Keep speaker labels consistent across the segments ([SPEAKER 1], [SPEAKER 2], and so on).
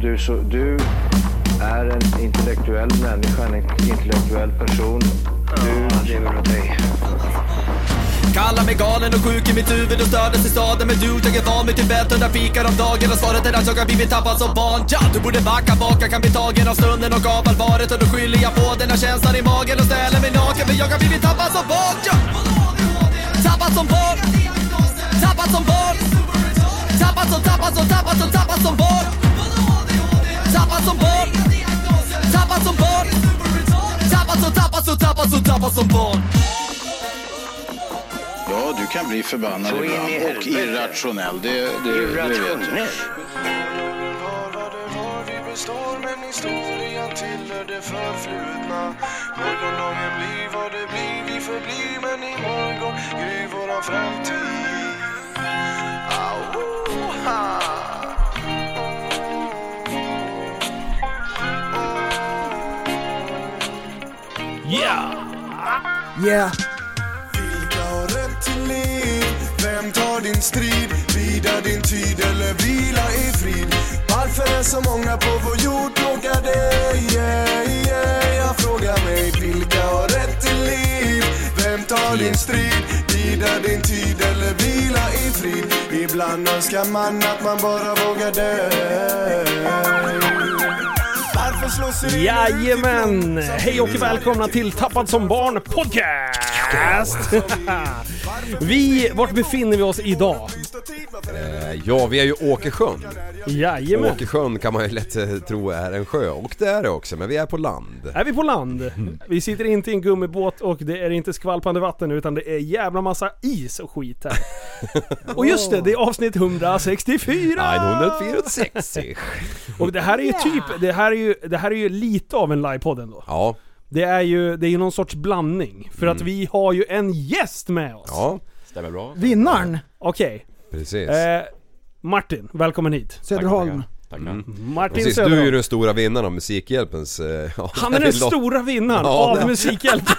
[SPEAKER 1] du, så, du är en intellektuell människa, en intellektuell person. Du lever av dig.
[SPEAKER 2] Kallar mig galen och sjuk i mitt huvud och stördes i staden Men du, jag är van vid Tibet och där fikar om dagen Och svaret är att jag har blivit tappad som barn ja, Du borde backa bak, jag kan bli tagen av stunden och av allvaret Och då skyller jag på den här känslan i magen och ställer mig naken För jag har blivit tappad som barn ja. Tappad som barn Tappad som barn Tappad som, tappad som, tappad som, tappad som barn Tappad som barn Tappad som barn Tappad som, tappad som, tappad som, tappad som barn
[SPEAKER 3] Ja, du kan bli förbannad
[SPEAKER 1] Så in i
[SPEAKER 3] ibland och
[SPEAKER 1] helvete.
[SPEAKER 3] irrationell. Det, det, det vet jag.
[SPEAKER 1] Irrationell.
[SPEAKER 4] var vad det var vi består men historien tillhör det förflutna Morgondagen blir vad det blir, vi förblir men imorgon gryr våran framtid Auha.
[SPEAKER 5] Yeah,
[SPEAKER 4] Vilka har rätt till liv? Vem tar din strid? Vida din tid eller vila i frid? Varför är så många på vår jord plågade? Yeah, yeah. Jag frågar mig vilka har rätt till liv? Vem tar din strid? Vida din tid eller vila i frid? Ibland önskar man att man bara vågar dö Varför slås vi ut
[SPEAKER 6] Jajamän!
[SPEAKER 4] ifrån?
[SPEAKER 6] Hej och välkomna till Tappad som barn podcast! Vi, vart befinner vi oss idag?
[SPEAKER 7] Ja, vi är ju Åkersjön.
[SPEAKER 6] Jajamän!
[SPEAKER 7] Åkersjön kan man ju lätt eh, tro är en sjö och det är det också, men vi är på land.
[SPEAKER 6] Är vi på land? Vi sitter inte i en gummibåt och det är inte skvalpande vatten utan det är jävla massa is och skit här. Och just det, det är avsnitt 164!
[SPEAKER 7] 946
[SPEAKER 6] Och det här är ju typ, det här är ju, det här är ju lite av en livepodd ändå.
[SPEAKER 7] Ja,
[SPEAKER 6] Det är ju, det är ju någon sorts blandning. För att vi har ju en gäst med oss!
[SPEAKER 7] ja,
[SPEAKER 8] Stämmer bra.
[SPEAKER 5] vinnaren
[SPEAKER 6] Okej.
[SPEAKER 7] precis.
[SPEAKER 6] Eh, Martin, välkommen hit.
[SPEAKER 5] Söderholm.
[SPEAKER 8] Tackar. Mm.
[SPEAKER 6] Martin
[SPEAKER 7] Mm. Precis,
[SPEAKER 6] Söderholm.
[SPEAKER 7] du är ju den stora vinnaren av Musikhjälpens... eh, ja,
[SPEAKER 6] Han är den
[SPEAKER 7] lott-
[SPEAKER 6] stora vinnaren
[SPEAKER 7] Ja,
[SPEAKER 6] av
[SPEAKER 7] det-
[SPEAKER 6] Musikhjälpen.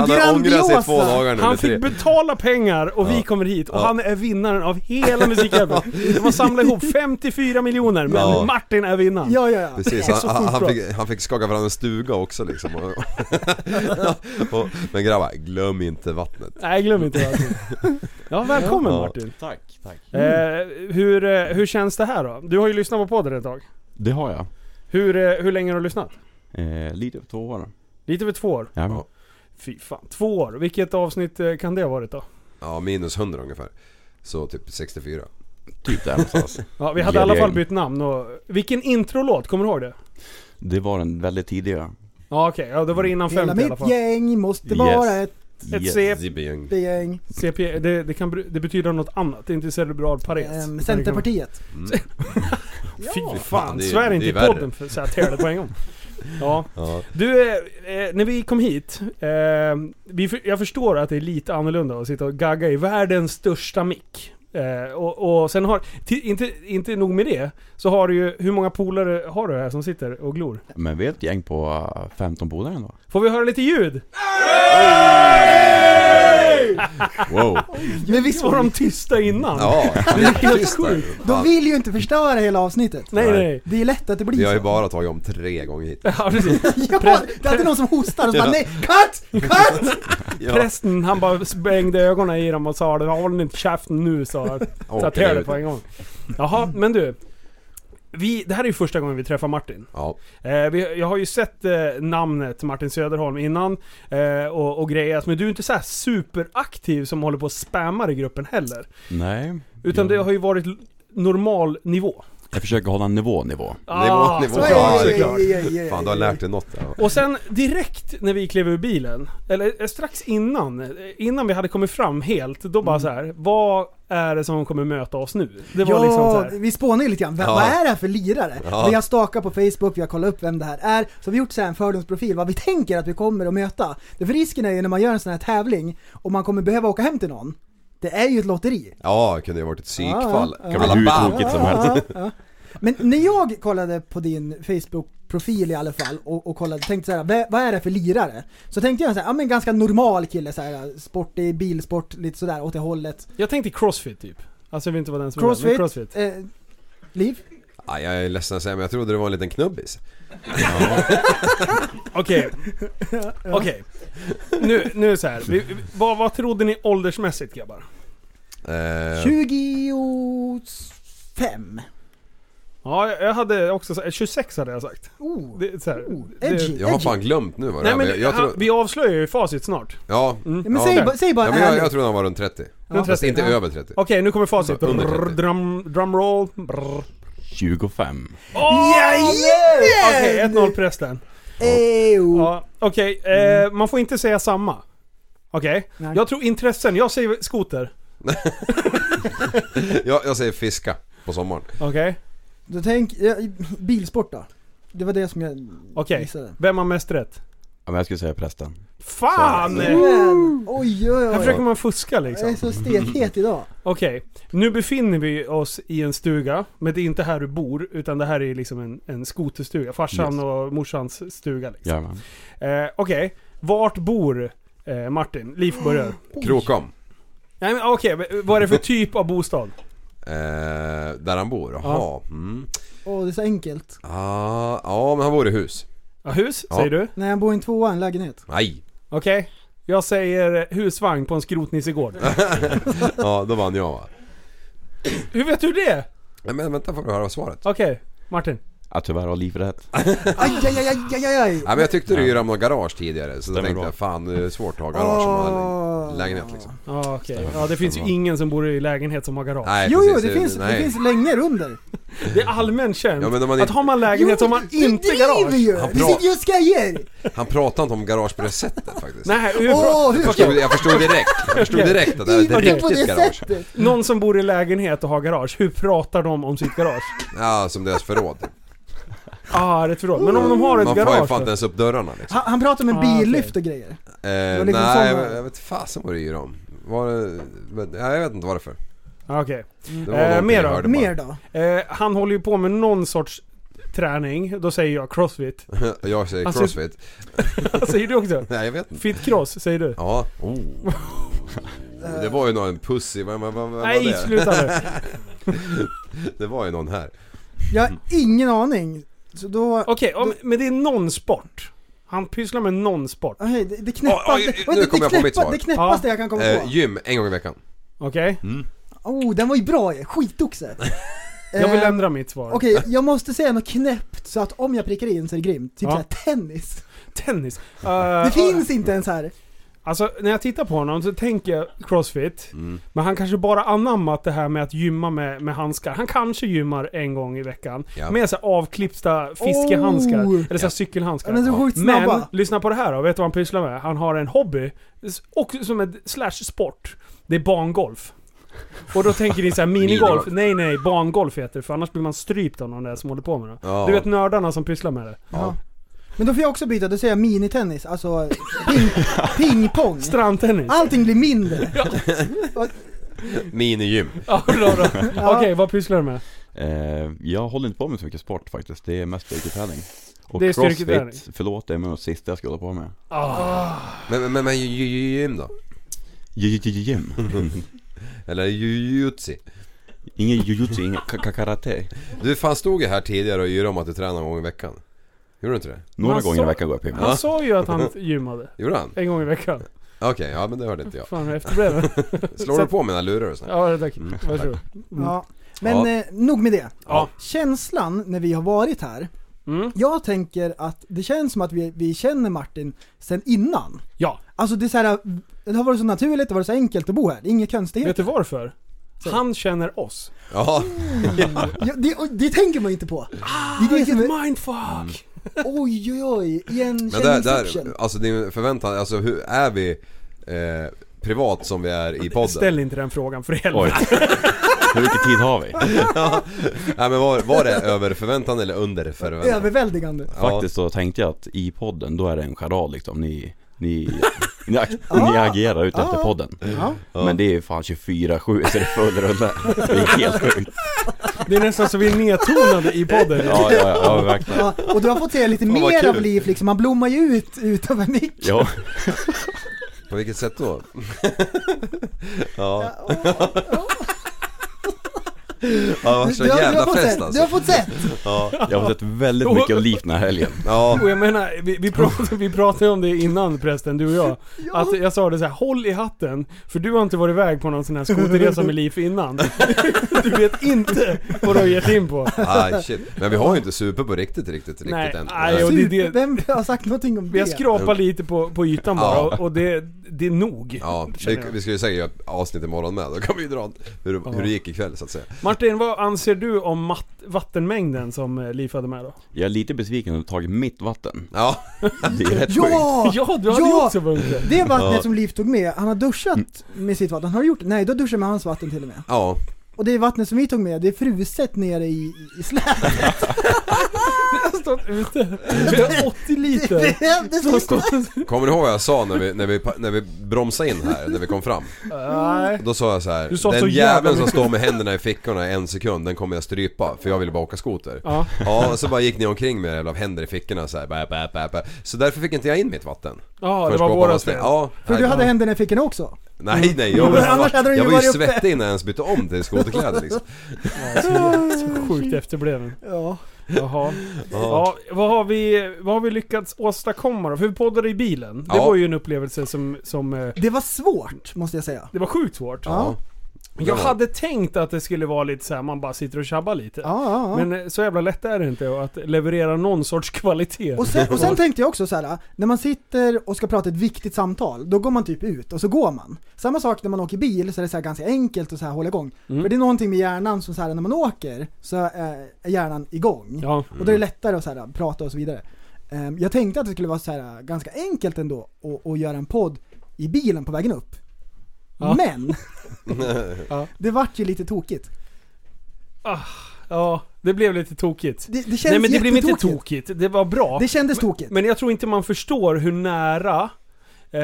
[SPEAKER 7] Han har ångrat sig i två
[SPEAKER 5] grandiosa!
[SPEAKER 7] dagar nu.
[SPEAKER 6] Han
[SPEAKER 7] eller tre.
[SPEAKER 6] fick betala pengar och vi kommer hit och
[SPEAKER 7] Ja.
[SPEAKER 6] han är vinnaren av hela Musikhjälpen. De har samlat ihop 54 miljoner men
[SPEAKER 7] Ja.
[SPEAKER 6] Martin är vinnaren.
[SPEAKER 5] Ja, ja, ja.
[SPEAKER 7] Precis,
[SPEAKER 5] Det är så
[SPEAKER 7] han, han,
[SPEAKER 5] skitbra.
[SPEAKER 7] fick, han fick skaka fram en stuga också liksom. Och, och, men grabbar, glöm inte vattnet.
[SPEAKER 6] Nej glöm inte Martin. Ja välkommen
[SPEAKER 7] Ja.
[SPEAKER 6] Martin.
[SPEAKER 8] Tack, tack.
[SPEAKER 6] Eh, hur, eh, hur känns det här då? Du har ju lyssnat på podden ett tag.
[SPEAKER 8] Det har jag.
[SPEAKER 6] Hur, eh, hur länge har du lyssnat?
[SPEAKER 8] Eh, lite över två år.
[SPEAKER 6] Lite över två år?
[SPEAKER 8] Jajamän.
[SPEAKER 7] Ja.
[SPEAKER 6] Fy fan. Två år. Vilket avsnitt eh, kan det ha varit då?
[SPEAKER 7] Ja, minus 100 ungefär. Så typ 64.
[SPEAKER 8] Typ där någonstans.
[SPEAKER 6] Ja, vi hade i alla
[SPEAKER 8] Gedigen.
[SPEAKER 6] fall bytt namn och... Vilken introlåt? Kommer du ihåg det?
[SPEAKER 8] Det var den väldigt tidiga.
[SPEAKER 6] Ja okej, ja, det var det innan
[SPEAKER 5] Hela
[SPEAKER 6] 50 i alla
[SPEAKER 5] mitt
[SPEAKER 6] fall.
[SPEAKER 5] gäng måste
[SPEAKER 8] Yes.
[SPEAKER 5] vara ett
[SPEAKER 6] Ett
[SPEAKER 8] Yes.
[SPEAKER 6] C
[SPEAKER 7] Zibbing.
[SPEAKER 5] gäng.
[SPEAKER 6] CP, det, det, kan, bry- det betyder något annat, det är inte cerebral paret.
[SPEAKER 5] Ehm,
[SPEAKER 6] Utan det kan-
[SPEAKER 5] Centerpartiet.
[SPEAKER 6] Fy
[SPEAKER 7] fan,
[SPEAKER 6] fan,
[SPEAKER 7] det är-
[SPEAKER 6] svär
[SPEAKER 7] det
[SPEAKER 6] inte
[SPEAKER 7] är
[SPEAKER 6] i
[SPEAKER 7] värre.
[SPEAKER 6] podden för att säga fel på en gång. Ja.
[SPEAKER 7] Ja.
[SPEAKER 6] Du, eh, eh, när vi kom hit, eh, vi, för- jag förstår att det är lite annorlunda att sitta och gagga i världens största mick. Eh, och, och sen har, ti- inte, inte nog med det, så har du ju, hur många polare har du här som sitter och glor?
[SPEAKER 8] Men vi är ett gäng på eh, 15 polare ändå.
[SPEAKER 6] Får vi höra lite ljud?
[SPEAKER 8] Wow.
[SPEAKER 6] Men visst var de tysta innan?
[SPEAKER 7] Ja,
[SPEAKER 6] Det är helt
[SPEAKER 7] tyst där.
[SPEAKER 6] sjukt.
[SPEAKER 5] De vill ju inte förstöra hela avsnittet.
[SPEAKER 6] Nej nej.
[SPEAKER 5] Det är lätt att det blir
[SPEAKER 7] Vi har ju
[SPEAKER 5] så.
[SPEAKER 7] bara tagit om tre gånger hit.
[SPEAKER 6] Ja, precis.
[SPEAKER 5] Ja, det är alltid någon som hostar och så bara nej, cut! Cut!
[SPEAKER 6] Prästen han bara sprängde ögonen i dem och sa det håll inte käften nu sa
[SPEAKER 7] Åh,
[SPEAKER 6] satte jag det
[SPEAKER 7] gud.
[SPEAKER 6] på en gång. Jaha, men du. Vi, det här är ju första gången vi träffar Martin.
[SPEAKER 7] Ja,
[SPEAKER 6] Eh, vi, jag har ju sett eh, namnet Martin Söderholm innan eh, och, och grejat, men du är inte så här superaktiv som håller på och spammar i gruppen heller.
[SPEAKER 8] Nej.
[SPEAKER 6] Utan
[SPEAKER 8] Ja.
[SPEAKER 6] det har ju varit l- normal nivå.
[SPEAKER 8] Jag försöker hålla en nivå, nivå.
[SPEAKER 6] Ah,
[SPEAKER 7] nivå.
[SPEAKER 6] såklart,
[SPEAKER 7] Ja,
[SPEAKER 6] såklart.
[SPEAKER 7] fan du har lärt dig något där.
[SPEAKER 6] Och sen direkt när vi klev ur bilen, eller eh, strax innan, eh, innan vi hade kommit fram helt, då
[SPEAKER 5] Mm.
[SPEAKER 6] bara så här, vad är det som kommer möta oss nu? Det var
[SPEAKER 5] ja,
[SPEAKER 6] liksom så här.
[SPEAKER 5] vi spånade ju lite grann. V-
[SPEAKER 7] Ja.
[SPEAKER 5] Vad är det här för lirare?
[SPEAKER 7] Ja.
[SPEAKER 5] Vi har stakat på Facebook, vi har kollat upp vem det här är. Så har vi gjort så här en fördomsprofil, vad vi tänker att vi kommer att möta. Därför risken är ju när man gör en sån här tävling och man kommer behöva åka hem till någon. Det är ju ett lotteri.
[SPEAKER 7] Ja, det kunde ju varit ett psykfall.
[SPEAKER 5] Ja,
[SPEAKER 8] Det kan bli hur tokigt som helst.
[SPEAKER 5] Men när jag kollade på din Facebook-profil i alla fall och, och kollade, tänkte såhär, "Vä- vad är det för lirare? Så tänkte jag såhär, ja men ganska normal kille såhär, sportig, bilsport, lite sådär åt det hållet.
[SPEAKER 6] Jag tänkte crossfit typ. Alltså jag vet inte vad den som är, men
[SPEAKER 5] Crossfit,
[SPEAKER 6] crossfit.
[SPEAKER 5] Eh, liv?
[SPEAKER 7] Ja, jag är ledsen att säga men jag trodde det var en liten knubbis.
[SPEAKER 6] Okej. Okej. Nu, nu så här. Vi, vi- vad, vad trodde ni åldersmässigt grabbar?
[SPEAKER 7] Eh,
[SPEAKER 5] 25.
[SPEAKER 6] Ja, jag- jag hade också så här, 26 hade jag sagt.
[SPEAKER 5] Oh,
[SPEAKER 6] Det, är så här,
[SPEAKER 5] oh,
[SPEAKER 6] det-
[SPEAKER 5] edgy.
[SPEAKER 7] jag har
[SPEAKER 5] edgy.
[SPEAKER 7] fan glömt nu vad det
[SPEAKER 6] Nej
[SPEAKER 7] här
[SPEAKER 6] men
[SPEAKER 7] var. jag
[SPEAKER 6] han-
[SPEAKER 7] tror,
[SPEAKER 6] vi avslöjar ju facit snart.
[SPEAKER 7] Ja.
[SPEAKER 5] Mm. Ja, men
[SPEAKER 7] Ja,
[SPEAKER 5] säg,
[SPEAKER 7] okej.
[SPEAKER 5] bara- säg bara
[SPEAKER 7] ja men jag,
[SPEAKER 5] ärligt.
[SPEAKER 7] jag tror han var runt 30.
[SPEAKER 6] Runt
[SPEAKER 7] Fast
[SPEAKER 6] 30.
[SPEAKER 7] inte
[SPEAKER 5] Ja.
[SPEAKER 7] över 30.
[SPEAKER 6] Okej, nu kommer facit.
[SPEAKER 7] Under
[SPEAKER 6] Brrr,
[SPEAKER 7] 30.
[SPEAKER 6] Drum, drumroll. Brrr.
[SPEAKER 8] 25.
[SPEAKER 5] Jajamän!
[SPEAKER 6] Okej, 1-0 prästen.
[SPEAKER 5] Ejo.
[SPEAKER 6] Ja, Okej, eh, man får inte säga samma. Okej?
[SPEAKER 5] Nej.
[SPEAKER 6] Jag tror intressen, jag säger skoter.
[SPEAKER 7] Jag, jag säger fiska på sommaren.
[SPEAKER 6] Okej?
[SPEAKER 5] Då tänk, ja, bilsport då. Det var det som jag
[SPEAKER 6] Okej.
[SPEAKER 5] gissade.
[SPEAKER 6] Vem har mest rätt?
[SPEAKER 8] Ja, men jag skulle säga prästen.
[SPEAKER 6] Fan!
[SPEAKER 5] Men, oj oj
[SPEAKER 6] Här
[SPEAKER 5] oj.
[SPEAKER 6] försöker man fuska
[SPEAKER 5] Jag är
[SPEAKER 6] liksom.
[SPEAKER 5] så stekhet idag.
[SPEAKER 6] Okej, nu befinner vi oss i en stuga. Men det är inte här du bor, utan det här är liksom en, en skoterstuga. Farsan
[SPEAKER 8] Yes.
[SPEAKER 6] och morsans stuga liksom.
[SPEAKER 8] Jajamän.
[SPEAKER 6] Eh, Okej, vart bor eh, Martin? Liv börjar.
[SPEAKER 7] Krokom.
[SPEAKER 6] Nej men okej, men vad är det för typ av bostad?
[SPEAKER 7] Eh, där han bor? Jaha.
[SPEAKER 6] Ja.
[SPEAKER 7] Mm.
[SPEAKER 5] Åh, det är så enkelt.
[SPEAKER 7] Ah, ja, men han bor i hus.
[SPEAKER 6] Ja, hus,
[SPEAKER 7] Ja.
[SPEAKER 6] säger du?
[SPEAKER 5] Nej, han bor i en tvåa, en lägenhet.
[SPEAKER 7] Nej.
[SPEAKER 6] Okej. Jag säger husvagn på en skrotnissegård.
[SPEAKER 7] Ja, då vann jag va?
[SPEAKER 6] Hur vet du det?
[SPEAKER 7] Nej, men vänta får du höra svaret.
[SPEAKER 6] Okej, Martin.
[SPEAKER 8] Ja, tyvärr har Liv rätt.
[SPEAKER 5] Aj, aj, aj, aj, aj, aj.
[SPEAKER 7] Nej, men jag tyckte du ju ramlade garage tidigare så då
[SPEAKER 8] Stämmer
[SPEAKER 7] tänkte
[SPEAKER 8] bra.
[SPEAKER 7] jag fan det är svårt att ha garage om man har
[SPEAKER 5] Åh.
[SPEAKER 7] en lägenhet liksom.
[SPEAKER 6] Ja, okej. Ja, det finns ju ingen som bor i lägenhet som har garage.
[SPEAKER 7] Nej,
[SPEAKER 5] Jo, jo,
[SPEAKER 7] precis,
[SPEAKER 5] det finns, det
[SPEAKER 7] nej.
[SPEAKER 5] finns längor under.
[SPEAKER 6] Det är allmän känt
[SPEAKER 7] Ja, men om man
[SPEAKER 6] att
[SPEAKER 7] inte-
[SPEAKER 6] har man lägenhet så har man inte garage.
[SPEAKER 5] Ju.
[SPEAKER 7] Han
[SPEAKER 5] Du
[SPEAKER 7] pratar-
[SPEAKER 5] sitter ju och skojar!
[SPEAKER 7] Han pratade inte om garage på det sättet faktiskt.
[SPEAKER 6] Nej, hur
[SPEAKER 5] Åh, hur
[SPEAKER 7] Jag förstod, jag förstod direkt. Jag förstod
[SPEAKER 6] Okej.
[SPEAKER 7] direkt att det här
[SPEAKER 5] Inte
[SPEAKER 7] är ett
[SPEAKER 5] på
[SPEAKER 7] riktigt
[SPEAKER 5] det
[SPEAKER 7] garage.
[SPEAKER 5] sättet!
[SPEAKER 6] Någon som bor i lägenhet och har garage, hur pratar de om sitt garage?
[SPEAKER 7] Ja, som deras förråd.
[SPEAKER 6] Ah, rätt förråd. Men om de har ett
[SPEAKER 7] Man får ju
[SPEAKER 6] garage
[SPEAKER 7] fan
[SPEAKER 6] då?
[SPEAKER 7] inte ens upp dörrarna liksom.
[SPEAKER 5] Han, han pratar om en
[SPEAKER 6] Ah,
[SPEAKER 5] billyft och grejer.
[SPEAKER 7] Eh,
[SPEAKER 5] var liksom
[SPEAKER 7] nej,
[SPEAKER 5] sådana-
[SPEAKER 7] jag, jag vet fasen vad det yr om. Var det, men- nej, jag vet inte varför.
[SPEAKER 6] Ah, Okej.
[SPEAKER 7] Det
[SPEAKER 6] Eh,
[SPEAKER 7] någonting
[SPEAKER 6] mer
[SPEAKER 7] jag
[SPEAKER 6] då?
[SPEAKER 7] hörde bara.
[SPEAKER 5] Mer då?
[SPEAKER 6] Eh, han håller ju på med någon sorts träning. Då säger jag crossfit.
[SPEAKER 7] Jag säger
[SPEAKER 6] Alltså-
[SPEAKER 7] crossfit.
[SPEAKER 6] säger du också?
[SPEAKER 7] Nej jag vet inte.
[SPEAKER 6] Fit cross, säger du?
[SPEAKER 7] Ja. Oh. Det var ju någon en pussy, vad, vad, vad, vad
[SPEAKER 6] Nej,
[SPEAKER 7] var det?
[SPEAKER 6] sluta nu.
[SPEAKER 7] Det var ju någon här.
[SPEAKER 5] Jag har ingen aning. Så då...
[SPEAKER 6] Okej, ja, men- men det är någon sport. Han pysslar med någon sport.
[SPEAKER 5] Okej, Ah, det, det knäppaste...
[SPEAKER 7] Oj, oj, oj, Ah, nu
[SPEAKER 5] det,
[SPEAKER 7] kommer jag på
[SPEAKER 5] knäppa-
[SPEAKER 7] mitt svar.
[SPEAKER 5] Det knäppaste
[SPEAKER 6] Ja.
[SPEAKER 5] jag kan komma
[SPEAKER 7] Eh,
[SPEAKER 5] på.
[SPEAKER 7] gym, en gång i veckan.
[SPEAKER 6] Okej?
[SPEAKER 5] Oh, den var ju bra ju. Skitoxe.
[SPEAKER 6] Jag vill
[SPEAKER 5] Eh,
[SPEAKER 6] ändra mitt svar.
[SPEAKER 5] Okej, jag måste säga något knäppt så att om jag prickar in så är det grymt. Typ
[SPEAKER 6] Ja.
[SPEAKER 5] såhär tennis.
[SPEAKER 6] Tennis. Eh,
[SPEAKER 5] Det finns inte ens här.
[SPEAKER 6] Alltså, när jag tittar på honom så tänker jag crossfit.
[SPEAKER 5] Mm.
[SPEAKER 6] Men han kanske bara anammat det här med att gymma med, med handskar. Han kanske gymmar en gång i veckan.
[SPEAKER 7] Ja.
[SPEAKER 6] Med så här avklippta fiskehandskar.
[SPEAKER 5] Oh.
[SPEAKER 6] Eller så här
[SPEAKER 7] Ja.
[SPEAKER 6] cykelhandskar.
[SPEAKER 5] Men det är sjukt
[SPEAKER 6] Men,
[SPEAKER 5] snabba.
[SPEAKER 6] lyssna på det här då. Vet du vad han pysslar med? Han har en hobby, s- och som en slash sport. Det är bangolf. Och då tänker ni såhär minigolf.
[SPEAKER 7] Minigolf.
[SPEAKER 6] nej nej, bangolf heter det. För annars blir man strypt av någon där som håller på med det.
[SPEAKER 7] Ja.
[SPEAKER 6] Du vet nördarna som pysslar med det.
[SPEAKER 5] Ja. Men då får jag också byta, då säger jag minitennis. Alltså ping, pingpong.
[SPEAKER 6] Strandtennis.
[SPEAKER 5] Allting blir mindre.
[SPEAKER 7] Minigym.
[SPEAKER 6] Ja, bra, bra. Okej, vad pysslar du med?
[SPEAKER 8] Eh, jag håller inte på med så mycket sport faktiskt. Det är mest styrketräning. Och
[SPEAKER 6] Det är styrketräning.
[SPEAKER 8] crossfit, förlåt det, men det sista jag skulle hålla på med.
[SPEAKER 6] Ah.
[SPEAKER 7] Men, men, men, men ju- ju- ju- gym då?
[SPEAKER 8] J- j- Gym.
[SPEAKER 7] Eller jujutsi?
[SPEAKER 8] Ingen jujutsu, ingen ka- ka- karate.
[SPEAKER 7] Du fan stod ju här tidigare och yrade om att du tränar en gång i veckan. Gjorde du inte det?
[SPEAKER 8] Några
[SPEAKER 6] Man
[SPEAKER 8] gånger i
[SPEAKER 6] sa-
[SPEAKER 8] veckan går jag på gymmet.
[SPEAKER 6] Han sa ju att han gymmade.
[SPEAKER 7] Gjorde han?
[SPEAKER 6] En gång i veckan.
[SPEAKER 7] Okej, ja men det hörde inte jag.
[SPEAKER 6] Fan, jag är efterbliven.
[SPEAKER 7] Slår du på mina lurar och sånt?
[SPEAKER 6] Ja, tack.
[SPEAKER 7] Mm,
[SPEAKER 6] Varsågod.
[SPEAKER 5] Ja. Men
[SPEAKER 7] Ja.
[SPEAKER 5] Eh, nog med det.
[SPEAKER 6] Ja.
[SPEAKER 5] Känslan när vi har varit här,
[SPEAKER 6] Mm.
[SPEAKER 5] jag tänker att det känns som att vi, vi känner Martin sen innan.
[SPEAKER 6] Ja,
[SPEAKER 5] Alltså det är så här, det har varit så naturligt, det har varit så enkelt att bo här. Det är inga
[SPEAKER 6] vet du
[SPEAKER 5] konstigheter.
[SPEAKER 6] varför? Han känner oss.
[SPEAKER 7] Ja.
[SPEAKER 5] Ja, det, och det tänker man ju inte på.
[SPEAKER 6] Ah,
[SPEAKER 5] det är det som är,
[SPEAKER 6] mindfuck!
[SPEAKER 7] Mm.
[SPEAKER 5] oj oj oj,
[SPEAKER 7] Men där,
[SPEAKER 5] igenkänningsoption.
[SPEAKER 7] där, alltså din förväntan, alltså hur är vi eh, privat som vi är i podden?
[SPEAKER 6] Ställ inte den frågan för
[SPEAKER 8] Oj.
[SPEAKER 6] helvete.
[SPEAKER 8] Hur mycket tid har vi?
[SPEAKER 7] Nej men var, var det över förväntan eller under förväntan?
[SPEAKER 5] Överväldigande.
[SPEAKER 7] Ja.
[SPEAKER 8] Faktiskt så tänkte jag att i podden, då är det en charad liksom. Ni, ni, ni, ag- ni agerar ute efter podden.
[SPEAKER 5] Ja.
[SPEAKER 8] Men det är ju fan 24-7 så det är full rulle. Det är helt sjukt.
[SPEAKER 6] Det är nästan så vi är nedtonade i podden.
[SPEAKER 8] Ja, ja, ja, ja verkligen.
[SPEAKER 5] Ja, och du har fått se lite
[SPEAKER 7] Fan, vad
[SPEAKER 5] mer av
[SPEAKER 7] kul.
[SPEAKER 5] Liv liksom, han blommar ju ut utav en mick.
[SPEAKER 8] Ja,
[SPEAKER 7] På vilket sätt då? ja. Ja, det var så jävla
[SPEAKER 5] fått
[SPEAKER 7] fest
[SPEAKER 5] sett, Du har
[SPEAKER 7] alltså.
[SPEAKER 5] fått sett!
[SPEAKER 7] Ja,
[SPEAKER 8] Jag har sett väldigt mycket av liv den här helgen.
[SPEAKER 7] ja.
[SPEAKER 6] Och jag menar, vi, vi, pratade, vi pratade om det innan prästen, du och jag. Att jag sa det så här: håll i hatten, för du har inte varit iväg på någon sån här skoterresa med liv innan. Du vet inte vad du har gett in på.
[SPEAKER 7] Aj, shit. Men vi har ju inte super på riktigt, riktigt, riktigt
[SPEAKER 6] Nej,
[SPEAKER 7] än.
[SPEAKER 6] nej, och- det är det-
[SPEAKER 5] Vem har sagt någonting om
[SPEAKER 6] Vi har
[SPEAKER 5] det?
[SPEAKER 6] skrapat lite på, på ytan bara
[SPEAKER 7] Ja.
[SPEAKER 6] och, och det, det är nog.
[SPEAKER 7] Ja, vi, vi ska ju säkert göra ett avsnitt imorgon med. Då kan vi ju dra hur, hur det gick ikväll så att säga.
[SPEAKER 6] Martin, vad anser du om matt, vattenmängden som eh, Liv hade med då?
[SPEAKER 8] Jag är lite besviken att du tagit mitt vatten.
[SPEAKER 7] Ja,
[SPEAKER 8] Det är rätt sjukt.
[SPEAKER 5] Ja!
[SPEAKER 6] Ja, du hade ju
[SPEAKER 5] Ja!
[SPEAKER 6] också vunnit
[SPEAKER 5] Det vattnet som Liv tog med, han har duschat med sitt vatten. Har du gjort det? Nej, då duschar med hans vatten till och med.
[SPEAKER 7] ja.
[SPEAKER 5] Och det vattnet som vi tog med, det är fruset nere i, i släpet.
[SPEAKER 6] stått ute. Vi har 80 liter.
[SPEAKER 5] Det är
[SPEAKER 6] Som har
[SPEAKER 5] så-
[SPEAKER 6] stått...
[SPEAKER 7] Kommer ni ihåg vad jag sa när vi, när vi, när vi bromsade in här, när vi kom fram?
[SPEAKER 6] Nej.
[SPEAKER 7] Då sa jag så här.
[SPEAKER 6] Du sa
[SPEAKER 7] den
[SPEAKER 6] så jävla
[SPEAKER 7] jäveln som
[SPEAKER 6] mycket."
[SPEAKER 7] står med händerna i fickorna en sekund, den kommer jag strypa för jag ville bara åka skoter.
[SPEAKER 6] Ja.
[SPEAKER 7] Ja, och så bara gick ni omkring med era jävla händer i fickorna så här, bä, bä, bä, bä. Så därför fick inte jag in mitt vatten.
[SPEAKER 6] Ja, det
[SPEAKER 7] Förrän
[SPEAKER 6] var
[SPEAKER 7] på
[SPEAKER 6] vårat
[SPEAKER 7] avsnitt.
[SPEAKER 6] fel.
[SPEAKER 7] Ja,
[SPEAKER 5] För
[SPEAKER 7] nej,
[SPEAKER 5] du hade händerna i fickorna också.
[SPEAKER 7] Nej nej, jag,
[SPEAKER 5] Men annars hade
[SPEAKER 7] var,
[SPEAKER 5] den
[SPEAKER 7] jag
[SPEAKER 5] ju
[SPEAKER 7] var ju
[SPEAKER 5] varit uppe.
[SPEAKER 7] svettig innan jag ens bytte om till skoterkläder liksom.
[SPEAKER 6] Sjukt efterbliven.
[SPEAKER 5] Mm. Ja.
[SPEAKER 6] Jaha. Ja, vad har, vi, vad har vi lyckats åstadkomma då? För vi poddade i bilen. Det
[SPEAKER 7] Ja.
[SPEAKER 6] var ju en upplevelse som... som eh,
[SPEAKER 5] Det var svårt, måste jag säga.
[SPEAKER 6] det var sjukt svårt.
[SPEAKER 5] Ja,
[SPEAKER 6] Jag hade tänkt att det skulle vara lite så här, man bara sitter och tjabbar lite.
[SPEAKER 5] ja, ja.
[SPEAKER 6] Men eh, så jävla lätt är det inte och att leverera någon sorts kvalitet.
[SPEAKER 5] Och sen, och sen tänkte jag också så här, när man sitter och ska prata ett viktigt samtal, då går man typ ut och så går man. Samma sak när man åker bil, så är det så här ganska enkelt att så här hålla igång.
[SPEAKER 6] Mm.
[SPEAKER 5] För det är någonting med hjärnan som så här, när man åker så är är hjärnan igång.
[SPEAKER 6] Ja.
[SPEAKER 5] Och då är det lättare att så här, prata och så vidare. Ehm, Jag tänkte att det skulle vara så här, ganska enkelt ändå att, att göra en podd i bilen på vägen upp.
[SPEAKER 6] Ja.
[SPEAKER 5] Men!
[SPEAKER 6] Ja.
[SPEAKER 5] Det vart ju lite tokigt.
[SPEAKER 6] ja, det blev lite tokigt.
[SPEAKER 5] Det, det känns
[SPEAKER 6] Nej men det blev inte
[SPEAKER 5] jättetokigt.
[SPEAKER 6] tokigt, det var bra.
[SPEAKER 5] Det kändes tokigt.
[SPEAKER 6] Men jag tror inte man förstår hur nära eh,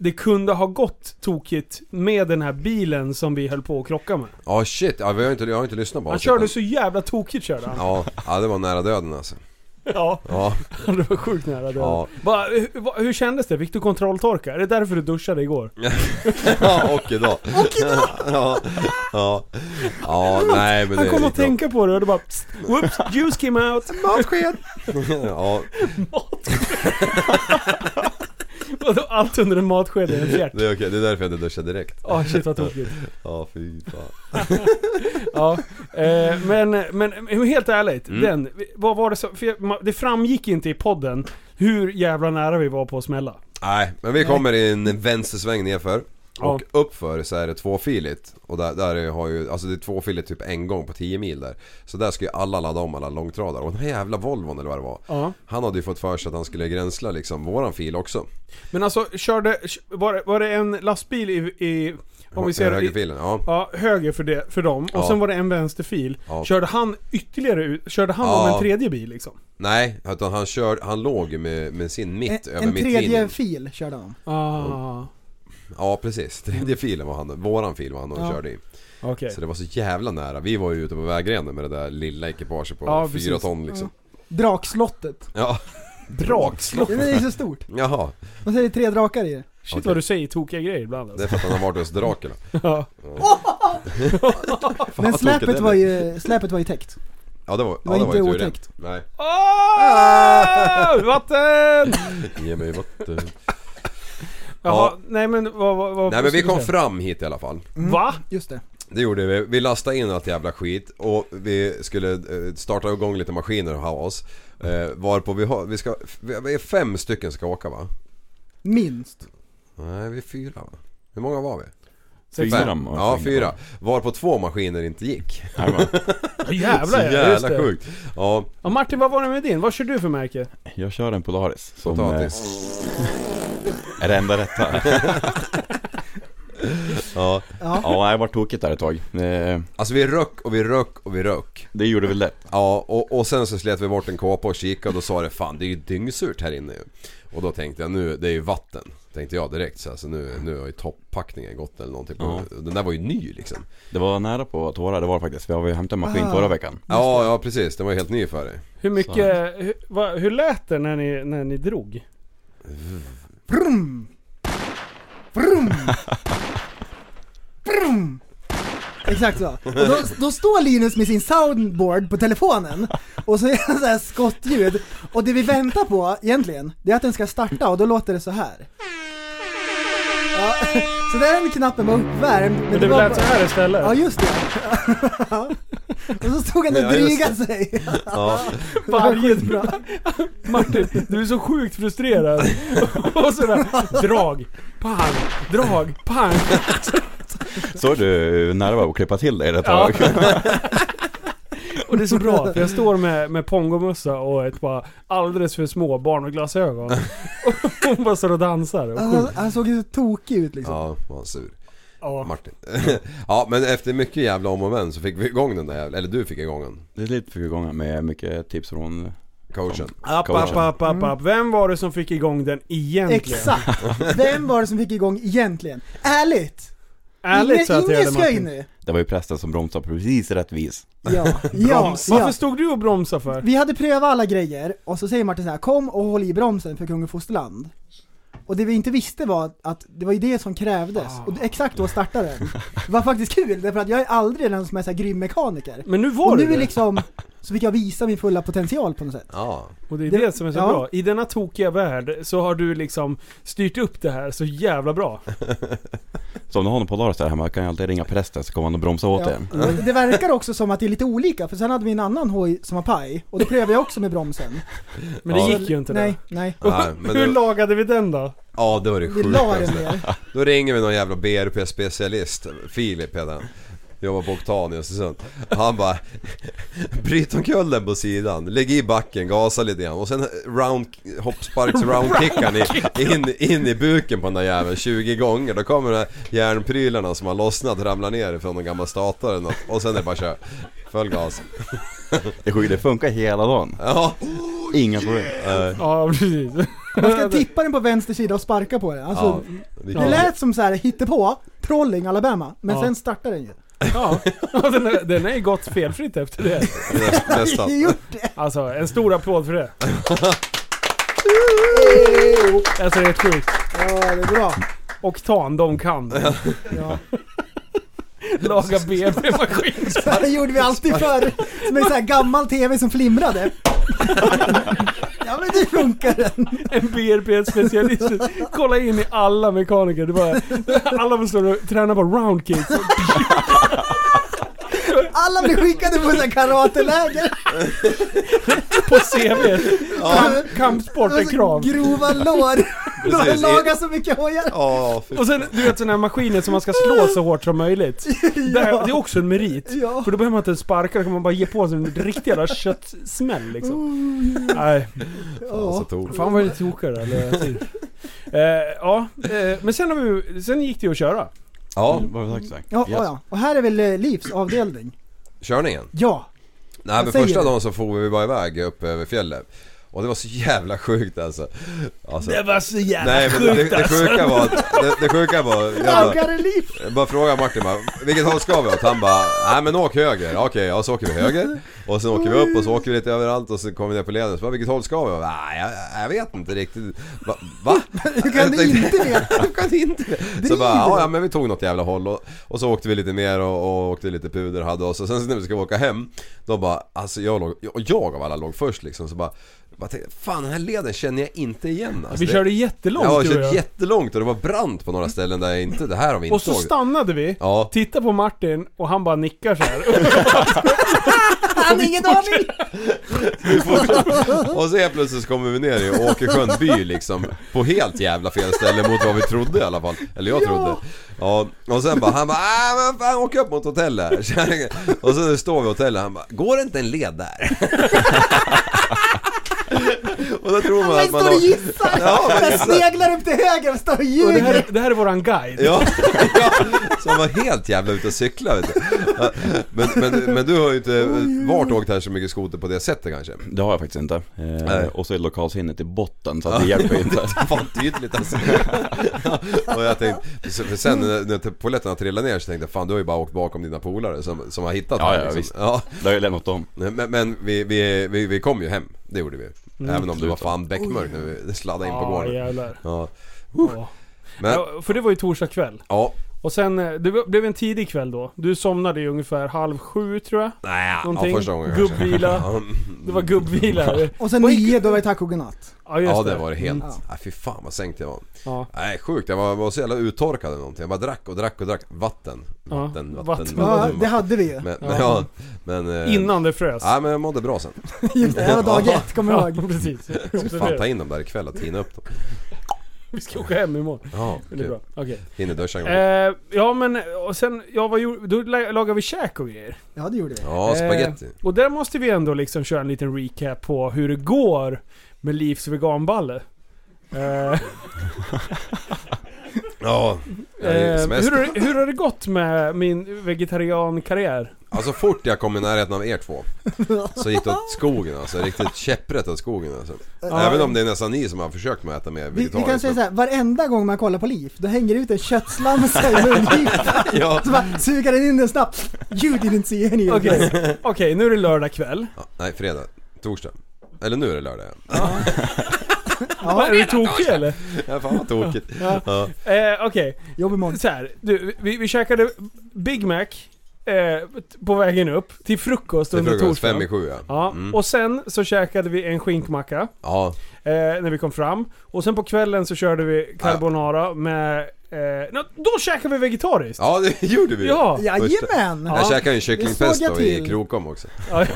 [SPEAKER 6] det kunde ha gått tokigt med den här bilen som vi höll på att krocka med.
[SPEAKER 7] Ja shit, ja, vi har ju inte, jag har ju inte lyssnat på
[SPEAKER 6] Han
[SPEAKER 7] avsnitten.
[SPEAKER 6] körde så jävla tokigt körde han.
[SPEAKER 7] Ja, ja det var nära döden alltså.
[SPEAKER 6] Ja,
[SPEAKER 7] Ja,
[SPEAKER 6] det var sjukt nära det.
[SPEAKER 7] Ja.
[SPEAKER 6] Bara, hur, vad- hur kändes det? Fick du kontrolltorka? Är det därför du duschade igår?
[SPEAKER 7] ja och idag. Och idag! Ja, ja. ja nej men det
[SPEAKER 6] Han
[SPEAKER 7] är
[SPEAKER 6] kom
[SPEAKER 7] lite
[SPEAKER 6] att tänka på det och det bara pst, whoops, juice came out.
[SPEAKER 7] Matsked! ja,
[SPEAKER 6] Vadå, Allt under en matsked i en fjärt.
[SPEAKER 7] det är okej. Det är därför jag inte duschar direkt.
[SPEAKER 6] Ah shit vad tokigt.
[SPEAKER 7] Ja, fy fan.
[SPEAKER 6] Ja, eh, men, men men helt ärligt,
[SPEAKER 7] Mm.
[SPEAKER 6] den, vad var det som, för jag, ma- det framgick inte i podden hur jävla nära vi var på att smälla.
[SPEAKER 7] Nej, men vi kommer i en vänstersväng nerför. Och uppför så är det tvåfiligt. Och där, där är- har ju, alltså det är tvåfiligt typ en gång på 10 mil där. Så där ska ju alla ladda om alla långtradare. Och den här jävla Volvon eller vad det var.
[SPEAKER 6] Ja.
[SPEAKER 7] Han hade ju fått för sig att han skulle gränsla liksom våran fil också.
[SPEAKER 6] Men alltså, körde, var det, var det en lastbil i, i om vi ser i,
[SPEAKER 7] Högerfilen, ja.
[SPEAKER 6] Ja, höger för, det, för dem. Och
[SPEAKER 7] Ja.
[SPEAKER 6] sen var det en vänsterfil.
[SPEAKER 7] Ja.
[SPEAKER 6] Körde han ytterligare ut? Körde han om
[SPEAKER 7] Ja.
[SPEAKER 6] en tredje bil liksom?
[SPEAKER 7] Nej, utan han kör, han låg ju med, med sin mitt
[SPEAKER 5] en
[SPEAKER 7] över
[SPEAKER 5] en tredje
[SPEAKER 7] mittlinjen.
[SPEAKER 5] fil körde han.
[SPEAKER 7] Mm.
[SPEAKER 6] Ah,
[SPEAKER 7] Ja precis, tredje filen var han, våran fil var han och
[SPEAKER 5] Ja.
[SPEAKER 7] körde i.
[SPEAKER 6] okej.
[SPEAKER 7] Så det var så jävla nära. Vi var ju ute på vägrenen med det där lilla ekipaget på
[SPEAKER 6] Ja,
[SPEAKER 7] fyra
[SPEAKER 6] precis.
[SPEAKER 7] ton liksom.
[SPEAKER 5] Drakslottet.
[SPEAKER 7] Ja.
[SPEAKER 6] Brakslott.
[SPEAKER 5] Det är ju så stort.
[SPEAKER 7] Jaha,
[SPEAKER 5] Man säger tre drakar i det.
[SPEAKER 6] Shit
[SPEAKER 7] Okej.
[SPEAKER 6] vad du säger tokiga grejer ibland
[SPEAKER 7] det
[SPEAKER 6] alltså.
[SPEAKER 7] är för att han har varit hos Dracula.
[SPEAKER 6] Ja.
[SPEAKER 7] Fan,
[SPEAKER 5] Men
[SPEAKER 7] vad tokigt
[SPEAKER 5] släpet
[SPEAKER 7] det
[SPEAKER 5] var,
[SPEAKER 7] blev.
[SPEAKER 5] ju, släpet var ju täckt.
[SPEAKER 7] Ja det var,
[SPEAKER 5] var
[SPEAKER 7] ja, det var ju
[SPEAKER 5] inte
[SPEAKER 7] tur det.
[SPEAKER 5] otäckt.
[SPEAKER 7] Nej.
[SPEAKER 6] Ah! Vatten!
[SPEAKER 7] Ge mig vatten.
[SPEAKER 6] Jaha,
[SPEAKER 7] Ja.
[SPEAKER 6] nej men vad... vad, vad
[SPEAKER 7] Nej men vi kom
[SPEAKER 6] ska
[SPEAKER 7] fram hit i alla fall.
[SPEAKER 6] säga? Va?
[SPEAKER 5] Just det.
[SPEAKER 7] Det gjorde vi. Vi lastade in allt jävla skit och vi skulle eh, starta igång lite maskiner och ha oss. Eh, varpå vi har, vi ska, vi är fem stycken ska åka va?
[SPEAKER 5] Minst.
[SPEAKER 7] Nej vi är fyra va? Hur många var vi?
[SPEAKER 8] Fyra
[SPEAKER 7] Fem.
[SPEAKER 8] man har
[SPEAKER 7] Ja,
[SPEAKER 8] slängt
[SPEAKER 7] fyra.
[SPEAKER 8] på.
[SPEAKER 7] Varpå två maskiner inte gick.
[SPEAKER 8] Nej, men,
[SPEAKER 6] Ja,
[SPEAKER 7] Mm. Så
[SPEAKER 6] jävlar ja, just
[SPEAKER 7] jävla
[SPEAKER 6] det.
[SPEAKER 7] sjukt. Ja,
[SPEAKER 6] Ja, Martin vad var det med din? Vad kör du för märke?
[SPEAKER 8] Jag kör en Polaris. Som, eh,
[SPEAKER 7] potatis.
[SPEAKER 8] är det enda rätta?
[SPEAKER 7] Ja.
[SPEAKER 8] ja, jag var tokigt där ett tag. Eh,
[SPEAKER 7] Alltså vi röck och vi röck och vi röck.
[SPEAKER 8] Det gjorde väl det.
[SPEAKER 7] Ja, och, och sen så slet vi bort en kåpa och kikade och då sa det fan det är ju dyngsurt här inne ju. Och då tänkte jag nu, det är ju vatten. Tänkte jag direkt så, här, så nu, nu har ju toppackningen gått eller någonting. På, Den där var ju ny liksom.
[SPEAKER 8] Det var nära på att tårar, det var det faktiskt. Vi har ju hämtat en maskin förra veckan.
[SPEAKER 7] Ja, ja precis. Den var ju helt ny för dig.
[SPEAKER 6] Hur mycket... Hur, vad, hur lät det när ni, när ni drog?
[SPEAKER 5] Brum! Brum! Brum! Exakt så. Och då, då står Linus med sin soundboard på telefonen och så är det så här skottljud. Och det vi väntar på egentligen, det är att den ska starta och då låter det så här. Ja, så den knappen var uppvärmd.
[SPEAKER 6] Men det lät så här istället.
[SPEAKER 5] Ja, just det. Ja. Och så stod han och
[SPEAKER 7] Ja, just
[SPEAKER 5] drygade sig.
[SPEAKER 7] Ja.
[SPEAKER 6] Varje Martin, du är så sjukt frustrerad. Och sådär, drag, pang, drag, pang.
[SPEAKER 8] Såg du hur nära jag var att klippa till dig det ett tag?
[SPEAKER 6] Och det är så bra, för jag står med, med pongomössa och ett par alldeles för små barn och glasögon. Och hon bara står och dansar och sjunger.
[SPEAKER 5] Han, han såg ju så tokig ut liksom.
[SPEAKER 7] Ja, var han sur.
[SPEAKER 6] Ja.
[SPEAKER 7] Martin. ja men efter mycket jävla om och men så fick vi igång den där jävla, eller du fick igång den.
[SPEAKER 8] Det är lite för gånger med mycket tips från
[SPEAKER 7] Coachen.
[SPEAKER 6] App,
[SPEAKER 8] coachen.
[SPEAKER 6] app, app, app, app. Vem var det som fick igång den egentligen?
[SPEAKER 5] Exakt! Vem var det som fick igång egentligen? Ärligt!
[SPEAKER 6] Ärligt så att jag
[SPEAKER 5] Ingen
[SPEAKER 6] hade
[SPEAKER 5] skoj
[SPEAKER 6] Martin.
[SPEAKER 5] nu!
[SPEAKER 8] Det var ju prästen som bromsade precis rätt vis.
[SPEAKER 5] Ja, ja,
[SPEAKER 6] Varför
[SPEAKER 5] ja.
[SPEAKER 6] stod du och bromsade för?
[SPEAKER 5] Vi hade prövat alla grejer och så säger Martin så här, kom och håll i bromsen för kung och fosterland. Och det vi inte visste var att det var ju det som krävdes. Och
[SPEAKER 6] Ah.
[SPEAKER 5] exakt då startade den. Det var faktiskt kul, därför att jag är aldrig den som är så här grym mekaniker.
[SPEAKER 6] Men nu var
[SPEAKER 5] Och
[SPEAKER 6] du
[SPEAKER 5] nu är
[SPEAKER 6] det.
[SPEAKER 5] liksom, så fick jag visa min fulla potential på något sätt.
[SPEAKER 7] Ja.
[SPEAKER 6] Och det är
[SPEAKER 5] Det-
[SPEAKER 6] det som är så
[SPEAKER 5] ja.
[SPEAKER 6] bra. I denna tokiga värld så har du liksom styrt upp det här så jävla bra.
[SPEAKER 8] Så om du har någon Polaris där hemma kan jag alltid ringa prästen så kommer han och bromsa åt
[SPEAKER 5] Ja.
[SPEAKER 8] dig.
[SPEAKER 5] Men Det verkar också som att det är lite olika, för sen hade vi en annan hoj som var paj, och då prövade jag också med bromsen.
[SPEAKER 6] Men
[SPEAKER 7] Ja.
[SPEAKER 6] det gick ju inte
[SPEAKER 5] Nej, nej.
[SPEAKER 6] det.
[SPEAKER 7] Nej, men
[SPEAKER 6] Hur
[SPEAKER 7] det-
[SPEAKER 6] lagade vi den då?
[SPEAKER 7] Ja det var det
[SPEAKER 5] Vi la den
[SPEAKER 7] sjukaste.
[SPEAKER 5] ner.
[SPEAKER 7] Då ringer vi någon jävla BRP-specialist, Filip heter han. Jobbar på Octan i Östersund. Han bara Bryt omkull den på sidan, lägg i backen, gasa lite grann och sen round, hoppsparks roundkickar ni in, in i buken på den där jäveln 20 gånger. Då kommer de här järnprylarna som har lossnat ramla ner från någon gammal stator eller något. Och sen är det bara kör. Full gas.
[SPEAKER 8] Det sjukt, det funkar hela dagen.
[SPEAKER 7] Ja. Eh,
[SPEAKER 8] Inga problem.
[SPEAKER 6] Ja, precis.
[SPEAKER 5] Man ska tippa den på vänster sida och sparka på den. Alltså,
[SPEAKER 7] ja. Vi
[SPEAKER 5] Det
[SPEAKER 7] kan-
[SPEAKER 5] lät som så här hittepå, trolling Alabama, men
[SPEAKER 6] Ja.
[SPEAKER 5] sen startade den ju.
[SPEAKER 6] Ja, Ja, den är- den har ju gått felfritt efter det.
[SPEAKER 7] näst- Nästan.
[SPEAKER 5] Jo,
[SPEAKER 6] Alltså, en stor applåd för det. Alltså det är sjukt.
[SPEAKER 5] Ja, det är bra.
[SPEAKER 6] Oktan, de kan.
[SPEAKER 5] Ja.
[SPEAKER 6] Laga BB-maskin.
[SPEAKER 5] Så här gjorde vi alltid förr. Som en sån här gammal TV som flimrade. Ja men det funkar den.
[SPEAKER 6] En BRP-specialist. Kolla in i alla mekaniker. Det bara, alla står och tränar på roundkicks.
[SPEAKER 5] Alla blev skickade på så här karateläger.
[SPEAKER 6] på CV. Kamp, kampsport är
[SPEAKER 5] Alltså,
[SPEAKER 6] krav.
[SPEAKER 5] Grova lår. De
[SPEAKER 7] Precis.
[SPEAKER 5] lagar så mycket hojar.
[SPEAKER 7] Ja, fy
[SPEAKER 6] Och sen du vet sådana här maskiner som man ska slå så hårt som möjligt. Det, här, det är också en merit.
[SPEAKER 5] Ja.
[SPEAKER 6] För då behöver man inte ens sparka, då kan man bara ge på sig en riktig jävla köttsmäll liksom. Nej,
[SPEAKER 7] fan så tog.
[SPEAKER 6] fan vad det tokar det eller? Eh, ja, eh, men sen, har vi, sen gick det ju att köra.
[SPEAKER 7] Ja,
[SPEAKER 8] Vad har vi sagt?
[SPEAKER 5] Ja,
[SPEAKER 8] Yes.
[SPEAKER 5] ja, ja. Och här är väl eh, Livs avdelning?
[SPEAKER 7] körningen.
[SPEAKER 5] Ja.
[SPEAKER 7] Nej men
[SPEAKER 5] Vad säger
[SPEAKER 7] första
[SPEAKER 5] du?
[SPEAKER 7] dagen så for vi bara iväg upp över fjället. Och det var så jävla sjukt alltså. alltså
[SPEAKER 6] var så jävla
[SPEAKER 7] nej men det, det
[SPEAKER 5] alltså.
[SPEAKER 7] sjuka var att, det, det sjuka var, jag bara,
[SPEAKER 5] Lagare Liv.
[SPEAKER 7] jag Eh, bara frågade Martin bara, vilket håll ska vi åt? Han bara, nej men åk höger. Okej, ja så åker vi höger. Och sen åker vi upp och så åker vi lite överallt och så kommer vi ner på leden. Så bara, vilket håll ska vi åt? Nej jag, jag vet inte riktigt. Va? va?
[SPEAKER 5] Hur kan du inte veta?
[SPEAKER 7] Jag kan inte det. Så bara,
[SPEAKER 5] Driver.
[SPEAKER 7] ja, ja men vi tog något jävla håll och, och så åkte vi lite mer och, och åkte lite puder hade oss och sen så när vi skulle åka hem Då bara, alltså jag låg, och jag av alla låg först liksom så bara, bara tänkte, Fan den här leden känner jag inte igen alltså,
[SPEAKER 6] Vi
[SPEAKER 7] det,
[SPEAKER 6] körde jättelångt
[SPEAKER 7] Ja, vi
[SPEAKER 6] du och
[SPEAKER 7] körde
[SPEAKER 6] jag.
[SPEAKER 7] jättelångt och det var brant på några ställen där jag inte, det här har vi inte
[SPEAKER 6] Och så
[SPEAKER 7] åkt.
[SPEAKER 6] stannade vi,
[SPEAKER 7] Ja.
[SPEAKER 6] tittade på Martin och han bara nickar så här.
[SPEAKER 5] Han har ingen aning.
[SPEAKER 7] Och så helt plötsligt så kommer vi ner i Åkersjön by liksom På helt jävla fel ställe mot vad vi trodde i alla fall Eller jag trodde Ja, och sen bara, han bara ah, men fan åk upp mot hotellet Kärringen. Och så står vi i hotellet han bara, går det inte en led där? och då tror man
[SPEAKER 5] Han
[SPEAKER 7] att man
[SPEAKER 5] står och
[SPEAKER 7] har...
[SPEAKER 5] gissar. Han sneglar upp till höger och står och
[SPEAKER 6] Och det,
[SPEAKER 5] ljuger.
[SPEAKER 6] här, det här är våran guide.
[SPEAKER 7] Ja, ja, så han var helt jävla ute och cykla vet du. Ja, Men, men, men du har ju inte varit och åkt här så mycket skoter på det sättet kanske?
[SPEAKER 8] Det har jag faktiskt inte.
[SPEAKER 7] Nej.
[SPEAKER 8] Eh, och så är lokalsinnet i botten så att det hjälper ju inte.
[SPEAKER 7] Fan tydligt alltså. och jag tänkte, så- för sen när när polletterna trillade ner så tänkte jag fan du har ju bara åkt bakom dina polare som, som har hittat
[SPEAKER 8] Ja,
[SPEAKER 7] mig,
[SPEAKER 8] ja, visst.
[SPEAKER 7] Ja,
[SPEAKER 8] Det har jag lämnat om.
[SPEAKER 7] men, men vi, vi, vi, vi kom ju hem, det gjorde vi. Även om det var fan beckmörkt när vi sladdade in på
[SPEAKER 6] Ah, Ja,
[SPEAKER 7] gården.
[SPEAKER 6] jävlar.
[SPEAKER 7] Ja,
[SPEAKER 6] Ja.
[SPEAKER 7] men,
[SPEAKER 6] Ja, för det var ju torsdag kväll.
[SPEAKER 7] ja.
[SPEAKER 6] Och sen, eh, det blev en tidig kväll då. Du somnade ju ungefär halv sju tror jag.
[SPEAKER 7] Nej, ja,
[SPEAKER 6] Någonting.
[SPEAKER 7] första gången kanske.
[SPEAKER 6] Gubbvila.
[SPEAKER 7] Ja,
[SPEAKER 6] Det var gubbvila.
[SPEAKER 5] Och sen nio, då var det tack och godnatt.
[SPEAKER 6] Ja, just
[SPEAKER 7] Mm. Ja det var det helt.
[SPEAKER 5] Mm.
[SPEAKER 7] Nej fy fan vad sänkt jag var.
[SPEAKER 6] Ja.
[SPEAKER 7] Nej sjukt, jag var, var så jävla uttorkad eller någonting. Jag bara drack och drack och drack. Vatten.
[SPEAKER 6] Ja,
[SPEAKER 7] Vatten, vatten,
[SPEAKER 6] vatten.
[SPEAKER 7] vatten.
[SPEAKER 5] Ja, det
[SPEAKER 7] vatten.
[SPEAKER 5] hade vi ju.
[SPEAKER 7] Men, men, ja, men, eh,
[SPEAKER 6] Innan det frös.
[SPEAKER 7] Nej men jag mådde bra sen.
[SPEAKER 5] Just det, det var dag ett, kommer
[SPEAKER 6] Ja,
[SPEAKER 5] jag ihåg.
[SPEAKER 6] precis.
[SPEAKER 7] Jag ska fan ta in dem där ikväll och tina upp dem.
[SPEAKER 6] Vi ska åka hem imorgon.
[SPEAKER 7] Ja,
[SPEAKER 6] Det är
[SPEAKER 7] kul.
[SPEAKER 6] bra. Okej.
[SPEAKER 7] Hinner duscha en gång.
[SPEAKER 6] Eh, ja men, och sen, ja vad gjorde, då la- lagade vi käk och grejer.
[SPEAKER 5] Ja, det gjorde vi.
[SPEAKER 7] Ja, spaghetti.
[SPEAKER 6] Eh, och där måste vi ändå liksom köra en liten recap på hur det går med Livs veganballe. Eh,
[SPEAKER 7] Ja. Jag är
[SPEAKER 6] eh,
[SPEAKER 7] som mest-
[SPEAKER 6] hur, har- hur har det gått med min vegetariankarriär?
[SPEAKER 7] Alltså fort jag kom i närheten av er två så gick det åt skogen alltså. Riktigt käpprätt åt skogen alltså. Även om det är nästan ni som har försökt med att äta mer
[SPEAKER 5] Vi, vi kan
[SPEAKER 7] vegetariskt.
[SPEAKER 5] säga såhär, varenda gång man kollar på Liv, då hänger det ut en köttslamsa i mungipan.
[SPEAKER 7] Ja.
[SPEAKER 5] Så bara suger den in den snabbt. You didn't see any of
[SPEAKER 6] Okej,
[SPEAKER 5] this.
[SPEAKER 6] Okej, nu är det lördag kväll.
[SPEAKER 7] Ja, nej, fredag. Torsdag. Eller nu är det lördag ja.
[SPEAKER 6] är du tokig eller?
[SPEAKER 7] Ja, fan vad tokigt. Ja.
[SPEAKER 6] Eh, Okej,
[SPEAKER 5] Jobb imorgon.
[SPEAKER 6] så här. Du, vi, vi käkade Big Mac eh, på vägen upp till frukost
[SPEAKER 7] Det är
[SPEAKER 6] under
[SPEAKER 7] frukost,
[SPEAKER 6] torsdagen.
[SPEAKER 7] fem i sju ja.
[SPEAKER 6] Ja,
[SPEAKER 7] Mm.
[SPEAKER 6] och sen så käkade vi en skinkmacka.
[SPEAKER 7] Ja,
[SPEAKER 6] eh, när vi kom fram. Och sen på kvällen så körde vi carbonara med... Eh, nå- då käkade vi vegetariskt!
[SPEAKER 7] ja det gjorde vi ju.
[SPEAKER 6] Ja!
[SPEAKER 5] Jajamän!
[SPEAKER 7] Jag käkade ju
[SPEAKER 5] Det såg jag
[SPEAKER 7] kycklingpesto i
[SPEAKER 5] till.
[SPEAKER 7] Krokom också.
[SPEAKER 6] Ja.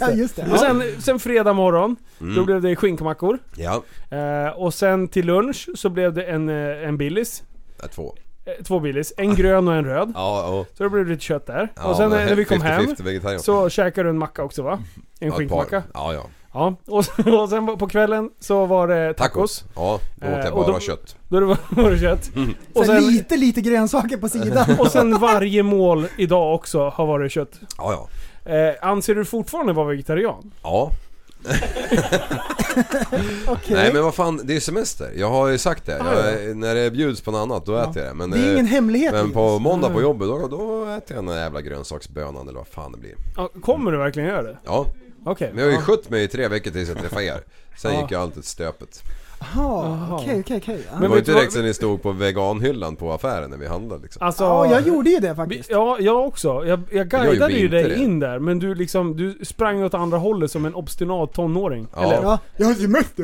[SPEAKER 5] Ja, just det.
[SPEAKER 6] Och
[SPEAKER 5] Ja.
[SPEAKER 6] sen, sen fredag morgon, då blev det skinkmackor.
[SPEAKER 7] Mm. Ja,
[SPEAKER 6] Eh, och sen till lunch så blev det en, eh, en Billys.
[SPEAKER 7] Ja, två.
[SPEAKER 6] Eh, två Billys. En grön och en röd.
[SPEAKER 7] Ja, och,
[SPEAKER 6] Så det blev lite kött där.
[SPEAKER 7] Ah. ja,
[SPEAKER 6] och sen
[SPEAKER 7] men
[SPEAKER 6] eh, när vi kom
[SPEAKER 7] 50-50
[SPEAKER 6] hem
[SPEAKER 7] vegetarian.
[SPEAKER 6] så käkade du en macka också va? En
[SPEAKER 7] Ja, ett par.
[SPEAKER 6] skinkmacka.
[SPEAKER 7] Ja, ja.
[SPEAKER 6] Ja. Och, sen- och sen på kvällen så var det tacos.
[SPEAKER 7] Tacos. Mm. Ja, då åt
[SPEAKER 6] Eh,
[SPEAKER 7] jag
[SPEAKER 6] och
[SPEAKER 7] bara
[SPEAKER 6] då-
[SPEAKER 7] kött.
[SPEAKER 6] Då det var, var det kött. Och,
[SPEAKER 5] Och sen
[SPEAKER 6] sen,
[SPEAKER 5] lite, lite grönsaker på sidan.
[SPEAKER 6] och sen varje mål idag också har varit kött.
[SPEAKER 7] Ja, ja.
[SPEAKER 6] Eh, anser du fortfarande vara vegetarian?
[SPEAKER 7] Ja.
[SPEAKER 5] Okej.
[SPEAKER 7] Nej men vad fan, det är semester. Jag har ju sagt det.
[SPEAKER 6] Ah,
[SPEAKER 7] Jag, när det bjuds på något annat då äter jag det. Men,
[SPEAKER 5] Det är ingen
[SPEAKER 7] eh,
[SPEAKER 5] hemlighet
[SPEAKER 7] men
[SPEAKER 5] Linus.
[SPEAKER 7] på måndag
[SPEAKER 6] Mm.
[SPEAKER 7] på jobbet då, då äter jag den där jävla grönsaksbönan eller vad fan det blir.
[SPEAKER 6] Ja, kommer du verkligen göra det?
[SPEAKER 7] Ja,
[SPEAKER 6] Okej.
[SPEAKER 7] men jag har
[SPEAKER 6] Ja.
[SPEAKER 7] ju skött mig i tre veckor tills jag träffade er. Sen gick jag alltid stöpet.
[SPEAKER 5] Jaha, okej, okej, okej. Ja.
[SPEAKER 7] Det
[SPEAKER 6] Men
[SPEAKER 7] var ju
[SPEAKER 6] vet
[SPEAKER 7] inte
[SPEAKER 6] du vad-
[SPEAKER 7] direkt sen ni stod på veganhyllan på affären när vi handlade liksom.
[SPEAKER 6] Alltså,
[SPEAKER 5] Ja, jag gjorde ju det
[SPEAKER 6] vi-
[SPEAKER 5] faktiskt.
[SPEAKER 6] Ja, jag också. Jag, jag
[SPEAKER 7] gjorde
[SPEAKER 6] guidade ju
[SPEAKER 7] inte
[SPEAKER 6] dig
[SPEAKER 7] det.
[SPEAKER 6] in där, men du liksom, du sprang åt andra hållet som en obstinat tonåring.
[SPEAKER 7] Ja.
[SPEAKER 6] Eller?
[SPEAKER 5] Ja, jag har semester.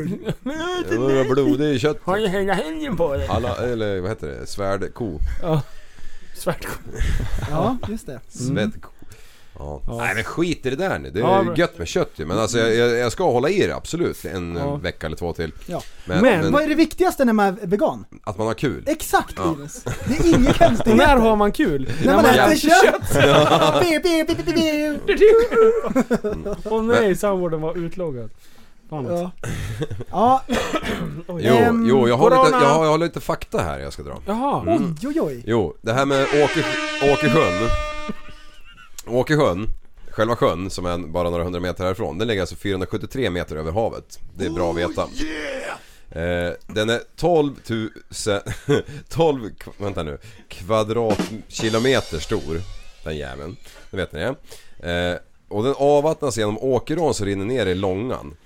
[SPEAKER 7] Det var blodig kött.
[SPEAKER 6] Har ni hela helgen på dig?
[SPEAKER 7] Alla, eller vad heter det? Svärdko.
[SPEAKER 6] Svärtko.
[SPEAKER 5] Ja, just det.
[SPEAKER 7] Svedko. Ja. Nej men skit i det där nu. Det är
[SPEAKER 6] Mm. Ja,
[SPEAKER 7] ju
[SPEAKER 6] men-
[SPEAKER 7] gött med kött ju. Men alltså jag, jag, jag ska hålla i det absolut en
[SPEAKER 6] Ja.
[SPEAKER 7] vecka eller två till.
[SPEAKER 5] Ja.
[SPEAKER 6] Men
[SPEAKER 5] Vad är det viktigaste när man är vegan?
[SPEAKER 7] Att man har kul.
[SPEAKER 5] Exakt Linus. Det är inget konstigt.
[SPEAKER 6] När har man kul?
[SPEAKER 5] När man
[SPEAKER 7] jävlar.
[SPEAKER 5] äter kött! Bi, bi, bi, bi, bi, bi.
[SPEAKER 6] Åh nej, soundboarden var utloggad. Fan också.
[SPEAKER 5] Ja. Ja,
[SPEAKER 7] Jo,
[SPEAKER 5] Ehm,
[SPEAKER 7] jo jag, har
[SPEAKER 6] corona.
[SPEAKER 7] lite, jag, har, jag har lite fakta här jag ska dra.
[SPEAKER 6] Jaha.
[SPEAKER 5] oj, oj, oj.
[SPEAKER 7] Jo, det här med Åke, Åkersjön. Åkersjön, själva sjön som är bara några hundra meter härifrån. Den ligger alltså 473 meter över havet. Det är bra att veta. Eh, den är 12 000... 12... kva- Vänta nu. Kvadratkilometer stor. Den jäveln. Det vet ni det. Eh, och den avvattnas genom Åkerån som rinner ner i Långan.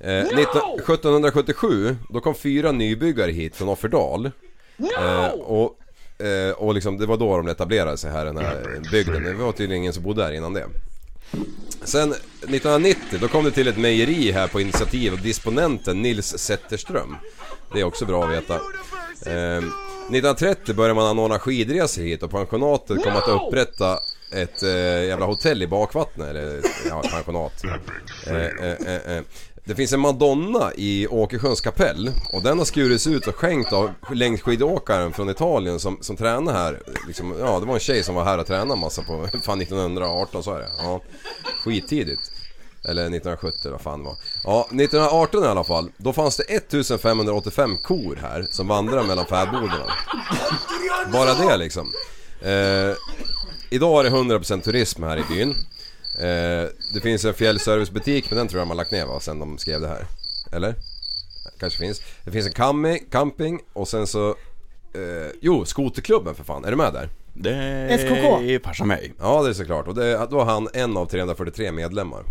[SPEAKER 7] Eh, 19- 1777, då kom fyra nybyggare hit från Offerdal. Eh, och, eh, och liksom, det var då de etablerade sig här i den här bygden. Det var tydligen ingen som bodde här innan det. Sen 1990 då kom det till ett mejeri här på initiativ av disponenten Nils Zetterström. Det är också bra att veta. Ehm, 1930 började man anordna skidresor hit och pensionatet kom att upprätta ett eh, jävla hotell i bakvattnet, eller ja, ett pensionat. Eh, eh, eh, eh. Det finns en madonna i Åkersjöns kapell och den har skurits ut och skänkt av längdskidåkaren från Italien som, som tränar här. Liksom, ja, det var en tjej som var här och tränade massa på fan 1918 så är det. Ja, skittidigt. Eller 1970 eller vad fan det var. Ja, 1918 i alla fall. Då fanns det 1585 kor här som vandrade mellan fäbodarna. Bara det liksom. Eh, idag är det 100% turism här i byn. Eh, det finns en fjällservicebutik men den tror jag de har lagt ner va, sen de skrev det här. Eller? Kanske finns. Det finns en cammi- camping och sen så... Eh, jo, skoterklubben för fan. Är du med där?
[SPEAKER 8] Det
[SPEAKER 5] SKK.
[SPEAKER 8] passar mig.
[SPEAKER 7] Ja det är såklart och det, då är han en av 343 medlemmar.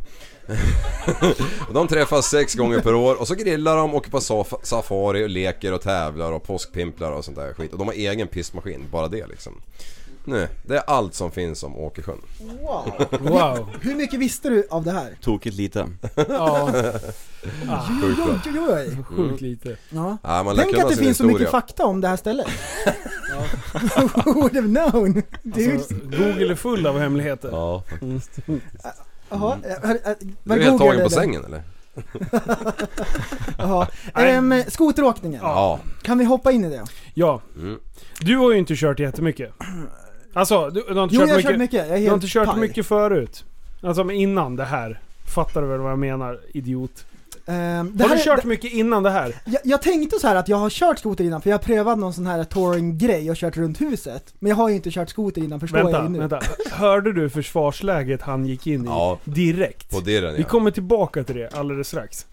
[SPEAKER 7] och de träffas sex gånger per år och så grillar de, åker på saf- safari och leker och tävlar och påskpimplar och sånt där skit. Och de har egen pissmaskin, bara det liksom. Nu, det är allt som finns om Åkersjön.
[SPEAKER 5] Wow.
[SPEAKER 6] Wow.
[SPEAKER 5] Hur mycket visste du av det här?
[SPEAKER 8] Tokigt lite.
[SPEAKER 6] Ja,
[SPEAKER 7] Sjukt bra.
[SPEAKER 5] Oj, oj, oj.
[SPEAKER 6] sjukt lite.
[SPEAKER 5] Ja.
[SPEAKER 7] Ja, man lär
[SPEAKER 5] Tänk
[SPEAKER 7] kunna
[SPEAKER 5] att det
[SPEAKER 7] sin
[SPEAKER 5] finns så
[SPEAKER 7] historia.
[SPEAKER 5] mycket fakta om det här stället. Who would have known? Dude.
[SPEAKER 6] Alltså, Google är full av hemligheter.
[SPEAKER 8] Ja.
[SPEAKER 5] Jaha,
[SPEAKER 6] Mm.
[SPEAKER 5] eh, hör- hör-
[SPEAKER 7] Du
[SPEAKER 5] vad
[SPEAKER 7] är helt tagen på
[SPEAKER 5] googlade du?
[SPEAKER 7] sängen eller?
[SPEAKER 5] Jaha. Ehm, skoteråkningen,
[SPEAKER 7] Ja.
[SPEAKER 5] kan vi hoppa in i det?
[SPEAKER 6] Ja.
[SPEAKER 7] Mm.
[SPEAKER 6] Du har ju inte kört jättemycket. Alltså, du, du har inte
[SPEAKER 5] Jo,
[SPEAKER 6] kört
[SPEAKER 5] jag har
[SPEAKER 6] mycket.
[SPEAKER 5] kört mycket. Jag är
[SPEAKER 6] Du har inte
[SPEAKER 5] helt
[SPEAKER 6] kört
[SPEAKER 5] paj.
[SPEAKER 6] mycket förut. Alltså men innan det här. Fattar du väl vad jag menar, idiot?
[SPEAKER 5] Ehm, det
[SPEAKER 6] Har
[SPEAKER 5] här,
[SPEAKER 6] du
[SPEAKER 5] är-
[SPEAKER 6] kört mycket innan det här?
[SPEAKER 5] jag, jag tänkte så här att jag har kört skoter innan, för jag har prövat någon sån här touring-grej och kört runt huset. Men jag har ju inte kört skoter innan, förstår jag
[SPEAKER 6] Vänta,
[SPEAKER 5] ju nu.
[SPEAKER 6] vänta. Hörde du försvarsläget han gick in i?
[SPEAKER 7] Ja.
[SPEAKER 6] Direkt.
[SPEAKER 7] På dirren
[SPEAKER 6] Vi
[SPEAKER 7] ja.
[SPEAKER 6] kommer tillbaka till det alldeles strax.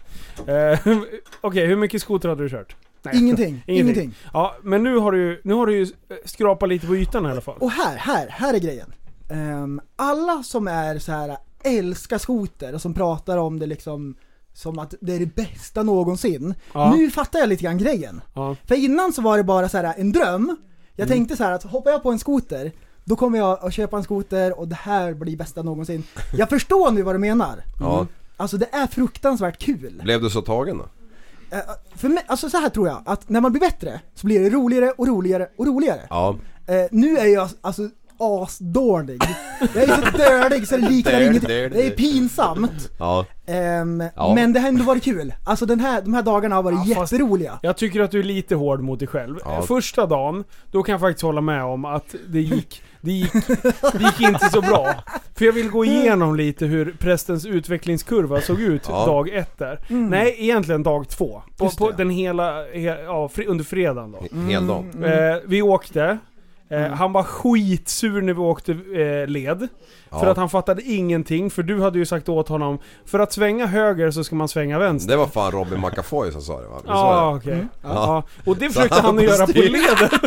[SPEAKER 6] Eh, Okej, hur mycket skoter hade du kört? Nej,
[SPEAKER 5] Ingenting,
[SPEAKER 6] Ingenting.
[SPEAKER 5] ingenting.
[SPEAKER 6] Ja, men nu har du ju, nu har du ju eh, skrapat lite på ytan i alla fall.
[SPEAKER 5] Och här, här, här är grejen. Ehm, alla som är så här älskar skoter och som pratar om det liksom som att det är det bästa någonsin.
[SPEAKER 6] Ja.
[SPEAKER 5] Nu fattar jag lite grann grejen.
[SPEAKER 6] Ja.
[SPEAKER 5] För innan så var det bara så här en dröm. Jag
[SPEAKER 7] Mm.
[SPEAKER 5] tänkte så här att hoppar jag på en skoter, då kommer jag att köpa en skoter och det här blir bästa någonsin. Jag förstår nu vad du menar.
[SPEAKER 7] ja.
[SPEAKER 5] Alltså det är fruktansvärt kul.
[SPEAKER 7] Blev du så tagen då?
[SPEAKER 5] Eh, För mig, alltså så här tror jag, att när man blir bättre så blir det roligare och roligare och roligare.
[SPEAKER 7] Ja.
[SPEAKER 5] Eh, nu är jag alltså asdålig. Jag är så dölig så det liknar
[SPEAKER 7] Dölig,
[SPEAKER 5] inget.
[SPEAKER 7] dölig.
[SPEAKER 5] Det är pinsamt.
[SPEAKER 7] Ja.
[SPEAKER 5] Ehm,
[SPEAKER 7] Ja.
[SPEAKER 5] Men det har ändå varit kul. Alltså den här, de här dagarna har varit
[SPEAKER 6] Ja, fast-
[SPEAKER 5] jätteroliga.
[SPEAKER 6] Jag tycker att du är lite hård mot dig själv.
[SPEAKER 7] Ja.
[SPEAKER 6] Första dagen, då kan jag faktiskt hålla med om att det gick, det gick, det gick inte så bra. För jag vill gå
[SPEAKER 5] Mm.
[SPEAKER 6] igenom lite hur prästens utvecklingskurva såg ut
[SPEAKER 7] Ja.
[SPEAKER 6] dag ett där. Nej, egentligen dag två. På,
[SPEAKER 5] Mm. Just
[SPEAKER 6] på
[SPEAKER 5] det.
[SPEAKER 6] den hela, he- ja, fri- under fredagen då.
[SPEAKER 5] Mm.
[SPEAKER 7] He- Hel dag.
[SPEAKER 6] Eh, vi åkte. Eh,
[SPEAKER 7] Mm.
[SPEAKER 6] Han var skitsur när vi åkte eh, led. För
[SPEAKER 7] Ja.
[SPEAKER 6] att han fattade ingenting, för du hade ju sagt åt honom För att svänga höger så ska man svänga vänster.
[SPEAKER 7] Det var fan Robin McAfoy som sa det va? Visst
[SPEAKER 6] Ja,
[SPEAKER 7] var det?
[SPEAKER 6] okej. Ja.
[SPEAKER 7] Ja.
[SPEAKER 6] Och det försökte
[SPEAKER 7] han
[SPEAKER 6] han att göra på
[SPEAKER 7] styr.
[SPEAKER 6] leden.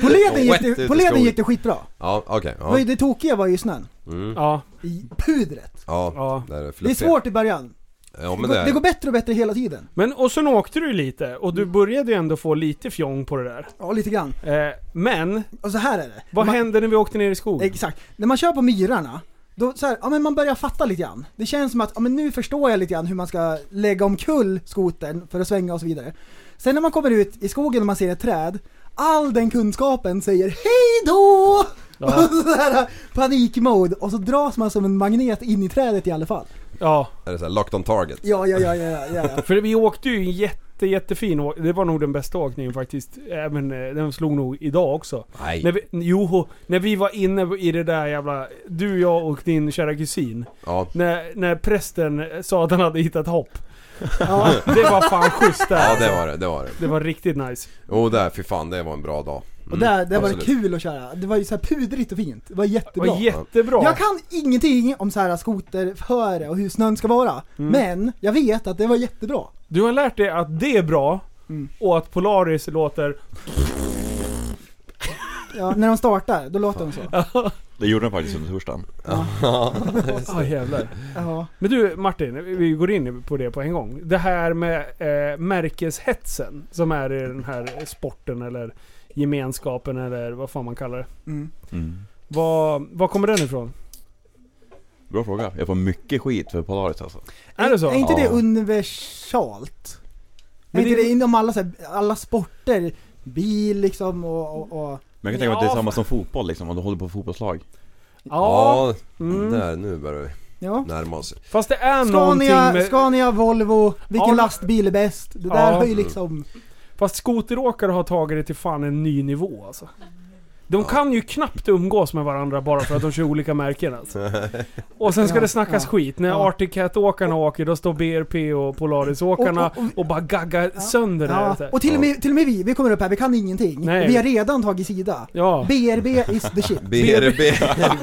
[SPEAKER 5] På leden, gick
[SPEAKER 7] Wet
[SPEAKER 5] det,
[SPEAKER 7] ut
[SPEAKER 5] på
[SPEAKER 7] i
[SPEAKER 5] leden
[SPEAKER 7] skogen.
[SPEAKER 5] gick det skitbra.
[SPEAKER 7] Ja, okej.
[SPEAKER 5] Det var ju-
[SPEAKER 7] Ja.
[SPEAKER 5] Det tokiga var ju snön.
[SPEAKER 7] Mm.
[SPEAKER 6] Ja,
[SPEAKER 5] I pudret.
[SPEAKER 7] Ja.
[SPEAKER 6] ja.
[SPEAKER 7] Där är
[SPEAKER 5] Det är svårt i början.
[SPEAKER 7] Ja
[SPEAKER 5] Det
[SPEAKER 7] men
[SPEAKER 5] går,
[SPEAKER 7] det
[SPEAKER 5] det går
[SPEAKER 7] är
[SPEAKER 5] bättre och bättre hela tiden.
[SPEAKER 6] Men och sen åkte du lite och
[SPEAKER 7] Mm.
[SPEAKER 6] du började ju ändå få lite fjong på det där.
[SPEAKER 5] Ja, lite grann.
[SPEAKER 6] Eh, men,
[SPEAKER 5] Och så här är det.
[SPEAKER 6] vad
[SPEAKER 5] Man-
[SPEAKER 6] hände när vi åkte ner i skogen?
[SPEAKER 5] Exakt. När man kör på myrarna, då så här, ja, men man börjar fatta lite grann. Det känns som att ja, men nu förstår jag lite grann hur man ska lägga omkull skotern för att svänga och så vidare. Sen när man kommer ut i skogen och man ser ett träd, all den kunskapen säger hej då! Och så här, panikmode och så dras man som en magnet in i trädet i alla fall.
[SPEAKER 6] Ja,
[SPEAKER 7] Är det så här, locked on target?
[SPEAKER 5] Ja, ja, ja, ja, ja, ja.
[SPEAKER 6] för vi åkte ju en jätte, jättefin åk- Det var nog den bästa åkningen faktiskt. Även, eh, den slog nog idag också. När
[SPEAKER 7] Nej.
[SPEAKER 6] vi, jo, när vi var inne i det där jävla... Du, jag och din kära kusin.
[SPEAKER 7] Ja.
[SPEAKER 6] När, när prästen sa att han hade hittat hopp.
[SPEAKER 5] ja.
[SPEAKER 6] Det var fan schysst där.
[SPEAKER 7] Ja det var det, det var det.
[SPEAKER 6] det var riktigt nice.
[SPEAKER 7] Jo oh, där, fy fan det var en bra dag. Mm,
[SPEAKER 5] Och där, där var det
[SPEAKER 7] absolut.
[SPEAKER 5] kul att köra. Det var ju så här pudrigt och fint. Det var
[SPEAKER 6] Det
[SPEAKER 5] jättebra.
[SPEAKER 6] var jättebra.
[SPEAKER 5] Jag kan ingenting om så här skoterföre och hur snön ska vara. Men jag vet att det var jättebra.
[SPEAKER 6] Du har lärt dig att det är bra
[SPEAKER 5] Mm.
[SPEAKER 6] och att Polaris låter...
[SPEAKER 5] Ja, när de startar, då låter de så.
[SPEAKER 8] Det gjorde den faktiskt under torsdagen.
[SPEAKER 6] Ah, jävlar.
[SPEAKER 5] Ja.
[SPEAKER 6] Men du Martin, vi går in på det på en gång. Det här med eh, märkeshetsen som är i den här sporten eller gemenskapen eller vad fan man kallar det.
[SPEAKER 5] Mm.
[SPEAKER 8] Mm.
[SPEAKER 6] Vad, vad kommer den ifrån?
[SPEAKER 8] Bra fråga. Jag får mycket skit för Polaris alltså.
[SPEAKER 6] Är det så?
[SPEAKER 5] Är inte det
[SPEAKER 8] Ja.
[SPEAKER 5] universalt?
[SPEAKER 6] Men
[SPEAKER 5] är inte
[SPEAKER 6] det-
[SPEAKER 5] det inom alla, så här, alla sporter? Bil liksom och... och, och
[SPEAKER 8] Men jag kan tänka mig att det
[SPEAKER 6] Ja,
[SPEAKER 8] är samma som fotboll liksom, om du håller på fotbollslag.
[SPEAKER 6] Ja,
[SPEAKER 7] Ja,
[SPEAKER 6] Mm.
[SPEAKER 7] där nu börjar vi
[SPEAKER 5] ja.
[SPEAKER 7] närma oss.
[SPEAKER 6] fast det är någonting
[SPEAKER 5] Scania,
[SPEAKER 6] med...
[SPEAKER 5] Scania, Volvo, vilken
[SPEAKER 6] Ja.
[SPEAKER 5] lastbil är bäst? Det
[SPEAKER 6] Ja.
[SPEAKER 5] där har ju liksom...
[SPEAKER 6] Fast skoteråkare har tagit det till fan en ny nivå alltså. De kan ju knappt umgås med varandra bara för att de kör olika märken alltså. Och sen ska
[SPEAKER 5] Ja,
[SPEAKER 6] det snackas
[SPEAKER 5] ja,
[SPEAKER 6] skit. När
[SPEAKER 5] ja.
[SPEAKER 6] Arctic Cat-åkarna åker, då står BRP och Polaris-åkarna och,
[SPEAKER 5] Och- och- och-
[SPEAKER 6] bara gaggar sönder det här.
[SPEAKER 5] Ja.
[SPEAKER 6] ute.
[SPEAKER 5] Och till och, med, till och med vi, vi kommer upp här, vi kan ingenting.
[SPEAKER 6] Nej.
[SPEAKER 5] Vi har redan tagit sida.
[SPEAKER 6] Ja,
[SPEAKER 5] BRB is the shit.
[SPEAKER 7] BRB,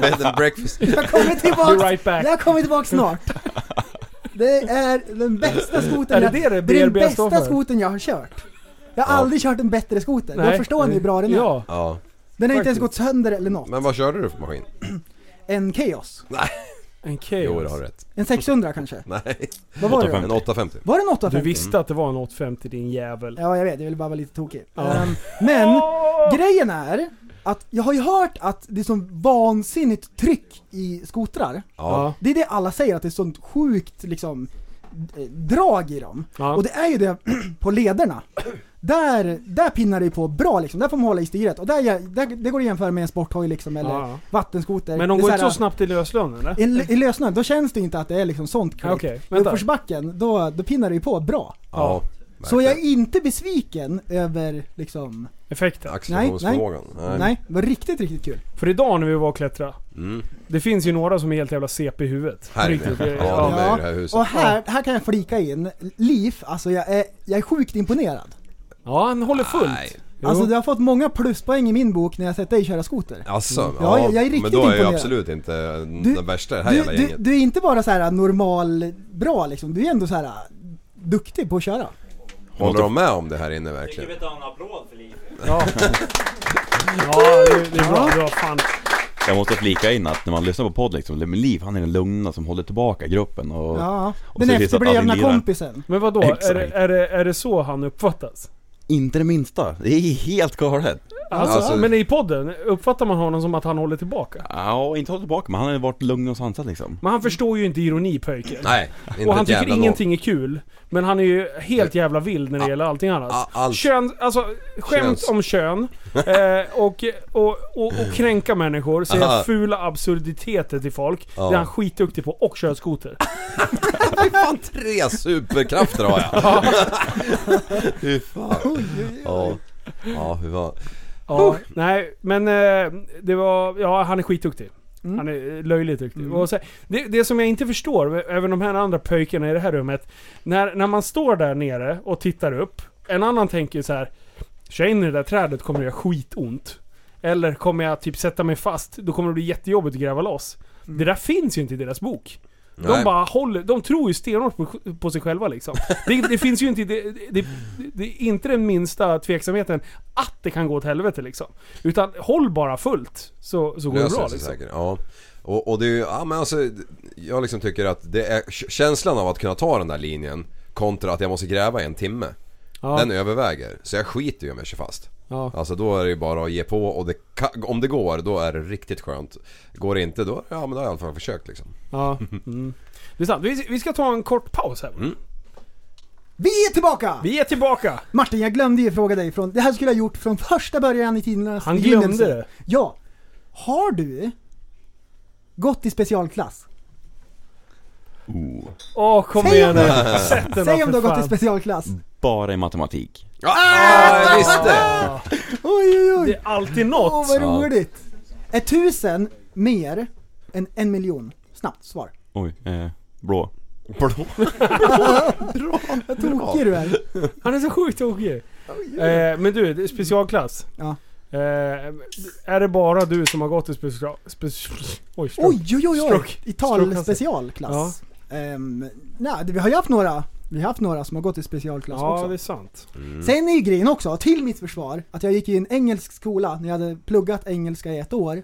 [SPEAKER 7] bed and breakfast.
[SPEAKER 5] Jag kommer
[SPEAKER 6] be
[SPEAKER 5] tillbaks,
[SPEAKER 6] right back.
[SPEAKER 5] jag kommer tillbaks snart. Det är den bästa skotern
[SPEAKER 6] Är det
[SPEAKER 5] jag-
[SPEAKER 6] det det
[SPEAKER 5] Det är den
[SPEAKER 6] BRB står
[SPEAKER 5] bästa
[SPEAKER 6] för?
[SPEAKER 5] skotern jag har kört. Jag har
[SPEAKER 7] Ja.
[SPEAKER 5] aldrig kört en bättre skoter. Då förstår ni hur bra den är.
[SPEAKER 6] Ja.
[SPEAKER 7] Ja.
[SPEAKER 5] Den har inte ens
[SPEAKER 6] Faktiskt.
[SPEAKER 5] gått sönder eller något.
[SPEAKER 7] Men vad körde du för maskin?
[SPEAKER 5] En Chaos.
[SPEAKER 6] En alltså. Chaos.
[SPEAKER 7] Jo, du har rätt.
[SPEAKER 5] En 600 kanske?
[SPEAKER 7] Nej,
[SPEAKER 5] Vad var det då?
[SPEAKER 8] 850.
[SPEAKER 7] en 850.
[SPEAKER 5] Var det en
[SPEAKER 6] Du
[SPEAKER 5] 850?
[SPEAKER 6] visste att det var en 850 din jävel.
[SPEAKER 5] Mm. Ja, jag vet. Jag ville bara vara lite tokig.
[SPEAKER 6] Ja.
[SPEAKER 5] Ehm, men grejen är att jag har ju hört att det är sån vansinnigt tryck i skotrar.
[SPEAKER 7] Ja.
[SPEAKER 5] Det är det alla säger, att det är sånt sjukt liksom eh, drag i dem.
[SPEAKER 6] Ja.
[SPEAKER 5] Och det är ju det på lederna. Där, där pinnar det ju på bra liksom, där får man hålla i styret. Och där, gör- där, det går att jämföra med en sporthoj liksom, eller
[SPEAKER 6] Ja.
[SPEAKER 5] vattenskoter.
[SPEAKER 6] Men
[SPEAKER 5] Det är
[SPEAKER 6] de går
[SPEAKER 5] så
[SPEAKER 6] inte
[SPEAKER 5] här-
[SPEAKER 6] så snabbt i löslön eller?
[SPEAKER 5] I, l- I lösnö, då känns det inte att det är liksom sånt klick.
[SPEAKER 6] Okej,
[SPEAKER 5] I
[SPEAKER 6] vänta.
[SPEAKER 5] uppförsbacken, då, då pinnar det ju på bra.
[SPEAKER 7] Ja.
[SPEAKER 5] Så jag är inte besviken över liksom,
[SPEAKER 6] Effekten.
[SPEAKER 7] Accelerationsförmågan.
[SPEAKER 5] nej. det var riktigt, riktigt kul.
[SPEAKER 6] För idag när vi var och klättra.
[SPEAKER 7] Mm.
[SPEAKER 6] Det finns ju några som är helt jävla CP i huvudet.
[SPEAKER 7] Här inne.
[SPEAKER 6] Riktigt.
[SPEAKER 7] Ja,
[SPEAKER 6] Ja.
[SPEAKER 7] de är i det här huset.
[SPEAKER 5] och här, här kan jag flika in, LIF, alltså jag är, jag är sjukt imponerad.
[SPEAKER 6] ja, han håller fullt.
[SPEAKER 7] Nej.
[SPEAKER 6] Jo.
[SPEAKER 5] Alltså du har fått många pluspoäng i min bok när jag sett dig köra skoter.
[SPEAKER 7] Alltså,
[SPEAKER 5] Ja,
[SPEAKER 7] ja,
[SPEAKER 5] jag- jag är riktigt
[SPEAKER 7] men då är jag
[SPEAKER 5] imponerad.
[SPEAKER 7] absolut inte
[SPEAKER 5] Du-
[SPEAKER 7] den värsta i det här
[SPEAKER 5] Du,
[SPEAKER 7] jävla
[SPEAKER 5] du,
[SPEAKER 7] gänget.
[SPEAKER 5] du är inte bara så här äh, normal bra liksom, du är ändå så här duktig på att köra.
[SPEAKER 7] Håller de med om det här inne verkligen?
[SPEAKER 6] Ja, det, det är bra. Det var fan.
[SPEAKER 8] Jag måste flika in att när man lyssnar på podd liksom, det är Liv han är den lugna som håller tillbaka gruppen och...
[SPEAKER 5] Ja,
[SPEAKER 8] och
[SPEAKER 5] den
[SPEAKER 8] ser till så att
[SPEAKER 5] efterblivna
[SPEAKER 8] allting lirar.
[SPEAKER 5] kompisen.
[SPEAKER 6] Men vadå?
[SPEAKER 8] Exakt.
[SPEAKER 6] Är, det- är, det, är det så han uppfattas?
[SPEAKER 8] Inte det minsta. Det är helt galet.
[SPEAKER 6] Alltså,
[SPEAKER 7] Alltså-
[SPEAKER 6] men i podden, uppfattar man honom som att han håller tillbaka?
[SPEAKER 8] Ja, inte hålla tillbaka men han har varit lugn och sansad liksom.
[SPEAKER 6] Men han förstår ju inte ironi pöjken.
[SPEAKER 7] Nej, inte
[SPEAKER 6] Och han
[SPEAKER 7] ett
[SPEAKER 6] tycker
[SPEAKER 7] jävla lån.
[SPEAKER 6] ingenting är kul. Men han är ju helt jävla vild när det gäller allting annat.
[SPEAKER 7] a- allt.
[SPEAKER 6] Kön, alltså skämt
[SPEAKER 7] Köns.
[SPEAKER 6] om kön. Eh, och, och, och, och kränka människor. Säga
[SPEAKER 7] Aha.
[SPEAKER 6] fula absurditeter till folk.
[SPEAKER 7] Ja.
[SPEAKER 6] Det är han skitduktig på. Och köra skoter.
[SPEAKER 7] Fan, tre superkrafter har jag! Fy fan. Ja, ja hur fan.
[SPEAKER 6] Ja, nej, men eh, det var... Ja, han är skitduktig. Han är eh, löjligt duktig. Och så, det, det som jag inte förstår, även de här andra pöjkarna i det här rummet. När, när man står där nere och tittar upp. En annan tänker ju så här. Kör jag in i det där trädet kommer det göra skitont. Eller kommer jag typ sätta mig fast, då kommer det bli jättejobbigt att gräva loss. Det där finns ju inte i deras bok. De
[SPEAKER 7] Nej.
[SPEAKER 6] bara håller, de tror ju stenhårt på, på sig själva liksom. Det, det finns ju inte, det, det, det, det är inte den minsta tveksamheten att det kan gå åt helvete liksom. Utan håll bara fullt, så, så går det
[SPEAKER 7] Löser
[SPEAKER 6] bra
[SPEAKER 7] sig
[SPEAKER 6] liksom.
[SPEAKER 7] säkert, ja. Och, och det är ju, ja men alltså, jag liksom tycker att det är k- känslan av att kunna ta den där linjen kontra att jag måste gräva i en timme.
[SPEAKER 6] Ja.
[SPEAKER 7] Den överväger, så jag skiter ju om jag kör fast.
[SPEAKER 6] Ja.
[SPEAKER 7] Alltså då är det ju bara att ge på och det ka- om det går då är det riktigt skönt. Går det inte då, ja men då har jag i alla fall försökt liksom.
[SPEAKER 6] Ja. Mm. Det är sant. Vi, vi ska ta en kort paus här.
[SPEAKER 5] Vi är tillbaka!
[SPEAKER 6] Vi är tillbaka!
[SPEAKER 5] Martin, jag glömde ju fråga dig från, det här skulle jag ha gjort från första början i tidens
[SPEAKER 6] Han glömde
[SPEAKER 5] begynnelse.
[SPEAKER 6] det.
[SPEAKER 5] Ja. Har du gått i specialklass?
[SPEAKER 8] Oh.
[SPEAKER 6] Åh, kom
[SPEAKER 5] Säg
[SPEAKER 6] igen
[SPEAKER 5] om
[SPEAKER 6] nu.
[SPEAKER 5] du-
[SPEAKER 6] Sätt den
[SPEAKER 5] Säg
[SPEAKER 6] då,
[SPEAKER 5] om
[SPEAKER 6] för
[SPEAKER 5] du har gått i
[SPEAKER 6] fan. Mm.
[SPEAKER 5] specialklass.
[SPEAKER 8] Bara i matematik.
[SPEAKER 7] Ah, jag visste!
[SPEAKER 5] Oj, oj, oj.
[SPEAKER 6] Det är alltid
[SPEAKER 5] Åh,
[SPEAKER 6] något.
[SPEAKER 5] vad roligt. Är tusen mer än en miljon? Snabbt svar.
[SPEAKER 8] Oj, eh, blå.
[SPEAKER 5] Vad tokig du är.
[SPEAKER 6] Han är så sjukt tokig. Eh, men du, det är specialklass.
[SPEAKER 5] Ja.
[SPEAKER 6] Eh, är det bara du som har gått i special... Speci- oj, oj.
[SPEAKER 5] Oj, oj, oj, oj.
[SPEAKER 6] Stroke.
[SPEAKER 5] I
[SPEAKER 6] Stroke-klass.
[SPEAKER 5] talspecialklass. Ehm, nej, det- vi har ju haft några, vi har haft några som har gått i specialklass
[SPEAKER 6] Ja,
[SPEAKER 5] också.
[SPEAKER 6] det är sant.
[SPEAKER 7] Mm.
[SPEAKER 5] Sen är ju grejen också, till mitt försvar, att jag gick i en engelsk skola när jag hade pluggat engelska i ett år.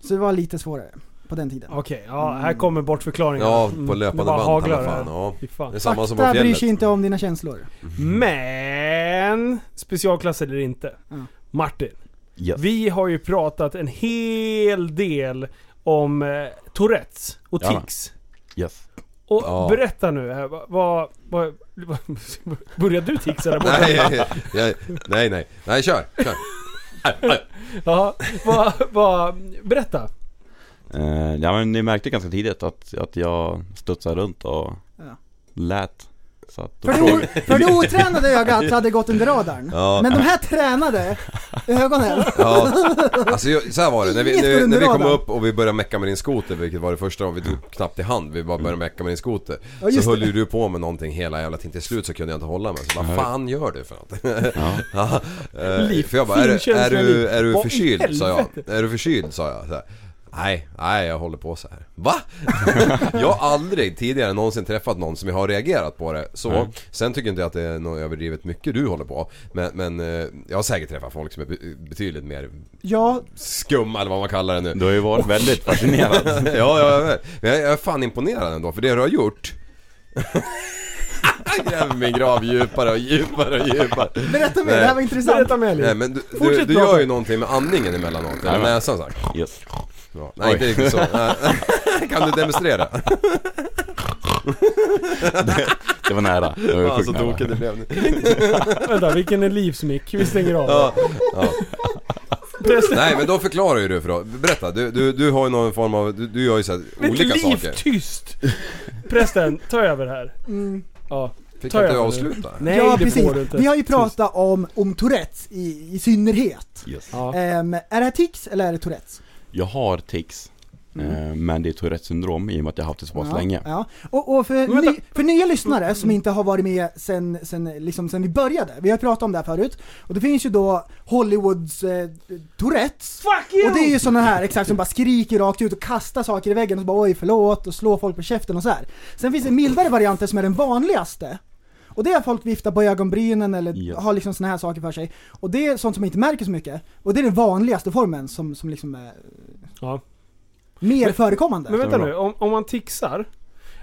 [SPEAKER 5] Så det var lite svårare på den tiden.
[SPEAKER 6] Okej, ja, här kommer bortförklaringar.
[SPEAKER 7] Mm. Ja,
[SPEAKER 6] Mm,
[SPEAKER 7] på löpande
[SPEAKER 6] det bara
[SPEAKER 7] band.
[SPEAKER 6] haglar
[SPEAKER 7] alla fan,
[SPEAKER 6] det.
[SPEAKER 7] ja.
[SPEAKER 6] Fy
[SPEAKER 7] Det är
[SPEAKER 6] fan.
[SPEAKER 7] samma som på
[SPEAKER 5] Fakta bryr
[SPEAKER 7] fjället.
[SPEAKER 5] sig inte om dina känslor.
[SPEAKER 7] Mm.
[SPEAKER 6] Men, specialklass eller inte.
[SPEAKER 5] Ja.
[SPEAKER 6] Martin,
[SPEAKER 8] Yes.
[SPEAKER 6] vi har ju pratat en hel del om eh, Tourettes och
[SPEAKER 8] Ja.
[SPEAKER 6] tics.
[SPEAKER 8] yes.
[SPEAKER 6] Och
[SPEAKER 7] Ja.
[SPEAKER 6] berätta nu, här, vad... vad, vad började du ticsa där borta?
[SPEAKER 7] Nej, nej, nej, nej, nej, kör, kör.
[SPEAKER 6] Ja, vad, vad, berätta.
[SPEAKER 8] Eh, ja men ni märkte ganska tidigt att, att jag studsade runt och
[SPEAKER 5] Ja.
[SPEAKER 8] lät. Så att då
[SPEAKER 5] För det,
[SPEAKER 8] frågade-
[SPEAKER 5] o- för det otränade ögat hade gått under radarn.
[SPEAKER 7] Ja.
[SPEAKER 5] Men de här tränade ögonen.
[SPEAKER 7] Ja, alltså jag, så här var det. När vi,
[SPEAKER 5] Inget
[SPEAKER 7] när, vi-
[SPEAKER 5] går
[SPEAKER 7] när
[SPEAKER 5] under
[SPEAKER 7] vi kom
[SPEAKER 5] radarn.
[SPEAKER 7] upp och vi började mecka med din skoter, vilket var det första gången, vi tog knappt i hand, vi bara började mecka med din skoter.
[SPEAKER 5] Ja, just
[SPEAKER 7] så höll ju du på med någonting hela jävla tiden, till slut så kunde jag inte hålla mig. Så vad fan gör du för något? Ja. Eh,
[SPEAKER 6] Liv,
[SPEAKER 7] för jag bara, är, du-
[SPEAKER 6] finkänsliga
[SPEAKER 7] är, du,
[SPEAKER 6] liv.
[SPEAKER 7] är du
[SPEAKER 6] Vad i
[SPEAKER 7] förkyld? sa
[SPEAKER 6] helvete?
[SPEAKER 7] jag. Är du förkyld? sa jag. Så här. Nej, nej jag håller på så här. Va? jag har aldrig tidigare någonsin träffat någon som jag har reagerat på det så.
[SPEAKER 8] Nej.
[SPEAKER 7] Sen tycker inte jag att det är något överdrivet mycket du håller på. Men, men eh, jag har säkert träffat folk som är be- betydligt mer
[SPEAKER 5] Ja,
[SPEAKER 7] skumma eller vad man kallar det nu.
[SPEAKER 8] Du har ju varit väldigt fascinerad.
[SPEAKER 7] ja, ja, ja. Men jag, jag är fan imponerad ändå för det du har gjort. jag gräver min grav djupare och djupare och djupare.
[SPEAKER 5] berätta mer,
[SPEAKER 7] Nej.
[SPEAKER 5] det här var intressant.
[SPEAKER 6] Berätta mer
[SPEAKER 7] Nej
[SPEAKER 6] Elin.
[SPEAKER 7] men du, du,
[SPEAKER 6] Fortsätt
[SPEAKER 7] du
[SPEAKER 6] prata.
[SPEAKER 7] gör ju någonting med andningen emellanåt, eller
[SPEAKER 8] Nej, men-
[SPEAKER 7] näsan sagt.
[SPEAKER 8] Yes.
[SPEAKER 7] Ja, nej
[SPEAKER 8] Oj.
[SPEAKER 7] inte riktigt så. Nej. kan du demonstrera?
[SPEAKER 8] Det var nära. Det var
[SPEAKER 7] Ja,
[SPEAKER 8] sjukt
[SPEAKER 7] så
[SPEAKER 8] nära.
[SPEAKER 7] tokigt det blev nu.
[SPEAKER 6] Vänta, vilken är livsmick? Vi stänger av.
[SPEAKER 7] Ja,
[SPEAKER 6] Prästen,
[SPEAKER 7] Nej men då förklarar ju du för då. Berätta, du, du, du har ju någon form av, du, du gör ju så här,
[SPEAKER 6] mitt
[SPEAKER 7] olika
[SPEAKER 6] liv
[SPEAKER 7] saker.
[SPEAKER 6] tyst! Prästen, ta över här.
[SPEAKER 5] Mm.
[SPEAKER 6] Ja.
[SPEAKER 7] Fick
[SPEAKER 6] Ta
[SPEAKER 7] jag inte
[SPEAKER 6] över nu.
[SPEAKER 7] avsluta?
[SPEAKER 6] Nej,
[SPEAKER 5] ja,
[SPEAKER 6] det
[SPEAKER 5] precis.
[SPEAKER 6] får du inte.
[SPEAKER 5] Vi har ju pratat om, om Tourettes i, i synnerhet.
[SPEAKER 8] Yes.
[SPEAKER 6] Ja.
[SPEAKER 5] Ehm, är det här tics eller är det Tourettes?
[SPEAKER 8] Jag har tics. eh, Men det är Tourettes syndrom i och med att jag har haft det så pass
[SPEAKER 5] ja,
[SPEAKER 8] länge.
[SPEAKER 5] Ja. Och, och för,
[SPEAKER 6] Men vänta.
[SPEAKER 5] ny, för nya lyssnare som inte har varit med sen, sen, liksom, sen vi började, vi har pratat om det här förut, och det finns ju då Hollywoods eh, Tourettes.
[SPEAKER 6] Fuck you!
[SPEAKER 5] Och det är ju sådana här exakt som bara skriker rakt ut och kastar saker i väggen och så bara oj förlåt och slår folk på käften och så här. Sen finns det mildare varianter som är den vanligaste. Och det är att folk viftar på ögonbrynen eller
[SPEAKER 8] Ja.
[SPEAKER 5] har liksom såna här saker för sig. Och det är sånt som man inte märker så mycket. Och det är den vanligaste formen som, som liksom är
[SPEAKER 6] Ja.
[SPEAKER 5] mer
[SPEAKER 6] Men-
[SPEAKER 5] förekommande.
[SPEAKER 6] Men vänta
[SPEAKER 8] Stämmer
[SPEAKER 6] nu, om, om man tixar,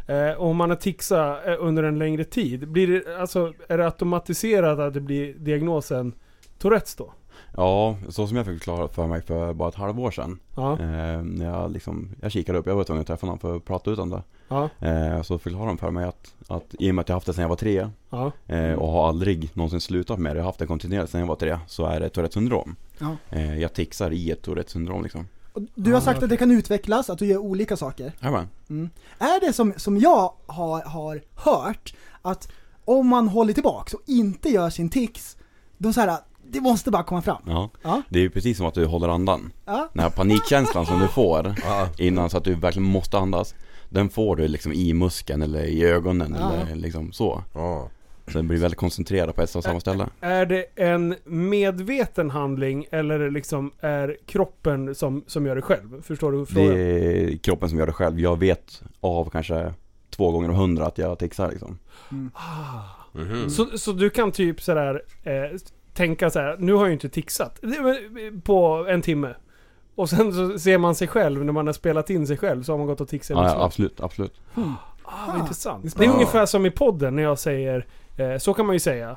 [SPEAKER 6] eh, om man har tixat eh, under en längre tid, blir det, alltså, är det automatiserat att det blir diagnosen Tourettes då?
[SPEAKER 8] Ja, så som jag fick förklara för mig för bara ett halvår sedan.
[SPEAKER 6] Ja,
[SPEAKER 8] Eh, när jag, liksom, jag kikade upp, jag var tvungen att träffa någon för att prata ut om det.
[SPEAKER 6] ja,
[SPEAKER 8] Eh, så förklarade de för mig att, att i och med att jag haft det sedan jag var tre
[SPEAKER 6] ja.
[SPEAKER 8] eh, och har aldrig någonsin slutat med det, jag har haft det kontinuerligt sedan jag var tre, så är det Tourettes syndrom.
[SPEAKER 5] Ja.
[SPEAKER 8] Eh, jag tixar i ett Tourettes syndrom liksom.
[SPEAKER 5] Och du har
[SPEAKER 6] Ah,
[SPEAKER 5] sagt att det kan utvecklas, att du gör olika saker.
[SPEAKER 8] Jajamän.
[SPEAKER 5] Är det som, som jag har, har hört, att om man håller tillbaks och inte gör sin tics, då så här, det måste bara komma fram.
[SPEAKER 8] Ja.
[SPEAKER 5] Ja.
[SPEAKER 8] Det är ju precis som att du håller andan.
[SPEAKER 5] Ja.
[SPEAKER 8] Den här panikkänslan som du får
[SPEAKER 7] Ja.
[SPEAKER 8] innan så att du verkligen måste andas. Den får du liksom i muskeln eller i ögonen
[SPEAKER 5] Ja.
[SPEAKER 8] eller liksom så.
[SPEAKER 7] Ja.
[SPEAKER 8] Så den blir väldigt koncentrerad på ett och samma ställe.
[SPEAKER 6] Är det en medveten handling eller är det liksom är kroppen som, som gör det själv? Förstår du
[SPEAKER 8] Det
[SPEAKER 6] frågan?
[SPEAKER 8] är kroppen som gör det själv. Jag vet av kanske två gånger av hundra att jag tixar liksom. Mhm.
[SPEAKER 6] Så, så du kan typ sådär eh, tänka så här: nu har jag ju inte tixat Det var- på en timme. Och sen så ser man sig själv, när man har spelat in sig själv så har man gått och tixat.
[SPEAKER 8] Ja,
[SPEAKER 6] i
[SPEAKER 8] ja,
[SPEAKER 6] munnen.
[SPEAKER 8] absolut, absolut.
[SPEAKER 6] Ah, vad intressant. Det är
[SPEAKER 5] spännande.
[SPEAKER 6] ungefär som i podden när jag säger, eh, så kan man ju säga.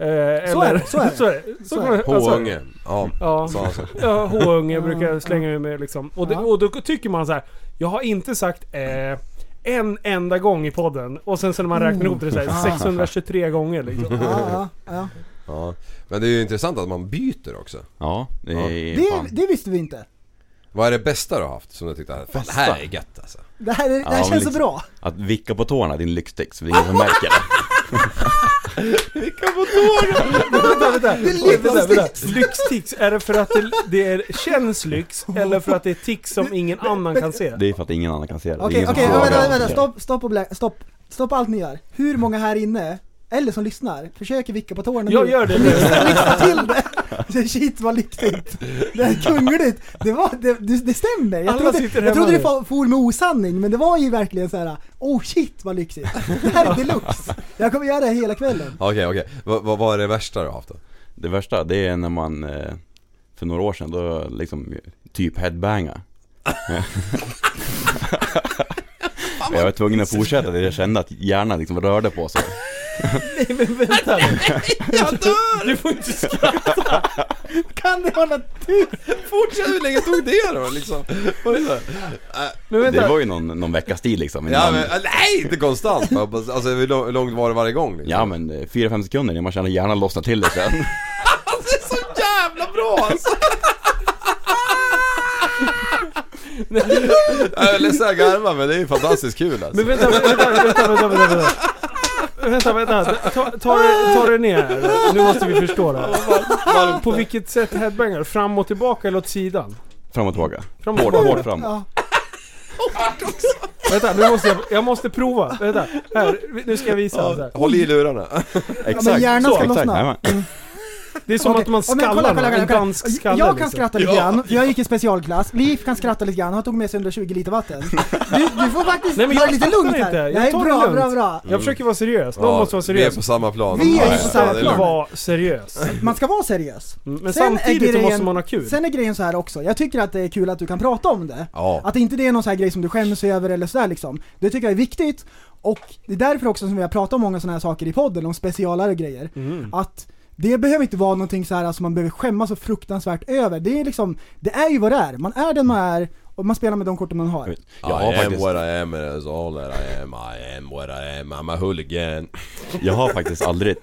[SPEAKER 6] Eh, så, eller,
[SPEAKER 5] är det, så är det.
[SPEAKER 6] så är det. Så
[SPEAKER 5] Så är
[SPEAKER 6] kan man- ja, så är det.
[SPEAKER 7] Påunge. Ja,
[SPEAKER 6] Ja,
[SPEAKER 7] sa han så.
[SPEAKER 6] ja H-unge
[SPEAKER 5] Ja,
[SPEAKER 6] brukar
[SPEAKER 5] ja.
[SPEAKER 6] jag slänga ur mig liksom. Och, det,
[SPEAKER 5] Ja.
[SPEAKER 6] och då tycker man så här. jag har inte sagt eh, en enda gång i podden. Och sen så när man räknar ihop det så
[SPEAKER 5] Mm.
[SPEAKER 6] här, 623 gånger liksom.
[SPEAKER 5] Ja, ja, ja.
[SPEAKER 7] Ja. Men det är ju intressant att man byter också.
[SPEAKER 8] Ja, det är
[SPEAKER 5] Det,
[SPEAKER 8] fan.
[SPEAKER 5] det visste vi inte.
[SPEAKER 7] Vad är det bästa du har haft som du tyckte, fan det här är gött alltså?
[SPEAKER 5] Det här, är- det här
[SPEAKER 8] Ja, men
[SPEAKER 5] känns så
[SPEAKER 8] liksom-
[SPEAKER 5] bra.
[SPEAKER 8] Att vicka på tårna är din lyxtix, för det är ingen som märker det.
[SPEAKER 6] Vänta, vänta.
[SPEAKER 5] Det är
[SPEAKER 6] Vänta, vänta.
[SPEAKER 5] lyxtix.
[SPEAKER 6] Lyxtix, är det för att det, det är, känns lyx eller för att det är tics som ingen annan kan se?
[SPEAKER 8] Det är för att ingen annan kan se det. Det är
[SPEAKER 5] Okej,
[SPEAKER 8] ingen som
[SPEAKER 5] okej,
[SPEAKER 8] frågar.
[SPEAKER 5] vänta, vänta, stopp, stopp och blä, stopp. Stopp allt ni gör. Hur många här inne, eller som lyssnar, försöker vicka på tårna
[SPEAKER 6] Jag
[SPEAKER 5] nu?
[SPEAKER 6] gör det nu.
[SPEAKER 5] Lyxta, lyxta till det! Shit vad lyxigt! Det är kungligt! Det, var, det, det, det stämmer! Jag
[SPEAKER 6] Alla sitter
[SPEAKER 5] trodde,
[SPEAKER 6] hemma
[SPEAKER 5] jag trodde det
[SPEAKER 6] nu.
[SPEAKER 5] fa- for med osanning, men det var ju verkligen så här. oh shit vad lyxigt! Det här är deluxe! Jag kommer göra det hela kvällen.
[SPEAKER 7] Okej okej, vad vad vad är det värsta du har haft då?
[SPEAKER 8] Det värsta, det är när man eh, för några år sedan då liksom typ headbanga. jag var tvungen att fortsätta det jag kände att hjärnan liksom rörde på sig.
[SPEAKER 6] Vänta. Jag dör! Du får inte skratta.
[SPEAKER 5] Kan det hålla
[SPEAKER 7] Fortsätt, hur länge tog det då liksom? Vad är det?
[SPEAKER 6] Men
[SPEAKER 8] Det
[SPEAKER 6] vänta.
[SPEAKER 8] var ju någon, någon veckas tid liksom.
[SPEAKER 7] Ja
[SPEAKER 8] innan-
[SPEAKER 7] men äh, nej inte konstant! bara- bara- Alltså hur lång- hur långt var det varje gång liksom?
[SPEAKER 8] ja men eh, fyra fem sekunder innan man känner hjärnan lossna till det sen.
[SPEAKER 7] Det är så jävla bra alltså! Jag är ledsen att garva men det är ju fantastiskt kul alltså.
[SPEAKER 6] Men vänta, vänta, vänta, vänta, vänta, vänta. Vänta, vänta. Ta, ta, det, ta det ner. Nu måste vi förstå det här. På vilket sätt headbangar? Fram och tillbaka eller åt sidan?
[SPEAKER 8] Fram och tillbaka.
[SPEAKER 6] Fram och
[SPEAKER 8] Hårt,
[SPEAKER 6] tillbaka.
[SPEAKER 8] hårt fram.
[SPEAKER 5] Ja.
[SPEAKER 6] Vänta, nu måste jag, jag måste prova. Vänta, här. Nu ska jag visa. Så här.
[SPEAKER 7] Håll i lurarna.
[SPEAKER 8] Exakt.
[SPEAKER 5] men hjärnan
[SPEAKER 8] så,
[SPEAKER 5] ska
[SPEAKER 8] exakt.
[SPEAKER 5] lossna.
[SPEAKER 8] jajamän.
[SPEAKER 6] Det är som
[SPEAKER 5] Okej.
[SPEAKER 6] att man
[SPEAKER 5] Ja, men
[SPEAKER 6] skallar
[SPEAKER 5] kolla, kolla,
[SPEAKER 6] någon,
[SPEAKER 5] kolla,
[SPEAKER 6] en
[SPEAKER 5] kolla.
[SPEAKER 6] dansk skalle
[SPEAKER 5] Jag kan
[SPEAKER 6] liksom.
[SPEAKER 5] skratta lite grann, jag gick i specialklass. Liv kan skratta lite grann, han tog med sig 120 liter vatten. Du, du får faktiskt
[SPEAKER 6] Nej, men
[SPEAKER 5] ta
[SPEAKER 6] jag
[SPEAKER 5] det lite
[SPEAKER 6] skrattar
[SPEAKER 5] lugnt här.
[SPEAKER 6] inte. Jag
[SPEAKER 5] Nej,
[SPEAKER 6] tar det
[SPEAKER 5] bra,
[SPEAKER 6] lugnt.
[SPEAKER 5] bra, bra.
[SPEAKER 6] Jag försöker vara seriös. Någon
[SPEAKER 7] Ja,
[SPEAKER 6] måste vara
[SPEAKER 7] Vi är
[SPEAKER 6] seriös.
[SPEAKER 7] på samma plan.
[SPEAKER 5] Vi är
[SPEAKER 7] Ja,
[SPEAKER 5] på
[SPEAKER 7] ja,
[SPEAKER 5] samma
[SPEAKER 7] ja, det är
[SPEAKER 5] plan.
[SPEAKER 7] lugnt.
[SPEAKER 6] Var seriös.
[SPEAKER 5] Man ska vara seriös.
[SPEAKER 6] Mm, Men
[SPEAKER 5] Sen är
[SPEAKER 6] samtidigt så
[SPEAKER 5] grejen-
[SPEAKER 6] måste man ha kul.
[SPEAKER 5] Sen är grejen så här också, jag tycker att det är kul att du kan prata om det.
[SPEAKER 7] Ja.
[SPEAKER 5] Att inte det är någon så här grej som du skäms över eller sådär liksom. Det tycker jag är viktigt. Och det är därför också som vi har pratat om många sådana här saker i podden, om specialare grejer.
[SPEAKER 6] Mm.
[SPEAKER 5] Att det behöver inte vara någonting så här som man behöver skämmas så fruktansvärt över. Det är liksom, det är ju vad det är. Man är den man är och man spelar med de korten man
[SPEAKER 6] Mm.
[SPEAKER 5] har.
[SPEAKER 8] Jag har,
[SPEAKER 7] I am
[SPEAKER 8] faktiskt,
[SPEAKER 7] what I am and that's all that I am I am what I am, I'm a hooligan
[SPEAKER 8] jag har faktiskt aldrig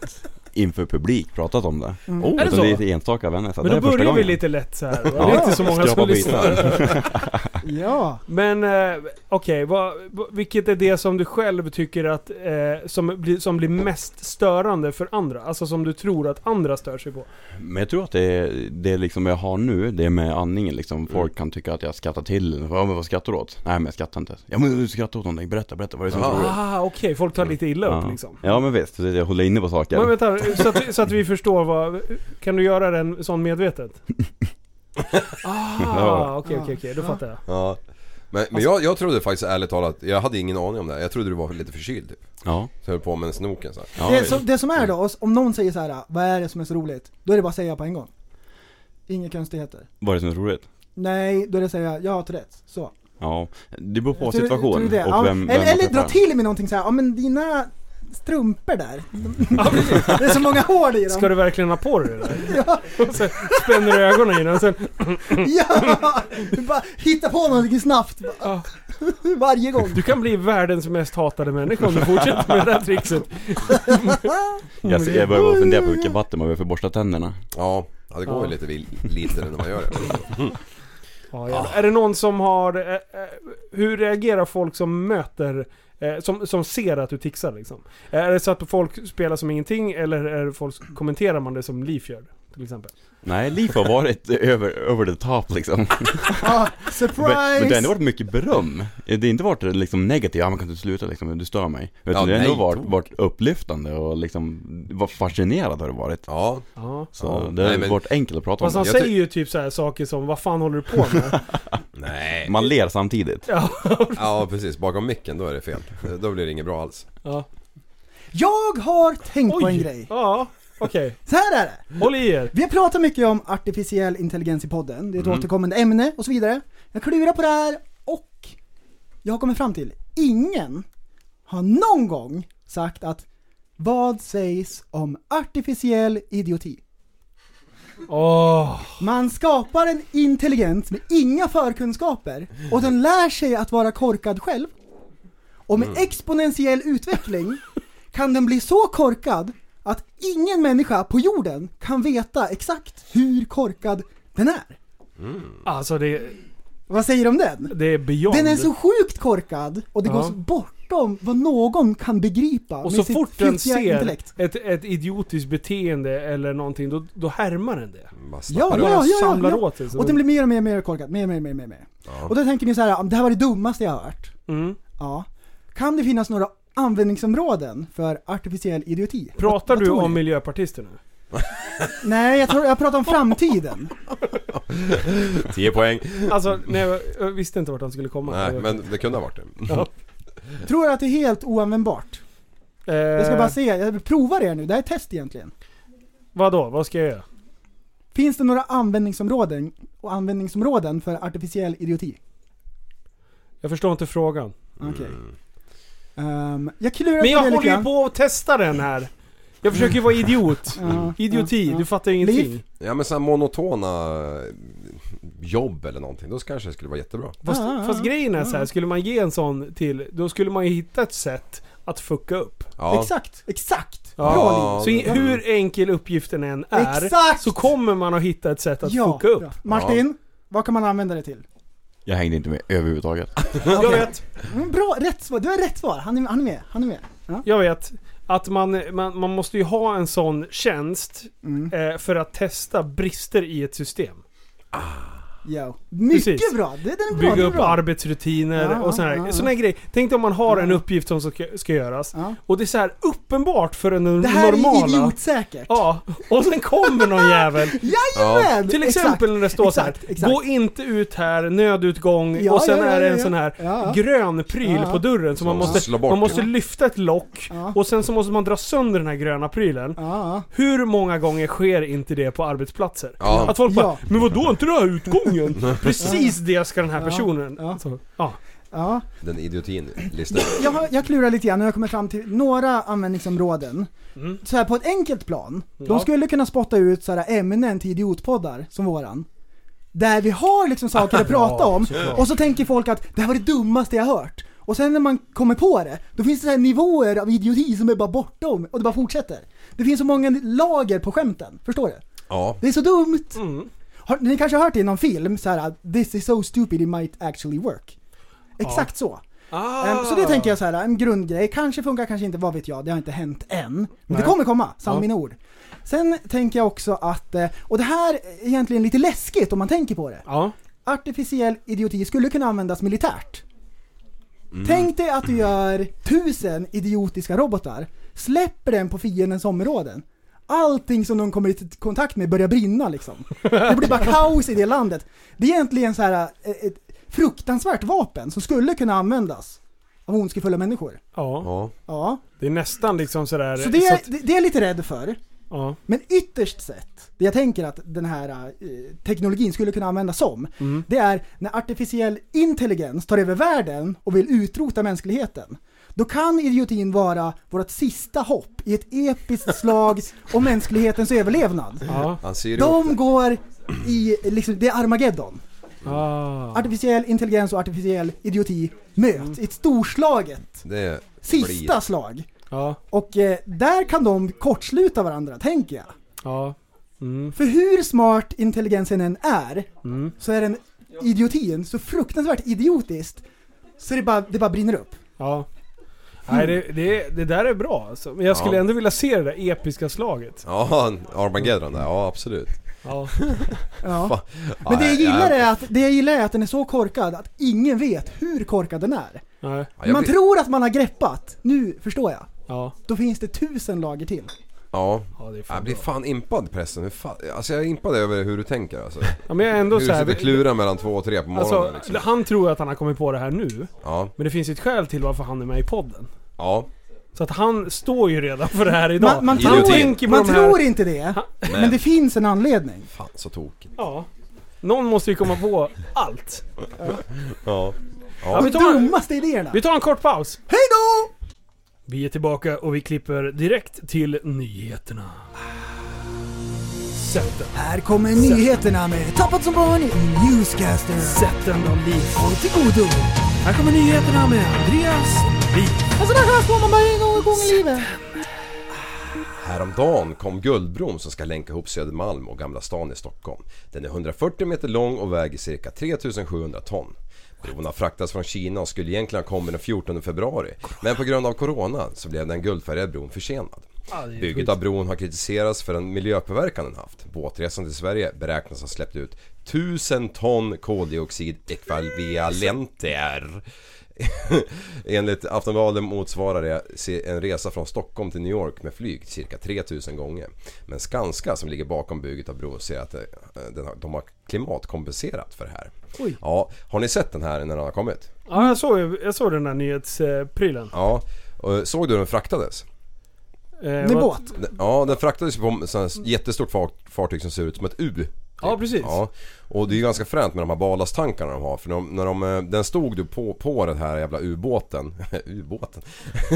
[SPEAKER 8] inför publik pratat om det. Oh,
[SPEAKER 6] Mm. Är det
[SPEAKER 8] utan
[SPEAKER 6] så?
[SPEAKER 8] det är lite enstaka vänner. Så
[SPEAKER 6] Men
[SPEAKER 8] det
[SPEAKER 6] då
[SPEAKER 8] är första
[SPEAKER 6] börjar vi
[SPEAKER 8] gången.
[SPEAKER 6] lite lätt så här. Det är inte så många
[SPEAKER 8] Skrapa
[SPEAKER 6] som lyssnar.
[SPEAKER 8] bitar.
[SPEAKER 5] Ja.
[SPEAKER 6] Men eh, okej, vad- vad- vilket är det som du själv tycker att, eh, som, blir, som blir mest störande för andra? Alltså som du tror att andra stör sig på?
[SPEAKER 8] Men jag tror att det, är- det liksom jag har nu, det är med andningen liksom. Folk
[SPEAKER 5] Mm.
[SPEAKER 8] kan tycka att jag skrattar till. Ja men vad skrattar du åt? Nej men jag skrattar inte. Ja men du skrattar åt någonting. Berätta, berätta. Vad är det som är
[SPEAKER 7] Ja.
[SPEAKER 8] så roligt?
[SPEAKER 6] Ah, okej, folk tar lite illa upp
[SPEAKER 8] Ja.
[SPEAKER 6] liksom.
[SPEAKER 8] Ja men visst, det- jag håller inne på saker.
[SPEAKER 6] Men vänta, så att, så att vi förstår vad... Kan du göra den sån medvetet? Ah,
[SPEAKER 8] Ja.
[SPEAKER 6] okej, okej, okej, då fattar jag.
[SPEAKER 7] Ja. Men, men jag, jag trodde faktiskt ärligt talat, jag hade ingen aning om det här. Jag trodde du var lite förkyld typ.
[SPEAKER 8] Ja.
[SPEAKER 7] Så höll på med snoken så här.
[SPEAKER 8] ja
[SPEAKER 5] det,
[SPEAKER 8] visst.
[SPEAKER 5] som, det som är då, om någon säger så här, vad är det som är så roligt? Då är det bara att säga på en gång. Inga konstigheter.
[SPEAKER 8] Vad är det som är så roligt?
[SPEAKER 5] Nej, då är det att säga, jag har Tourettes. Så.
[SPEAKER 8] Ja, det beror på
[SPEAKER 5] Tror du- tror
[SPEAKER 8] situation
[SPEAKER 5] du
[SPEAKER 8] och
[SPEAKER 5] det? Ja,
[SPEAKER 8] vem, vem
[SPEAKER 5] eller,
[SPEAKER 8] man
[SPEAKER 5] eller dra
[SPEAKER 8] träffar.
[SPEAKER 5] till med någonting så här, ja men dina strumpor där.
[SPEAKER 8] Mm.
[SPEAKER 5] det är så många hål i dem.
[SPEAKER 6] Ska du verkligen ha på dig det där? Och sen spänner du ögonen i den och sen...
[SPEAKER 5] Ja! Du bara hitta på någonting snabbt. Bara-
[SPEAKER 6] Ja.
[SPEAKER 5] Varje gång.
[SPEAKER 6] Du kan bli världens mest hatade människa om du fortsätter med det där trickset.
[SPEAKER 8] Jag, ser- jag börjar bara fundera på vilken vatten man behöver för att borsta tänderna.
[SPEAKER 7] Ja, ja det går
[SPEAKER 6] Ja.
[SPEAKER 7] väl lite vil- lite när man gör det.
[SPEAKER 6] Ja, jävlar. Ah, Är det någon som har... eh, eh, Hur reagerar folk som möter... eh, Som, som ser att du tixar liksom? Är det så att folk spelar som ingenting eller är det folk, kommenterar man det som Liv gör? Till exempel.
[SPEAKER 8] Nej, Liv har varit över, över the top liksom.
[SPEAKER 5] Ja,
[SPEAKER 8] Men, men det har ändå
[SPEAKER 5] surprise!
[SPEAKER 8] varit mycket beröm. Det har inte varit liksom negativt, ja men kan du sluta liksom, du stör mig. Utan
[SPEAKER 7] Ja,
[SPEAKER 8] det har ändå
[SPEAKER 7] nej,
[SPEAKER 8] varit,
[SPEAKER 7] tok.
[SPEAKER 8] varit upplyftande och liksom, var fascinerad har det varit.
[SPEAKER 7] Ja,
[SPEAKER 6] Ja.
[SPEAKER 8] Så
[SPEAKER 7] Ja,
[SPEAKER 8] det har
[SPEAKER 7] nej, men-
[SPEAKER 8] varit enkelt att prata om
[SPEAKER 6] Fast han
[SPEAKER 8] det.
[SPEAKER 7] Jag
[SPEAKER 6] säger
[SPEAKER 7] ty-
[SPEAKER 6] ju typ så här saker som 'Vad fan håller du på med?'
[SPEAKER 7] nej.
[SPEAKER 8] Man ler samtidigt.
[SPEAKER 6] ja.
[SPEAKER 7] Ja precis, bakom micken då är det fel. Då blir det inget bra alls.
[SPEAKER 6] ja.
[SPEAKER 5] Jag har tänkt på en grej.
[SPEAKER 6] Ja, okej.
[SPEAKER 5] Så här är det.
[SPEAKER 6] Håll i er.
[SPEAKER 5] Vi har pratat mycket om artificiell intelligens i podden. Det är ett återkommande ämne och så vidare. Jag klurar på det här och jag har kommit fram till ingen har någon gång sagt att vad sägs om artificiell idioti?
[SPEAKER 6] Åh.
[SPEAKER 5] Man skapar en intelligens med inga förkunskaper och den lär sig att vara korkad själv. Och
[SPEAKER 6] Mm.
[SPEAKER 5] med exponentiell utveckling kan den bli så korkad att ingen människa på jorden kan veta exakt hur korkad den är.
[SPEAKER 6] Alltså det,
[SPEAKER 5] Vad säger du om den?
[SPEAKER 6] det är beyond.
[SPEAKER 5] Den är så sjukt korkad och det
[SPEAKER 6] Ja.
[SPEAKER 5] går så bortom vad någon kan begripa
[SPEAKER 6] och
[SPEAKER 5] med
[SPEAKER 6] så
[SPEAKER 5] sitt
[SPEAKER 6] fort den
[SPEAKER 5] flitiga
[SPEAKER 6] ser
[SPEAKER 5] intellekt.
[SPEAKER 6] ett, ett idiotiskt beteende eller någonting, då, då härmar den det.
[SPEAKER 7] Bara
[SPEAKER 5] Ja,
[SPEAKER 7] snappar
[SPEAKER 5] ja,
[SPEAKER 7] upp.
[SPEAKER 5] ja, ja,
[SPEAKER 6] samlar
[SPEAKER 5] ja.
[SPEAKER 6] åt sig. så
[SPEAKER 5] Och den blir mer och mer, och mer korkad. Mer, mer, mer, mer, mer. Och då tänker ni så här, det här var det dummaste jag har hört.
[SPEAKER 6] Mm.
[SPEAKER 5] Ja. Kan det finnas några användningsområden för artificiell idioti?
[SPEAKER 6] Pratar
[SPEAKER 5] Vad
[SPEAKER 6] du
[SPEAKER 5] tror
[SPEAKER 6] om miljöpartister nu?
[SPEAKER 5] Nej, jag, tror, jag pratar om framtiden.
[SPEAKER 7] 10 poäng.
[SPEAKER 6] Alltså, nej, jag- jag visste inte vart han skulle komma.
[SPEAKER 7] Nej
[SPEAKER 6] Jag-
[SPEAKER 7] men det kunde ha varit det.
[SPEAKER 5] tror jag att det är helt oanvändbart?
[SPEAKER 6] Eh,
[SPEAKER 5] Jag ska bara se, jag provar det här nu. Det här är ett test egentligen.
[SPEAKER 6] Eh, Vadå? Vad ska jag göra?
[SPEAKER 5] Finns det några användningsområden, och användningsområden för artificiell idioti?
[SPEAKER 6] Jag förstår inte frågan.
[SPEAKER 5] Okej. Ehm, jag klurar
[SPEAKER 6] Mm. Men jag
[SPEAKER 5] på det
[SPEAKER 6] håller
[SPEAKER 5] lite
[SPEAKER 6] ju
[SPEAKER 5] grann.
[SPEAKER 6] på att testa den här. Jag försöker ju vara idiot.
[SPEAKER 5] Ja,
[SPEAKER 6] Idioti,
[SPEAKER 5] ja, ja.
[SPEAKER 6] du fattar ju ingenting.
[SPEAKER 5] Liv?
[SPEAKER 7] Ja men såhär monotona eh, jobb eller någonting, då kanske det skulle vara jättebra.
[SPEAKER 6] Fast,
[SPEAKER 5] Ah, ah,
[SPEAKER 6] fast grejen är så här, skulle man ge en sån till, då skulle man ju hitta ett sätt att fucka upp.
[SPEAKER 7] Ja.
[SPEAKER 5] Exakt, exakt.
[SPEAKER 6] Ja.
[SPEAKER 5] Bra
[SPEAKER 6] Så i,
[SPEAKER 7] Mm.
[SPEAKER 6] hur enkel uppgiften än är,
[SPEAKER 5] Exakt!
[SPEAKER 6] så kommer man att hitta ett sätt att
[SPEAKER 5] Ja,
[SPEAKER 6] fucka upp.
[SPEAKER 5] bra. Martin, vad kan man använda det till?
[SPEAKER 8] Jag hängde inte med överhuvudtaget.
[SPEAKER 6] Jag
[SPEAKER 5] Okej.
[SPEAKER 6] vet,
[SPEAKER 5] Mm, Bra, rätt svar. Du har rätt svar. Han är, han är med, han är med. Ja.
[SPEAKER 6] jag vet. Att man, man, man måste ju ha en sån tjänst
[SPEAKER 5] Mm.
[SPEAKER 6] eh, för att testa brister i ett system.
[SPEAKER 5] Ja. Mycket
[SPEAKER 6] Precis.
[SPEAKER 5] bra! Det, den är bra,
[SPEAKER 6] Bygga
[SPEAKER 5] den är
[SPEAKER 6] upp
[SPEAKER 5] bra.
[SPEAKER 6] arbetsrutiner
[SPEAKER 5] Ja,
[SPEAKER 6] och sådana
[SPEAKER 5] ja,
[SPEAKER 6] här,
[SPEAKER 5] ja.
[SPEAKER 6] såna här grejer. Tänk dig om man har en
[SPEAKER 5] Ja.
[SPEAKER 6] uppgift som ska, ska göras.
[SPEAKER 5] Ja.
[SPEAKER 6] Och det är så här uppenbart för den
[SPEAKER 5] Det här
[SPEAKER 6] normala.
[SPEAKER 5] är idiotsäkert!
[SPEAKER 6] Ja, och sen kommer någon jävel.
[SPEAKER 5] Jajamän!
[SPEAKER 6] Till exempel när det står
[SPEAKER 5] exakt,
[SPEAKER 6] så här.
[SPEAKER 5] exakt.
[SPEAKER 6] Gå inte ut här, nödutgång.
[SPEAKER 5] Ja,
[SPEAKER 6] och sen
[SPEAKER 5] ja, ja,
[SPEAKER 6] är det en
[SPEAKER 5] ja,
[SPEAKER 6] sån här
[SPEAKER 5] ja.
[SPEAKER 6] grön pryl
[SPEAKER 5] Ja.
[SPEAKER 6] på dörren. Så man
[SPEAKER 7] Som
[SPEAKER 6] måste,
[SPEAKER 7] slår bort
[SPEAKER 6] man måste
[SPEAKER 5] den.
[SPEAKER 6] lyfta ett lock.
[SPEAKER 5] Ja.
[SPEAKER 6] Och sen så måste man dra sönder den här gröna prylen.
[SPEAKER 5] Ja,
[SPEAKER 6] Hur många gånger sker inte det på arbetsplatser?
[SPEAKER 7] Ja.
[SPEAKER 6] Att folk bara
[SPEAKER 5] Ja.
[SPEAKER 6] Men vadå, inte den här utgången? Precis det ska den här
[SPEAKER 5] Ja.
[SPEAKER 6] personen.
[SPEAKER 5] Ja.
[SPEAKER 6] Så, ja.
[SPEAKER 5] ja.
[SPEAKER 7] Den idiotin listan.
[SPEAKER 5] Jag, har- jag klurar lite grann och jag kommer fram till några användningsområden.
[SPEAKER 6] Mm.
[SPEAKER 5] Så här på ett enkelt plan.
[SPEAKER 6] Ja.
[SPEAKER 5] De skulle kunna spotta ut så här ämnen till idiotpoddar som våran. Där vi har liksom saker att prata om och så tänker folk att det här var det dummaste jag hört. Och sen när man kommer på det, då finns det så här nivåer av idioti som är bara bortom och det bara fortsätter. Det finns så många lager på skämten, förstår du?
[SPEAKER 7] Ja.
[SPEAKER 5] Det är så dumt!
[SPEAKER 6] Mm.
[SPEAKER 5] Har, ni kanske har hört det i någon film, så här, “This is so stupid it might actually work”. Exakt så.
[SPEAKER 6] Ah.
[SPEAKER 5] Ehm, Så det tänker jag så här, en grundgrej. Kanske funkar, kanske inte, vad vet jag. Det har inte hänt än. Men det kommer komma, sann mina ord. Sen tänker jag också att, eh, och det här är egentligen lite läskigt om man tänker på det.
[SPEAKER 6] Ja.
[SPEAKER 5] Artificiell idioti skulle kunna användas militärt.
[SPEAKER 6] Mm.
[SPEAKER 5] Tänk dig att du gör tusen idiotiska robotar, släpper den på fiendens områden. Allting som de kommer i kontakt med börjar brinna liksom. Det blir bara kaos i det landet. Det är egentligen så här eh, ett fruktansvärt vapen som skulle kunna användas av ondskefulla människor.
[SPEAKER 6] ja.
[SPEAKER 7] ja.
[SPEAKER 5] Ja,
[SPEAKER 6] Det är nästan liksom sådär...
[SPEAKER 5] så det
[SPEAKER 6] så
[SPEAKER 5] är,
[SPEAKER 6] att-
[SPEAKER 5] det det är jag lite rädd för.
[SPEAKER 6] ja.
[SPEAKER 5] Men ytterst sett, det jag tänker att den här eh, teknologin skulle kunna användas som, det är när artificiell intelligens tar över världen och vill utrota mänskligheten. Då kan idiotin vara vårt sista hopp i ett episkt slag om mänsklighetens överlevnad.
[SPEAKER 6] Ja.
[SPEAKER 7] Han syr ihop
[SPEAKER 5] De går i, liksom, det är Armageddon.
[SPEAKER 6] Ah.
[SPEAKER 5] Artificiell intelligens och artificiell idioti möts i ett storslaget
[SPEAKER 7] det.
[SPEAKER 5] sista
[SPEAKER 7] blir-
[SPEAKER 5] slag.
[SPEAKER 6] Ja.
[SPEAKER 5] Och eh, där kan de kortsluta varandra, tänker jag.
[SPEAKER 6] Ja. Mm.
[SPEAKER 5] För hur smart intelligensen än är,
[SPEAKER 6] Mm.
[SPEAKER 5] så är den idiotin så fruktansvärt idiotiskt, så det bara, det bara brinner upp.
[SPEAKER 6] Ja. Nej, det, det, det där är bra alltså. Men jag skulle
[SPEAKER 7] Ja.
[SPEAKER 6] ändå vilja se det där episka slaget.
[SPEAKER 7] Ja, en Armageddon där. Ja, absolut.
[SPEAKER 6] Ja.
[SPEAKER 5] Ja.
[SPEAKER 7] Fan.
[SPEAKER 5] Men det jag, gillar
[SPEAKER 7] ja,
[SPEAKER 5] är att, det jag gillar är att den är så korkad att ingen vet hur korkad den är.
[SPEAKER 6] Nej.
[SPEAKER 7] Ja, jag
[SPEAKER 5] man
[SPEAKER 7] blir-
[SPEAKER 5] tror att man har greppat, nu förstår jag.
[SPEAKER 6] Ja.
[SPEAKER 5] Då finns det tusen lager till.
[SPEAKER 7] Ja.
[SPEAKER 6] ja, det är
[SPEAKER 7] Jag
[SPEAKER 6] fan
[SPEAKER 7] blir
[SPEAKER 6] bra.
[SPEAKER 7] fan impad pressen. Hur fan... Alltså jag är impad över hur du tänker alltså.
[SPEAKER 6] Ja, men jag är ändå
[SPEAKER 7] Hur du
[SPEAKER 6] så
[SPEAKER 7] sitter och
[SPEAKER 6] här,
[SPEAKER 7] klurar mellan två och tre på morgonen
[SPEAKER 6] alltså,
[SPEAKER 7] liksom.
[SPEAKER 6] Han tror att han har kommit på det här nu.
[SPEAKER 7] Ja.
[SPEAKER 6] Men det finns ju ett skäl till varför han är med i podden.
[SPEAKER 7] Ja.
[SPEAKER 6] Så att han står ju redan för det här idag.
[SPEAKER 5] Man, man,
[SPEAKER 7] Idiotin.
[SPEAKER 5] tror,
[SPEAKER 6] Tänker på
[SPEAKER 5] man
[SPEAKER 6] de här-
[SPEAKER 5] tror inte det, men det finns en anledning.
[SPEAKER 7] Fan så tokigt.
[SPEAKER 6] Ja. Någon måste ju komma på allt.
[SPEAKER 7] Ja.
[SPEAKER 6] Ja,
[SPEAKER 5] De
[SPEAKER 6] vi, tar,
[SPEAKER 5] dummaste idéerna.
[SPEAKER 6] vi tar en kort paus.
[SPEAKER 5] Hej då!
[SPEAKER 6] Vi är tillbaka och vi klipper direkt till nyheterna. Sätt den.
[SPEAKER 5] Här kommer nyheterna med Tappat som barn i Newscaster.
[SPEAKER 6] Sätt den de liv.
[SPEAKER 5] Och till godo.
[SPEAKER 6] Här kommer nyheterna med Andreas Wijk.
[SPEAKER 5] En sån här får man bara en gång i livet.
[SPEAKER 7] Häromdagen kom Guldbron som ska länka ihop Södermalm och Gamla stan i Stockholm. Den är 140 meter lång och väger cirka 3700 ton. Bron har fraktats från Kina och skulle egentligen ha kommit den 14 februari. Men på grund av Corona så blev den guldfärgade bron försenad. Bygget av bron har kritiserats för den miljöpåverkan den haft. Båtresan till Sverige beräknas ha släppt ut 1000 ton koldioxid ekvivalenter. Enligt Aftonbladet motsvarar det se- en resa från Stockholm till New York med flyg cirka 3000 gånger. Men Skanska som ligger bakom bygget av bron säger att eh, den har- de har klimatkompenserat för det här. Ja, har ni sett den här när den har kommit?
[SPEAKER 6] Ja, jag såg, jag såg den där nyhetsprylen.
[SPEAKER 7] Ja, och såg du hur den fraktades?
[SPEAKER 6] Eh,
[SPEAKER 5] Med
[SPEAKER 6] vad-
[SPEAKER 5] båt.
[SPEAKER 7] Ja, den fraktades ju på ett sånt här jättestort fart- fartyg som ser ut som ett U. typ.
[SPEAKER 6] Ja, precis.
[SPEAKER 7] Ja, och det är ju ganska fränt med de här ballasttankarna de har för de, när de, eh, den stod du på, på den här jävla ubåten, ubåten,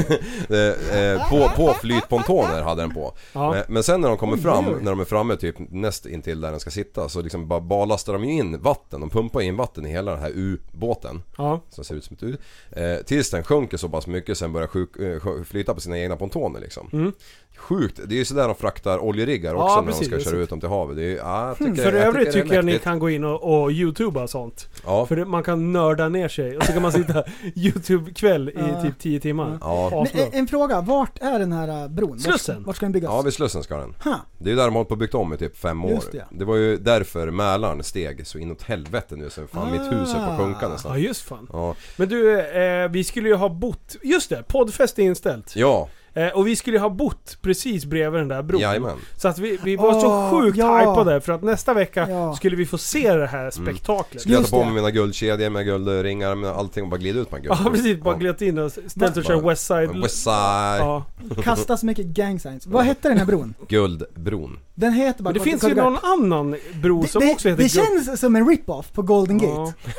[SPEAKER 7] Eh, eh, på, på flytpontoner hade den på. Eh,
[SPEAKER 6] Ja.
[SPEAKER 7] Men, men sen när de kommer fram, när de är framme typ näst intill där den ska sitta så liksom bara ballastar de ju in vatten, de pumpar in vatten i hela den här ubåten
[SPEAKER 6] Ja.
[SPEAKER 7] som ser ut som ett U. Eh, tills den sjunker så pass mycket sen börjar sjuk, eh, sjö- flyta på sina egna pontoner
[SPEAKER 6] Mm.
[SPEAKER 7] liksom. Sjukt, det är ju sådär de fraktar oljeriggar också
[SPEAKER 6] Ja,
[SPEAKER 7] när
[SPEAKER 6] precis,
[SPEAKER 7] de
[SPEAKER 6] jag
[SPEAKER 7] ska
[SPEAKER 6] har
[SPEAKER 7] köra
[SPEAKER 6] sett.
[SPEAKER 7] ut dem till havet. Det är, ju- ja, jag tycker det
[SPEAKER 6] För övrigt
[SPEAKER 7] det är
[SPEAKER 6] tycker jag ni
[SPEAKER 7] mäktigt.
[SPEAKER 6] kan gå in och, och youtuba sånt.
[SPEAKER 7] Ja.
[SPEAKER 6] För det, man kan nörda ner sig och så kan man sitta youtube-kväll i
[SPEAKER 5] Ja.
[SPEAKER 6] typ 10 timmar.
[SPEAKER 7] Ja.
[SPEAKER 5] Men eh, en, en fråga, vart är den här äh, bron? Vart-
[SPEAKER 6] Slussen.
[SPEAKER 5] Vart ska den byggas?
[SPEAKER 7] Ja, vid Slussen ska den.
[SPEAKER 5] Ha.
[SPEAKER 7] Det är ju där de har hållit på och byggt om i typ fem år.
[SPEAKER 5] Just det.
[SPEAKER 7] Det. var ju därför Mälaren steg så inåt helvete nu så fan mitt hus
[SPEAKER 6] Ah.
[SPEAKER 7] är på att sjunka
[SPEAKER 6] Ja
[SPEAKER 7] nästan.
[SPEAKER 6] just fan.
[SPEAKER 7] Ja,
[SPEAKER 6] Men du, eh, vi skulle ju ha bott... Just det, poddfest är inställt.
[SPEAKER 7] ja
[SPEAKER 6] Eh, och vi skulle ju ha bott precis bredvid den där bron.
[SPEAKER 7] jajamän.
[SPEAKER 6] Så att vi, vi var så
[SPEAKER 5] Åh,
[SPEAKER 6] sjukt
[SPEAKER 5] ja.
[SPEAKER 6] hypade för att nästa vecka
[SPEAKER 5] Ja.
[SPEAKER 6] skulle vi få se det här spektaklet.
[SPEAKER 7] Mm. Skulle jag
[SPEAKER 5] Just
[SPEAKER 7] ta på mig
[SPEAKER 5] det.
[SPEAKER 7] mina guldkedjor, mina guldringar, mina allting och bara glida ut med guld.
[SPEAKER 6] Ja precis, bara glöt in och ställt och kört Westside.
[SPEAKER 7] Westside,
[SPEAKER 6] Ja.
[SPEAKER 5] Kasta så mycket gang signs. Vad hette den här bron?
[SPEAKER 7] guldbron.
[SPEAKER 5] Den heter bara...
[SPEAKER 6] Men det
[SPEAKER 5] kolla-
[SPEAKER 6] finns
[SPEAKER 5] kolla-
[SPEAKER 6] ju någon annan bro som
[SPEAKER 5] det,
[SPEAKER 6] också heter
[SPEAKER 5] det
[SPEAKER 6] Gubb.
[SPEAKER 5] känns som en rip-off på Golden Gate.
[SPEAKER 6] Ja.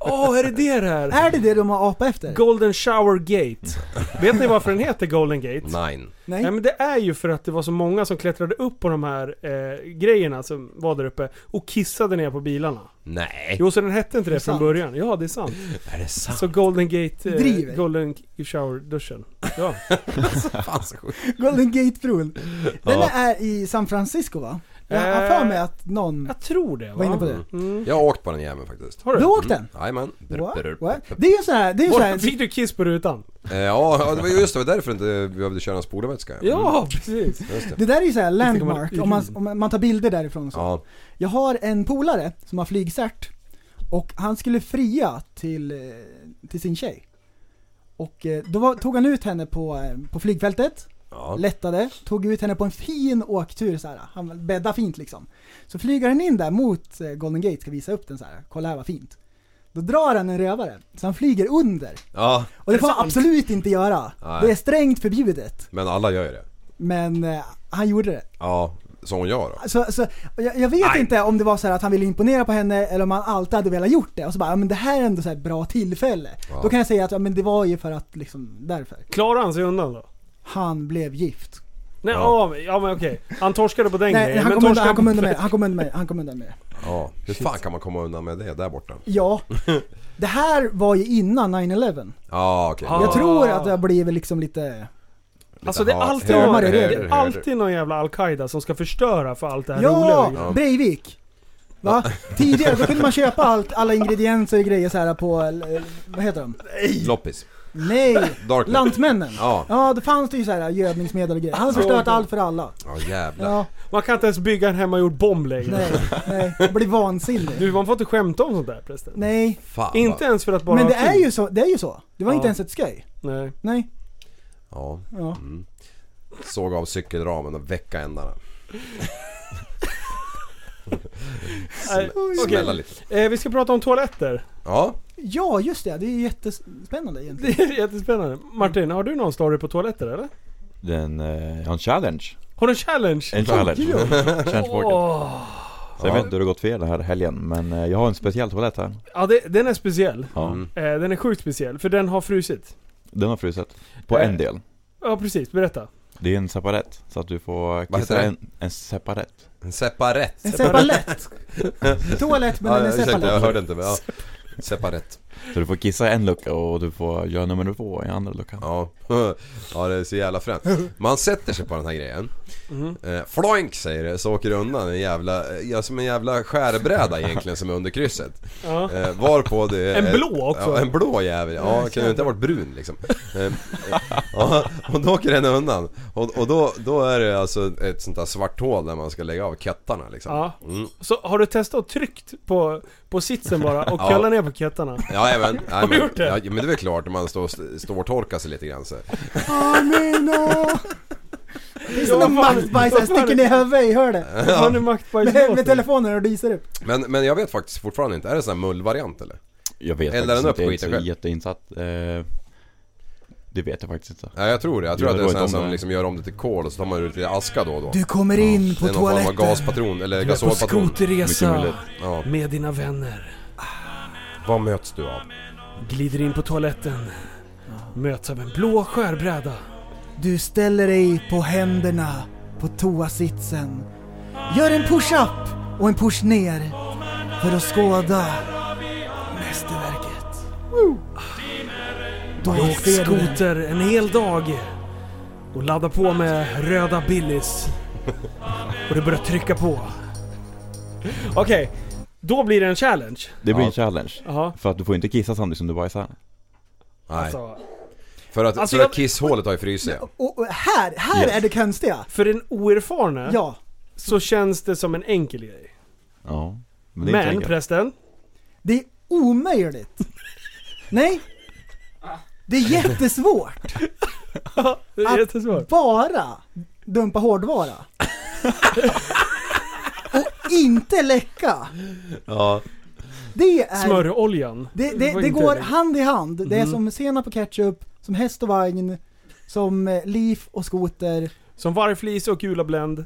[SPEAKER 6] Åh, är det det det här?
[SPEAKER 5] Är det det de har apa efter?
[SPEAKER 6] Golden Shower Gate. Vet ni varför den heter Golden Gate?
[SPEAKER 7] Nine.
[SPEAKER 5] Nej?
[SPEAKER 6] Nej men det är ju för att det var så många som klättrade upp på de här eh, grejerna som var där uppe och kissade ner på bilarna.
[SPEAKER 7] Nej.
[SPEAKER 6] Jo så den hette inte det,
[SPEAKER 5] Det är
[SPEAKER 6] från
[SPEAKER 5] sant.
[SPEAKER 6] början. Ja det är sant.
[SPEAKER 7] Är det sant?
[SPEAKER 6] Så Golden Gate... Eh,
[SPEAKER 5] Driver.
[SPEAKER 6] Golden Shower-duschen. Ja.
[SPEAKER 7] Fan så sjukt.
[SPEAKER 5] Golden Gate-bron. Den
[SPEAKER 7] Ja.
[SPEAKER 5] är i San Francisco va? Jag har
[SPEAKER 6] Eh,
[SPEAKER 5] för mig att någon...
[SPEAKER 6] Jag tror det va?
[SPEAKER 5] Var inne på det.
[SPEAKER 6] Mm.
[SPEAKER 7] Jag har åkt på den jäveln faktiskt.
[SPEAKER 6] Har du?
[SPEAKER 5] Du har åkt den?
[SPEAKER 7] Jajamän. Brr, brr,
[SPEAKER 5] What?
[SPEAKER 7] brr,
[SPEAKER 5] What?
[SPEAKER 7] brr.
[SPEAKER 5] Det är ju så här, det är ju så
[SPEAKER 6] Var,
[SPEAKER 5] här,
[SPEAKER 6] fick du kiss på rutan?
[SPEAKER 7] Eh, Ja, ja, det var just det. var därför inte vi behövde köra en spolarvätska.
[SPEAKER 6] Ja, precis.
[SPEAKER 7] Mm, Just det.
[SPEAKER 5] det där är ju så här
[SPEAKER 6] Visst, det kan man-
[SPEAKER 5] landmark, om man, om man- man tar bilder därifrån och så.
[SPEAKER 7] Ja.
[SPEAKER 5] Jag har en polare som har flygcert och han skulle fria till, eh, till sin tjej. Och eh, då var, tog han ut henne på, eh, på flygfältet,
[SPEAKER 7] Ja.
[SPEAKER 5] lättade, tog ut henne på en fin åktur så här. Han bäddade fint liksom. Så flyger han in där mot eh, Golden Gate, ska visa upp den så här. kolla här vad fint. Då drar han en rövare, så han flyger under.
[SPEAKER 7] ja.
[SPEAKER 5] Och det får han absolut inte göra.
[SPEAKER 7] Nej.
[SPEAKER 5] Det är strängt förbjudet.
[SPEAKER 7] Men alla gör ju det.
[SPEAKER 5] Men eh, han gjorde det.
[SPEAKER 7] Ja. Som hon gör då.
[SPEAKER 5] Så, så, jag, jag vet inte om det var så här att han ville imponera på henne eller om han alltid hade velat gjort det. Och så bara, ja, men det här är ändå så här ett bra tillfälle. Då kan jag säga att ja, men det var ju för att liksom, därför.
[SPEAKER 6] Klarade han sig undan då?
[SPEAKER 5] Han blev gift.
[SPEAKER 6] Nej, ja.
[SPEAKER 7] Ja.
[SPEAKER 6] men- ja men okej. Han torskade på den
[SPEAKER 5] Nej,
[SPEAKER 6] grejen.
[SPEAKER 5] han
[SPEAKER 6] men
[SPEAKER 5] kom, undan,
[SPEAKER 6] torskade
[SPEAKER 5] han kom
[SPEAKER 6] på-
[SPEAKER 5] undan med det. Han kom undan med det. Han kom undan med det.
[SPEAKER 7] Ja. Hur fan kan man komma undan med det där borta?
[SPEAKER 5] Ja. Det här var ju innan 9-11.
[SPEAKER 7] Ja, okej.
[SPEAKER 6] Ja.
[SPEAKER 5] Jag
[SPEAKER 6] Ah.
[SPEAKER 5] tror att det har blivit liksom lite...
[SPEAKER 6] Alltså det är
[SPEAKER 7] Ja,
[SPEAKER 6] alltid,
[SPEAKER 5] hörde,
[SPEAKER 6] någon,
[SPEAKER 5] hörde,
[SPEAKER 6] det är
[SPEAKER 7] hörde.
[SPEAKER 6] alltid någon jävla Al-Qaida som ska förstöra för allt det här
[SPEAKER 5] Ja!
[SPEAKER 6] roliga.
[SPEAKER 5] Breivik! Va? Tidigare då kunde man köpa allt, alla ingredienser och grejer så här på, eh, vad heter de?
[SPEAKER 7] Loppis.
[SPEAKER 5] Nej!
[SPEAKER 7] Darknet.
[SPEAKER 5] Lantmännen.
[SPEAKER 7] Ja.
[SPEAKER 5] Ja, det fanns det ju så här gödningsmedel och grejer. Han har förstört allt för alla.
[SPEAKER 7] Ja, jävlar.
[SPEAKER 5] Ja,
[SPEAKER 6] Man kan inte ens bygga en hemmagjord bomb längre.
[SPEAKER 5] nej, nej. Jag blir vansinnig.
[SPEAKER 6] Du, man får inte skämta om sånt där förresten.
[SPEAKER 5] Nej.
[SPEAKER 7] Fan
[SPEAKER 6] Inte
[SPEAKER 7] vad-
[SPEAKER 6] ens för att bara
[SPEAKER 5] Men
[SPEAKER 6] ha
[SPEAKER 5] det är
[SPEAKER 6] kul.
[SPEAKER 5] ju så, det är ju så. Det var
[SPEAKER 6] Ja.
[SPEAKER 5] inte ens ett skoj.
[SPEAKER 6] Nej.
[SPEAKER 5] Nej.
[SPEAKER 7] Ja. mm.
[SPEAKER 5] Ja.
[SPEAKER 7] Såg av cykelramen och väcka ändarna.
[SPEAKER 6] Nej, okej.
[SPEAKER 7] Smälla lite.
[SPEAKER 6] Eh, vi ska prata om toaletter.
[SPEAKER 7] Ja.
[SPEAKER 5] Ja, just det. Det är ju jättespännande
[SPEAKER 6] Det
[SPEAKER 5] egentligen.
[SPEAKER 6] är jättespännande. Martin, har du någon story på toaletter eller?
[SPEAKER 8] Den, eh, jag har en challenge.
[SPEAKER 6] Har du en challenge?
[SPEAKER 8] En challenge. challenge oh.
[SPEAKER 6] Åh.
[SPEAKER 8] Så jag vet inte hur det gått för er den här helgen, men eh, jag har en speciell toalett här.
[SPEAKER 6] Ja, det, den är speciell.
[SPEAKER 8] Ja.
[SPEAKER 7] Mm.
[SPEAKER 6] Eh, den är sjukt speciell, för den har frusit.
[SPEAKER 8] Den har frusit. På
[SPEAKER 6] Eh.
[SPEAKER 8] en del.
[SPEAKER 6] Ja, precis. Berätta.
[SPEAKER 8] Det är en separett, så att du får kissa
[SPEAKER 7] heter det?
[SPEAKER 8] en, en separett.
[SPEAKER 7] En separett.
[SPEAKER 5] En separlett. Toalett, men
[SPEAKER 7] Ja,
[SPEAKER 5] den är
[SPEAKER 7] ursäkta, jag
[SPEAKER 5] separlett.
[SPEAKER 7] hörde inte. Men, ja. Separett.
[SPEAKER 8] Så du får kissa i en lucka och du får göra nummer två i andra luckan.
[SPEAKER 7] Ja. ja, det är så jävla fränt. Man sätter sig på den här grejen.
[SPEAKER 6] Mm.
[SPEAKER 7] Eh, floink säger det, så åker det undan en jävla, eh, ja, som en jävla skärbräda egentligen som är under krysset.
[SPEAKER 6] Ja.
[SPEAKER 7] Eh, varpå det...
[SPEAKER 6] En blå också. Mm.
[SPEAKER 7] Ja, en blå jävel. Ja, kan ju inte ha varit brun liksom. Eh, eh, ja, och då åker den undan. Och, och då, då är det alltså ett sånt där svart hål där man ska lägga av köttarna liksom.
[SPEAKER 6] Ja.
[SPEAKER 7] Mm.
[SPEAKER 6] Så har du testat och tryckt på, på sitsen bara och
[SPEAKER 7] Ja.
[SPEAKER 6] kallat ner på köttarna?
[SPEAKER 7] Ja, även, Har
[SPEAKER 6] du gjort det?
[SPEAKER 7] Ja, men det är väl klart när man står, står och torkar sig lite grann så.
[SPEAKER 5] Amina! Det är
[SPEAKER 6] Ja,
[SPEAKER 5] sådana
[SPEAKER 6] vad fan-
[SPEAKER 5] maktbajsare
[SPEAKER 6] vad fan-
[SPEAKER 5] sticker ner huvudet i hörnet.
[SPEAKER 6] Han är
[SPEAKER 5] Med, med
[SPEAKER 6] maktbajslåten.
[SPEAKER 5] telefonen och disar upp.
[SPEAKER 7] Men, men jag vet faktiskt fortfarande inte, är det sån här mullvariant eller?
[SPEAKER 8] Jag vet
[SPEAKER 7] Eldar den upp
[SPEAKER 8] faktiskt inte, jag är inte
[SPEAKER 7] skiten
[SPEAKER 8] så
[SPEAKER 7] själv?
[SPEAKER 8] jätteinsatt. Eh, det vet jag faktiskt inte.
[SPEAKER 7] Nej jag tror det, jag tror
[SPEAKER 8] Jo,
[SPEAKER 7] att det
[SPEAKER 8] det
[SPEAKER 7] är
[SPEAKER 8] var
[SPEAKER 7] sån här
[SPEAKER 8] ett
[SPEAKER 7] som
[SPEAKER 8] område.
[SPEAKER 7] liksom gör om det till kol och så tar man ut lite aska då och då.
[SPEAKER 5] Du kommer in
[SPEAKER 7] det
[SPEAKER 5] på
[SPEAKER 7] är någon form av
[SPEAKER 5] toaletten.
[SPEAKER 7] gaspatron eller
[SPEAKER 6] Du är på
[SPEAKER 7] gasolpatron.
[SPEAKER 8] Mycket
[SPEAKER 6] skoterresa
[SPEAKER 8] möjligt.
[SPEAKER 7] Ja.
[SPEAKER 6] med dina vänner.
[SPEAKER 7] Vad möts du av?
[SPEAKER 6] Glider in på toaletten. Möts av en blå skärbräda.
[SPEAKER 5] Du ställer dig på händerna på toasitsen. Gör en push-up och en push ner för att skåda mästerverket. Då
[SPEAKER 6] Jag åkte
[SPEAKER 5] ser du det.
[SPEAKER 6] skoter en hel dag och laddade på med röda Billys. Och det började trycka på. Okej, då blir det en challenge.
[SPEAKER 8] Det blir
[SPEAKER 7] Ja.
[SPEAKER 8] en challenge.
[SPEAKER 6] Jaha.
[SPEAKER 8] För att du får inte kissa samtidigt som du bajsar.
[SPEAKER 7] Nej.
[SPEAKER 6] Alltså,
[SPEAKER 7] För att,
[SPEAKER 6] Alltså,
[SPEAKER 7] för
[SPEAKER 6] jag-
[SPEAKER 7] att kisshålet har ju frusit.
[SPEAKER 5] Och, och här, här
[SPEAKER 8] Yes.
[SPEAKER 5] är det konstiga.
[SPEAKER 6] för den oerfarna
[SPEAKER 5] Ja.
[SPEAKER 6] så känns det som en enkel grej.
[SPEAKER 8] Ja. Men det är
[SPEAKER 6] Men
[SPEAKER 8] inte enkelt.
[SPEAKER 6] prästen,
[SPEAKER 5] Det är omöjligt. Nej. Det är jättesvårt.
[SPEAKER 6] det är
[SPEAKER 5] Att-
[SPEAKER 6] jättesvårt.
[SPEAKER 5] Bara dumpa hårdvara. Och inte läcka.
[SPEAKER 8] Ja.
[SPEAKER 5] Det är...
[SPEAKER 6] Smöroljan.
[SPEAKER 5] Det, det,
[SPEAKER 6] var
[SPEAKER 5] det
[SPEAKER 6] inte
[SPEAKER 5] går
[SPEAKER 6] lätt.
[SPEAKER 5] hand i hand. Det är som senap och ketchup, som häst och vagn, som eh, liv och skoter.
[SPEAKER 6] Som vargflis och gula bländ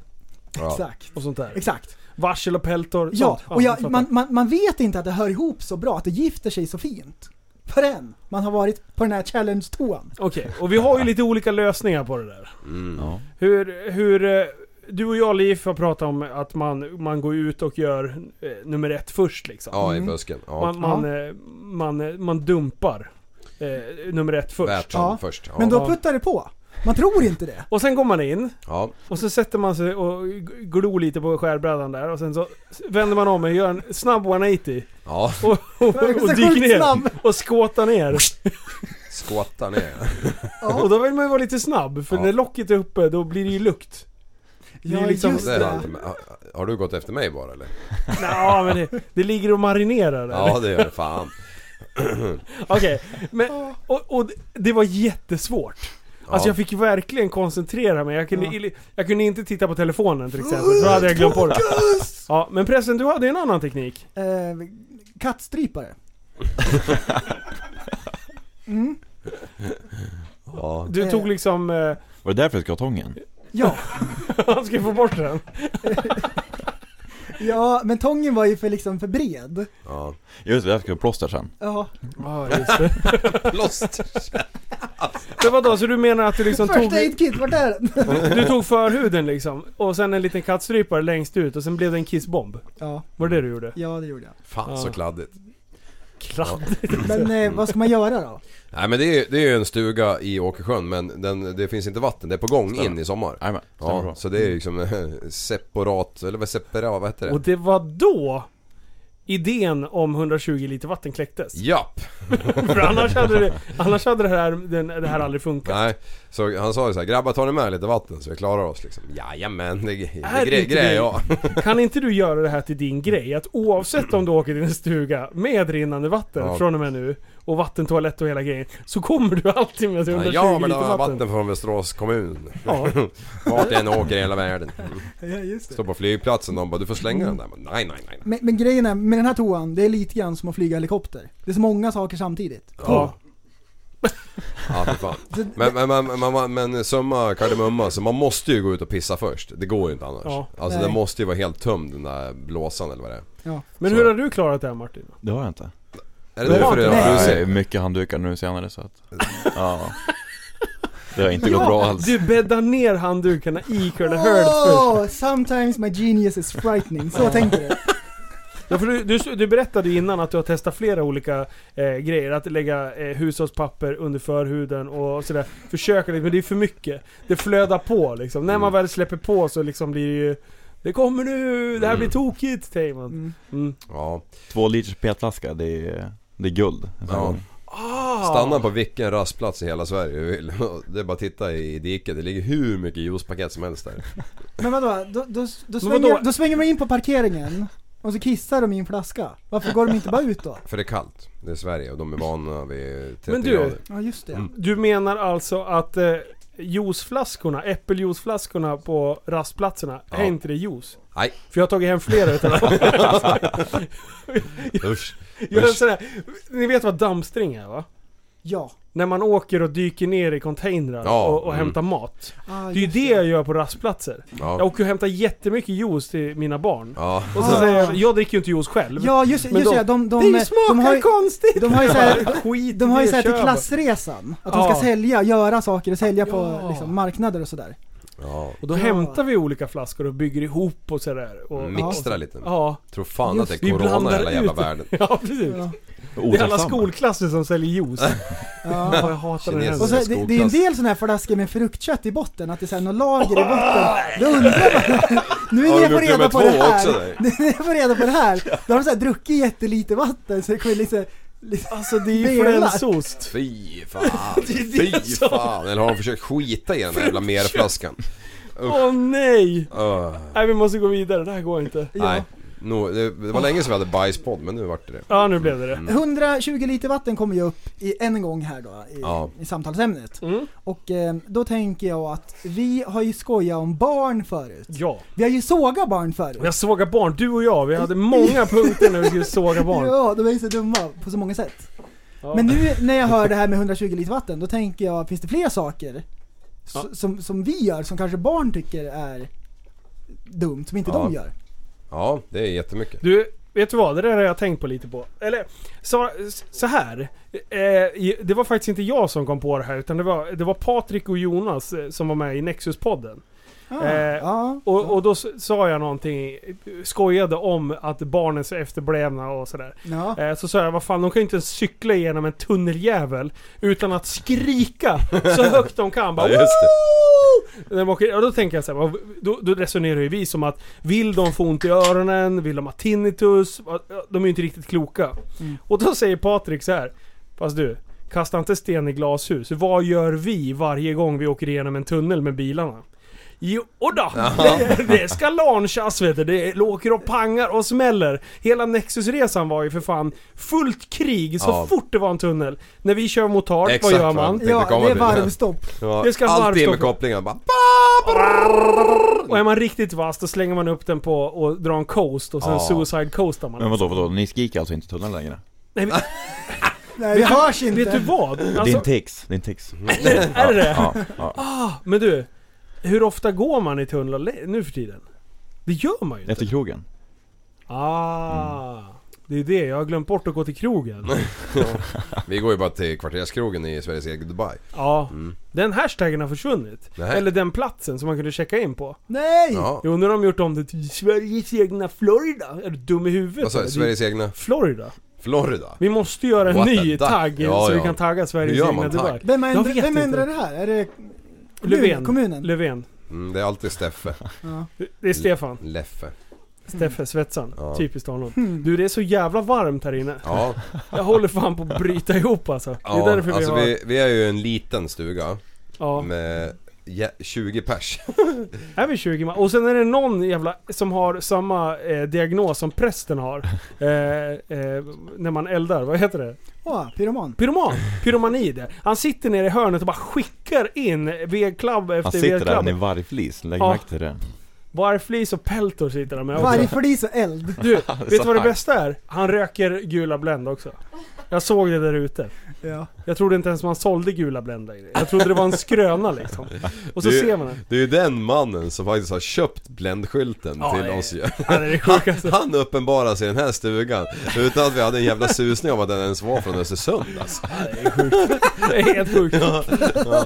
[SPEAKER 7] Ja.
[SPEAKER 5] Exakt.
[SPEAKER 6] och sånt där.
[SPEAKER 5] Exakt.
[SPEAKER 6] Varsel och peltor.
[SPEAKER 5] Ja,
[SPEAKER 6] sånt.
[SPEAKER 5] och
[SPEAKER 6] jag fattar.
[SPEAKER 5] jag, man, man, man vet inte att det hör ihop så bra, att det gifter sig så fint. Förrän man har varit på den här challenge-toan.
[SPEAKER 6] Okej, och vi har ju lite olika lösningar på det där.
[SPEAKER 5] Mm.
[SPEAKER 8] ja.
[SPEAKER 6] Hur, hur... eh, Du och jag Liv har pratat om att man, man går ut och gör eh, nummer ett först liksom.
[SPEAKER 7] ja, i
[SPEAKER 5] Mm.
[SPEAKER 7] busken. Ja.
[SPEAKER 6] Man, man, eh, man, eh, man dumpar eh, nummer ett först.
[SPEAKER 7] Värtan
[SPEAKER 5] Ja.
[SPEAKER 7] först. Ja.
[SPEAKER 5] Men då puttar det på. Man tror inte det.
[SPEAKER 6] Och sen går man in
[SPEAKER 7] ja.
[SPEAKER 6] och så sätter man sig och g- glor lite på skärbrädan där och sen så vänder man om och gör en snabb 180
[SPEAKER 7] ja.
[SPEAKER 6] och, och,
[SPEAKER 5] är så
[SPEAKER 6] och dyker
[SPEAKER 5] sjukt
[SPEAKER 6] ner
[SPEAKER 5] snabb.
[SPEAKER 6] och skåtar ner.
[SPEAKER 7] Skåta ner.
[SPEAKER 6] Och då vill man ju vara lite snabb för
[SPEAKER 7] Ja.
[SPEAKER 6] när locket är uppe då blir det ju lukt. Det är
[SPEAKER 5] Ja,
[SPEAKER 6] liksom-
[SPEAKER 5] just
[SPEAKER 7] Det är
[SPEAKER 5] det.
[SPEAKER 7] allt. Men, har- Har du gått efter mig bara eller?
[SPEAKER 6] Ja men det, det ligger och marinerar där.
[SPEAKER 7] Ja det gör det fan.
[SPEAKER 6] Okej, men, och, och det var jättesvårt. Alltså
[SPEAKER 7] Ja.
[SPEAKER 6] jag fick verkligen koncentrera mig. Jag kunde, jag kunde inte titta på telefonen till exempel, för då hade jag glömt bort det. Ja, men pressen, du hade en annan teknik.
[SPEAKER 5] Eh, kattstrypare.
[SPEAKER 7] Ja.
[SPEAKER 6] Du
[SPEAKER 5] Eh.
[SPEAKER 6] tog liksom... eh,
[SPEAKER 8] Var det därför kartongen?
[SPEAKER 5] Ja.
[SPEAKER 6] Han ska få bort den.
[SPEAKER 5] ja, men tången var ju för liksom för bred.
[SPEAKER 7] ja.
[SPEAKER 8] Just det, därför ska jag plåster sen.
[SPEAKER 5] Ja.
[SPEAKER 6] Ja, just det.
[SPEAKER 7] Lost.
[SPEAKER 6] Men vadå, så du menar att du liksom tog,
[SPEAKER 5] Första aid kit, vart är den?
[SPEAKER 6] du tog förhuden liksom, och sen en liten kattstrypare längst ut, och sen blev det en kissbomb?
[SPEAKER 5] Ja,
[SPEAKER 6] Var det det du gjorde?
[SPEAKER 5] ja det gjorde jag.
[SPEAKER 7] Fan så
[SPEAKER 6] Ja.
[SPEAKER 7] kladdigt.
[SPEAKER 6] Kladd.
[SPEAKER 5] Men eh, vad ska man göra då?
[SPEAKER 7] Nej men det är, ju- det är ju en stuga i Åkersjön men den, det finns inte vatten. Det är på gång in i sommar.
[SPEAKER 8] Jajamän, stämmer
[SPEAKER 7] Ja,
[SPEAKER 8] bra.
[SPEAKER 7] så det är ju liksom eh, separat, eller vad separat, vad heter
[SPEAKER 6] Och
[SPEAKER 7] det?
[SPEAKER 6] det var då idén om 120 liter vatten kläcktes.
[SPEAKER 7] Japp!
[SPEAKER 6] För annars hade det, annars hade det, här, den, det här aldrig funkat.
[SPEAKER 7] Nej, så han sa ju så här, grabbar tar ni med lite vatten så vi klarar oss liksom. Jajamän, det, det,
[SPEAKER 6] Är
[SPEAKER 7] det
[SPEAKER 6] det
[SPEAKER 7] grej,
[SPEAKER 6] inte
[SPEAKER 7] grej
[SPEAKER 6] det-
[SPEAKER 7] ja.
[SPEAKER 6] Kan inte du göra det här till din grej? Att oavsett om du åker till en stuga med rinnande vatten
[SPEAKER 7] Ja.
[SPEAKER 6] från och med nu och vattentoalett och hela grejen så kommer du alltid med 120
[SPEAKER 7] Ja men det
[SPEAKER 6] liter
[SPEAKER 7] var
[SPEAKER 6] vatten.
[SPEAKER 7] vatten från Västerås kommun.
[SPEAKER 6] Ja.
[SPEAKER 7] Vart jag än åker i hela världen.
[SPEAKER 5] Ja, just
[SPEAKER 7] Står på flygplatsen de bara, du får slänga den där. Men, nej nej nej. nej.
[SPEAKER 5] Men, men grejen är, med den här toan, det är lite grann som att flyga helikopter. Det är så många saker samtidigt.
[SPEAKER 7] Ja. Ja för fan.
[SPEAKER 5] Så-
[SPEAKER 7] Men, men, men, men, men, men summa kardemumma, så man måste ju gå ut och pissa först. Det går ju inte annars.
[SPEAKER 6] Ja.
[SPEAKER 7] Alltså
[SPEAKER 5] Nej.
[SPEAKER 7] den måste ju vara helt tömd den där blåsan eller vad det är.
[SPEAKER 6] Men
[SPEAKER 7] Så.
[SPEAKER 6] hur har du klarat det här Martin?
[SPEAKER 8] Det har jag inte.
[SPEAKER 7] Är det
[SPEAKER 6] Det var
[SPEAKER 7] därför det
[SPEAKER 5] inte
[SPEAKER 7] har
[SPEAKER 5] det.
[SPEAKER 7] frusit?
[SPEAKER 8] Nej, mycket handdukar nu senare så att... Ja. Det har inte gått bra alls.
[SPEAKER 6] Du bäddar ner handdukarna i Curly Hurd först.
[SPEAKER 5] Oh, sometimes my genius is frightening. Så tänker du.
[SPEAKER 6] Ja, för du, du, du berättade ju innan att du har testat flera olika eh, grejer. Att lägga eh, hushållspapper under förhuden och sådär. Försöka lite, men det är för mycket. Det flödar på liksom. När
[SPEAKER 7] Mm.
[SPEAKER 6] man väl släpper på så liksom blir det ju... Det kommer nu! Det här blir
[SPEAKER 7] Mm.
[SPEAKER 6] tokigt, säger man.
[SPEAKER 5] Mm.
[SPEAKER 6] Mm.
[SPEAKER 7] Ja.
[SPEAKER 8] Två liters petflaska, det är, det är guld. Alltså,
[SPEAKER 7] Ja.
[SPEAKER 8] Ja.
[SPEAKER 6] Ah!
[SPEAKER 7] Stanna på vilken rastplats i hela Sverige du vill. Det är bara att titta i diket. Det ligger hur mycket juicepaket som helst där.
[SPEAKER 5] Men vadå, då, då, då,
[SPEAKER 6] Men vadå?
[SPEAKER 5] svänger, då svänger man in på parkeringen och så kissar de i en flaska. Varför går de inte bara ut då?
[SPEAKER 7] För det är kallt. Det är Sverige och de är vana vid 30
[SPEAKER 6] Men du-
[SPEAKER 7] grader.
[SPEAKER 5] Ja just det.
[SPEAKER 6] Du menar alltså att eh, juiceflaskorna, äppeljuiceflaskorna på rastplatserna,
[SPEAKER 7] Ja.
[SPEAKER 6] är inte det juice?
[SPEAKER 7] Nej.
[SPEAKER 6] För jag har tagit hem flera utan
[SPEAKER 7] Usch.
[SPEAKER 6] Jag gör
[SPEAKER 7] Usch.
[SPEAKER 6] sådär, ni vet vad dammstring är va?
[SPEAKER 5] Ja.
[SPEAKER 6] När man åker och dyker ner i containrar
[SPEAKER 7] Ja,
[SPEAKER 6] och, och
[SPEAKER 7] mm.
[SPEAKER 6] hämtar mat.
[SPEAKER 5] Ah,
[SPEAKER 6] Det är ju det jag gör på rastplatser. Jag
[SPEAKER 7] Ja.
[SPEAKER 6] åker och hämtar jättemycket juice till mina barn.
[SPEAKER 7] Ja.
[SPEAKER 6] Och så
[SPEAKER 5] Ah.
[SPEAKER 6] säger jag, jag dricker ju inte juice själv.
[SPEAKER 5] Ja just, just
[SPEAKER 6] Men de-
[SPEAKER 5] det, de, de,
[SPEAKER 6] det är ju
[SPEAKER 5] de,
[SPEAKER 6] smakar
[SPEAKER 5] har ju,
[SPEAKER 6] konstigt!
[SPEAKER 5] de har ju såhär,
[SPEAKER 6] Skit
[SPEAKER 5] de har
[SPEAKER 6] i
[SPEAKER 5] ju
[SPEAKER 6] det,
[SPEAKER 5] såhär till
[SPEAKER 6] kör bara.
[SPEAKER 5] klassresan. Att de
[SPEAKER 6] Ja.
[SPEAKER 5] ska sälja, göra saker och sälja
[SPEAKER 6] Ja.
[SPEAKER 5] på liksom, marknader och sådär.
[SPEAKER 7] ja.
[SPEAKER 6] Och då
[SPEAKER 5] Ja.
[SPEAKER 6] hämtar vi olika flaskor och bygger ihop och sådär. Och,
[SPEAKER 7] Mixtra lite.
[SPEAKER 6] Ja,
[SPEAKER 7] Tror fan att det är
[SPEAKER 6] vi
[SPEAKER 7] corona i
[SPEAKER 6] blandar
[SPEAKER 7] hela
[SPEAKER 6] ut
[SPEAKER 7] jävla
[SPEAKER 6] det.
[SPEAKER 7] världen.
[SPEAKER 6] ja precis.
[SPEAKER 5] Ja.
[SPEAKER 6] Det är alla skolklasser som säljer juice.
[SPEAKER 5] Ja.
[SPEAKER 6] Ja, jag hatar den
[SPEAKER 7] Kineser.
[SPEAKER 5] Och så,
[SPEAKER 6] här.
[SPEAKER 7] Sådär
[SPEAKER 5] det, det är en
[SPEAKER 7] Alltså, skolklass.
[SPEAKER 5] del sådana här flaskor med fruktkött i botten, att det är såhär något lager i botten. Då undrar man, nu
[SPEAKER 7] Har
[SPEAKER 5] är
[SPEAKER 7] du
[SPEAKER 5] jag får
[SPEAKER 7] gjort
[SPEAKER 5] reda
[SPEAKER 7] nummer två
[SPEAKER 5] på det här.
[SPEAKER 7] också, där?
[SPEAKER 5] Nu när jag får reda på det här, då har de så här druckit jättelite vatten så det kommer lite, lite
[SPEAKER 6] Alltså det är ju
[SPEAKER 5] Delar.
[SPEAKER 6] frälsost.
[SPEAKER 7] Fy fan.
[SPEAKER 6] är det
[SPEAKER 7] Fy
[SPEAKER 6] som-
[SPEAKER 7] fan. Eller har de försökt skita i den här jävla merflaskan?
[SPEAKER 6] Åh nej!
[SPEAKER 7] Öh,
[SPEAKER 6] Nej vi måste gå vidare, det här går inte.
[SPEAKER 7] nej. No, det, det var länge sedan vi hade bajspodd men nu vart det det.
[SPEAKER 6] Ja nu blev det
[SPEAKER 7] Mm.
[SPEAKER 6] det.
[SPEAKER 5] 120 liter vatten kommer ju upp i, en gång här då i,
[SPEAKER 7] Ja.
[SPEAKER 5] i samtalsämnet.
[SPEAKER 6] Mm.
[SPEAKER 5] Och eh, då tänker jag att vi har ju skojat om barn förut.
[SPEAKER 6] Ja.
[SPEAKER 5] Vi har ju sågat barn förut.
[SPEAKER 6] Jag sågar barn, du och jag, vi hade många punkter när vi skulle såga barn.
[SPEAKER 5] Ja, de är ju så dumma på så många sätt.
[SPEAKER 6] Ja.
[SPEAKER 5] Men nu när jag hör det här med 120 liter vatten, då tänker jag, finns det fler saker s- som, som vi gör, som kanske barn tycker är dumt, som inte
[SPEAKER 7] Ja.
[SPEAKER 5] de gör?
[SPEAKER 7] Ja, det är jättemycket.
[SPEAKER 6] Du, vet du vad? Det där har jag tänkt på lite på. Eller, så, så här. Eh, i- det var faktiskt inte jag som kom på det här, utan det var, det var Patrik och Jonas eh, som var med i Nexus-podden.
[SPEAKER 5] Ah,
[SPEAKER 6] Eh,
[SPEAKER 5] ja.
[SPEAKER 6] Och, och då s- sa jag någonting, skojade om att barnen är så efterblivna och sådär.
[SPEAKER 5] ja.
[SPEAKER 6] Eh, Så sa jag, vad fan, de kan ju inte ens cykla igenom en tunneljävel utan att skrika så högt de kan. Bara,
[SPEAKER 7] Ja, just det.
[SPEAKER 6] när de åker, och då tänker jag så här, vad- då, då resonerar ju vi som att vill de få ont i öronen, vill de ha tinnitus? Vad- De är ju inte riktigt kloka. Och då säger Patrik så här, fast du, kasta inte sten i glashus. Vad gör vi varje gång vi åker igenom en tunnel med bilarna? Jo, och då, det, det ska launchas vet du. Det åker och pangar och smäller. Hela Nexusresan var ju för fan fullt krig så
[SPEAKER 7] Ja.
[SPEAKER 6] fort det var en tunnel. När vi kör motard, vad
[SPEAKER 7] Exakt,
[SPEAKER 6] gör
[SPEAKER 7] va?
[SPEAKER 6] man?
[SPEAKER 7] tänkte
[SPEAKER 5] Ja,
[SPEAKER 7] komma
[SPEAKER 5] det är
[SPEAKER 7] till det här.
[SPEAKER 5] varvstopp.
[SPEAKER 7] Ja,
[SPEAKER 6] Det ska
[SPEAKER 7] alltid med
[SPEAKER 6] varvstopp.
[SPEAKER 7] kopplingen bara.
[SPEAKER 6] Och är man riktigt vass då slänger man upp den på och drar en coast och sen
[SPEAKER 8] Ja.
[SPEAKER 6] suicide coastar man.
[SPEAKER 8] Men vadå, vadå? Ni skriker alltså inte i tunneln längre?
[SPEAKER 6] Nej, men,
[SPEAKER 5] Nej, det hörs inte.
[SPEAKER 6] vet du vad?
[SPEAKER 8] Din
[SPEAKER 6] Alltså,
[SPEAKER 8] tics, din tics.
[SPEAKER 6] är det det?
[SPEAKER 8] Ja, ja.
[SPEAKER 6] Men du, hur ofta går man i tunnlar le- nu för tiden? Det gör man ju inte.
[SPEAKER 8] Efter krogen.
[SPEAKER 6] Ah, det är det. Jag har glömt bort att gå till krogen.
[SPEAKER 7] Vi går ju bara till kvarterskrogen i Sveriges eget Dubai.
[SPEAKER 6] Ja. Den hashtaggen har försvunnit.
[SPEAKER 7] Mm. Nej.
[SPEAKER 6] Eller den platsen som man kunde checka in på.
[SPEAKER 5] Nej!
[SPEAKER 7] Ja.
[SPEAKER 6] Jo, nu har de gjort om det till Sveriges egna Florida. Är du dum i huvudet?
[SPEAKER 7] Vad sa
[SPEAKER 6] eller?
[SPEAKER 7] jag?
[SPEAKER 6] Det-
[SPEAKER 7] Sveriges egna
[SPEAKER 6] Florida.
[SPEAKER 7] Florida?
[SPEAKER 6] Vi måste göra en
[SPEAKER 7] What
[SPEAKER 6] ny
[SPEAKER 7] the duck?
[SPEAKER 6] tagg
[SPEAKER 7] Ja,
[SPEAKER 6] så vi
[SPEAKER 7] ja.
[SPEAKER 6] kan tagga Sveriges
[SPEAKER 7] Hur gör
[SPEAKER 6] egna
[SPEAKER 7] man tagg?
[SPEAKER 6] Dubai.
[SPEAKER 5] Vem, har
[SPEAKER 6] Jag
[SPEAKER 5] ändrar,
[SPEAKER 6] vet
[SPEAKER 5] vem
[SPEAKER 6] inte.
[SPEAKER 5] ändrar det här? Är det kommun,
[SPEAKER 6] Löfven.
[SPEAKER 5] kommunen?
[SPEAKER 6] Löfven.
[SPEAKER 7] Mm, det är alltid Steffe.
[SPEAKER 6] Det är Stefan.
[SPEAKER 7] Leffe.
[SPEAKER 6] Steffe, svetsaren.
[SPEAKER 7] Mm. Ja.
[SPEAKER 6] Typiskt honom. Du, det är så jävla varmt här inne.
[SPEAKER 7] Ja,
[SPEAKER 6] Jag håller fan på att bryta ihop alltså. Det är
[SPEAKER 7] ja
[SPEAKER 6] därför vi
[SPEAKER 7] alltså
[SPEAKER 6] har...
[SPEAKER 7] vi, vi är ju en liten stuga
[SPEAKER 6] Ja,
[SPEAKER 7] med jä- 20 pers.
[SPEAKER 6] är vi 20 man? Och sen är det någon jävla som har samma eh, diagnos som prästen har. Eh, eh, när man eldar, vad heter det?
[SPEAKER 5] Åh, pyroman.
[SPEAKER 6] Pyroman! Pyromani det. Han sitter nere i hörnet och bara skickar in vedklubb
[SPEAKER 8] Han
[SPEAKER 6] efter
[SPEAKER 8] sitter där
[SPEAKER 6] vedklubb.
[SPEAKER 8] med en vargflis, lägg
[SPEAKER 6] Ja.
[SPEAKER 8] märke till det.
[SPEAKER 6] Vargflis och peltor sitter han med också.
[SPEAKER 5] Vargflis och eld.
[SPEAKER 6] Du, vet du vad det
[SPEAKER 8] arg.
[SPEAKER 6] bästa är? Han röker gula Blend också. Jag såg det där ute.
[SPEAKER 5] Ja.
[SPEAKER 6] Jag trodde inte ens man sålde gula Blend längre. Jag trodde det var en skröna liksom. Och så
[SPEAKER 7] Det-
[SPEAKER 6] ser man den.
[SPEAKER 7] Det är ju den mannen som faktiskt har köpt bländskylten
[SPEAKER 6] Ja,
[SPEAKER 7] till
[SPEAKER 6] det-
[SPEAKER 7] oss ju.
[SPEAKER 6] Ja, det är det sjukaste.
[SPEAKER 7] Han uppenbarar sig i den här stugan utan att vi hade en jävla susning om att den ens var från Östersund alltså.
[SPEAKER 6] Det är helt sjukt.
[SPEAKER 7] Ja,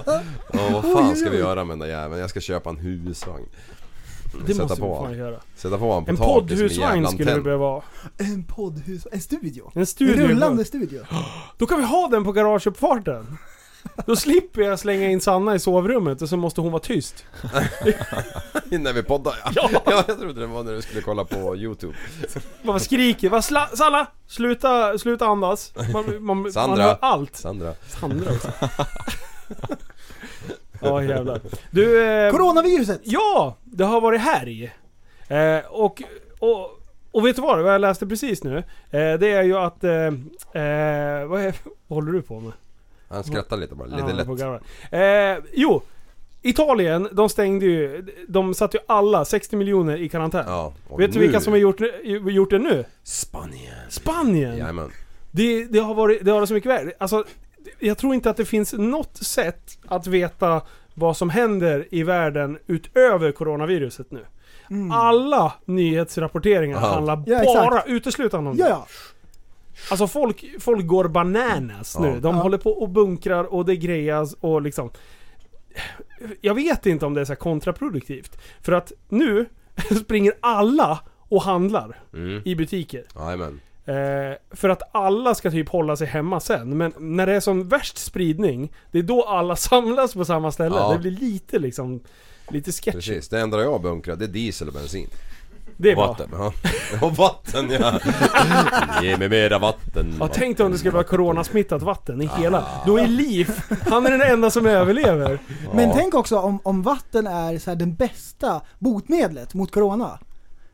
[SPEAKER 7] vad fan ska vi göra med den där jäveln? Jag ska köpa en husvagn.
[SPEAKER 6] Det
[SPEAKER 7] Sätta
[SPEAKER 6] måste vi
[SPEAKER 7] på
[SPEAKER 6] fan
[SPEAKER 7] honom.
[SPEAKER 6] göra.
[SPEAKER 7] Sätta på honom på
[SPEAKER 6] En
[SPEAKER 7] taket som en
[SPEAKER 6] poddhusvagn
[SPEAKER 7] jävla
[SPEAKER 6] skulle vi
[SPEAKER 7] antenn.
[SPEAKER 6] behöva ha.
[SPEAKER 5] En poddhus, en studio.
[SPEAKER 6] En studio.
[SPEAKER 5] En rullande studio.
[SPEAKER 6] Då kan vi ha den på garageuppfarten. Då slipper jag slänga in Sanna i sovrummet och så måste hon vara tyst.
[SPEAKER 7] När vi poddar ja. ja! Jag trodde det var när du skulle kolla på YouTube.
[SPEAKER 6] Bara skriker. Bara sla- Sanna! Sluta, sluta andas. Man, man, man
[SPEAKER 7] Sandra.
[SPEAKER 6] hör allt.
[SPEAKER 7] Sandra.
[SPEAKER 6] Sandra också. Ja jävlar. Du... Eh,
[SPEAKER 5] Coronaviruset!
[SPEAKER 6] ja! Det har varit härj. Eh, och, och, och vet du vad? Vad jag läste precis nu. Eh, det är ju att... Eh, eh, vad, är, vad håller du på med?
[SPEAKER 7] Han skrattar lite bara,
[SPEAKER 6] Ja,
[SPEAKER 7] lite
[SPEAKER 6] på
[SPEAKER 7] lätt.
[SPEAKER 6] gamla. Eh, jo! Italien, de stängde ju... De satte ju alla 60 miljoner i karantän.
[SPEAKER 7] Ja. och
[SPEAKER 6] Vet du
[SPEAKER 7] nu-
[SPEAKER 6] vilka som har gjort, gjort det nu?
[SPEAKER 7] Spanien.
[SPEAKER 6] Spanien!
[SPEAKER 7] Jajamän.
[SPEAKER 6] Det, det har varit, det har så mycket värde. Alltså, jag tror inte att det finns något sätt att veta vad som händer i världen utöver coronaviruset nu. Alla nyhetsrapporteringar
[SPEAKER 7] Ja.
[SPEAKER 6] handlar
[SPEAKER 5] Mm. Ja, exakt.
[SPEAKER 6] bara uteslutande om
[SPEAKER 5] Ja,
[SPEAKER 6] det.
[SPEAKER 5] ja.
[SPEAKER 6] Alltså folk, folk går bananas
[SPEAKER 7] Ja.
[SPEAKER 6] nu. De håller på och bunkrar och det grejas och liksom... Jag vet inte om det är så här kontraproduktivt. För att nu springer alla och handlar
[SPEAKER 7] Mm.
[SPEAKER 6] i butiker.
[SPEAKER 7] Jajamän.
[SPEAKER 6] Eh, för att alla ska typ hålla sig hemma sen. Men när det är som värst spridning, det är då alla samlas på samma ställe.
[SPEAKER 7] Ja.
[SPEAKER 6] Det blir lite liksom Lite sketch.
[SPEAKER 7] Precis, det enda jag bunkrar det är diesel och bensin.
[SPEAKER 6] Det är
[SPEAKER 7] och
[SPEAKER 6] bra.
[SPEAKER 7] vatten. Ja. Och vatten ja. Ge mig mera vatten.
[SPEAKER 6] Ja, tänk dig om det skulle vara coronasmittat vatten i hela.
[SPEAKER 7] Ah.
[SPEAKER 6] Då är Liv, han är den enda som överlever.
[SPEAKER 5] Men tänk också om, om vatten är så här den bästa botemedlet mot corona.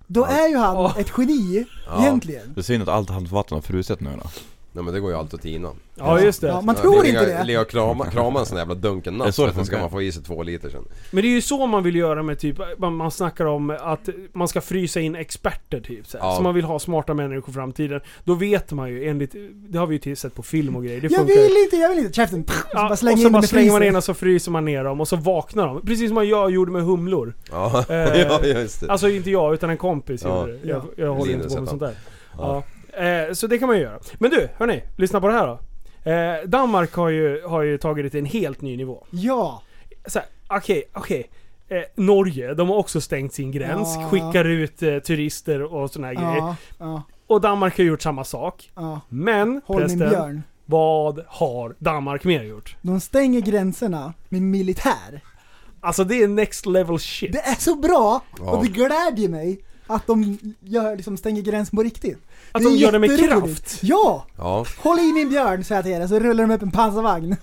[SPEAKER 5] Då är ju han
[SPEAKER 6] Ja.
[SPEAKER 5] ett geni egentligen.
[SPEAKER 8] Det är synd att allt hans vatten har frusit nu då.
[SPEAKER 7] Nej men det går ju alltid att tina.
[SPEAKER 6] Ja, just det.
[SPEAKER 5] Ja, man tror inte
[SPEAKER 7] Ligga-
[SPEAKER 5] det.
[SPEAKER 7] Ligga och krama, krama en sån jävla dunken
[SPEAKER 8] Det är
[SPEAKER 7] natt.
[SPEAKER 8] så det
[SPEAKER 7] Så sen ska
[SPEAKER 8] funkar.
[SPEAKER 7] man få i sig två liter sen.
[SPEAKER 6] Men det är ju så man vill göra med typ, man, man snackar om att man ska frysa in experter typ. Så, här.
[SPEAKER 7] Ja.
[SPEAKER 6] så man vill ha smarta människor i framtiden. Då vet man ju enligt, det har vi ju till- sett på film och grejer. Det
[SPEAKER 5] Jag
[SPEAKER 6] funkar.
[SPEAKER 5] vill inte, jag vill inte. Käften. Pff,
[SPEAKER 6] Ja,
[SPEAKER 5] bara
[SPEAKER 6] och
[SPEAKER 5] slänger
[SPEAKER 6] så
[SPEAKER 5] in
[SPEAKER 6] bara
[SPEAKER 5] dem i
[SPEAKER 6] slänger man in
[SPEAKER 5] frysen.
[SPEAKER 6] och så fryser man ner dem och så vaknar de. Precis som jag gjorde med humlor.
[SPEAKER 7] Ja,
[SPEAKER 6] Eh,
[SPEAKER 7] ja just det.
[SPEAKER 6] Alltså inte jag utan en kompis
[SPEAKER 7] Ja.
[SPEAKER 6] gjorde det. Jag, jag håller
[SPEAKER 7] Linus
[SPEAKER 6] inte på med
[SPEAKER 7] heter
[SPEAKER 6] sånt där. Ja. Eh, så det kan man ju göra. Men du, hörni. Lyssna på det här då. Eh, Danmark har ju, har ju tagit det till en helt ny nivå.
[SPEAKER 5] Ja.
[SPEAKER 6] Så här, okej, okej. Eh, Norge, de har också stängt sin gräns,
[SPEAKER 5] Ja.
[SPEAKER 6] skickar ut eh, turister och såna här grejer.
[SPEAKER 5] Ja. Ja.
[SPEAKER 6] Och Danmark har gjort samma sak.
[SPEAKER 5] ja.
[SPEAKER 6] Men,
[SPEAKER 5] Håll min
[SPEAKER 6] prästen,
[SPEAKER 5] björn.
[SPEAKER 6] vad har Danmark mer gjort?
[SPEAKER 5] De stänger gränserna med militär.
[SPEAKER 6] Alltså det är next level shit.
[SPEAKER 5] Det är så bra
[SPEAKER 7] Ja.
[SPEAKER 5] och det glädjer mig att de gör, liksom stänger gränsen på riktigt.
[SPEAKER 6] Att
[SPEAKER 5] Det är
[SPEAKER 6] de gör det med
[SPEAKER 5] jätteroligt.
[SPEAKER 6] kraft.
[SPEAKER 5] Ja!
[SPEAKER 7] Ja.
[SPEAKER 5] Håll i min björn säger jag till er, så rullar de upp en pansarvagn.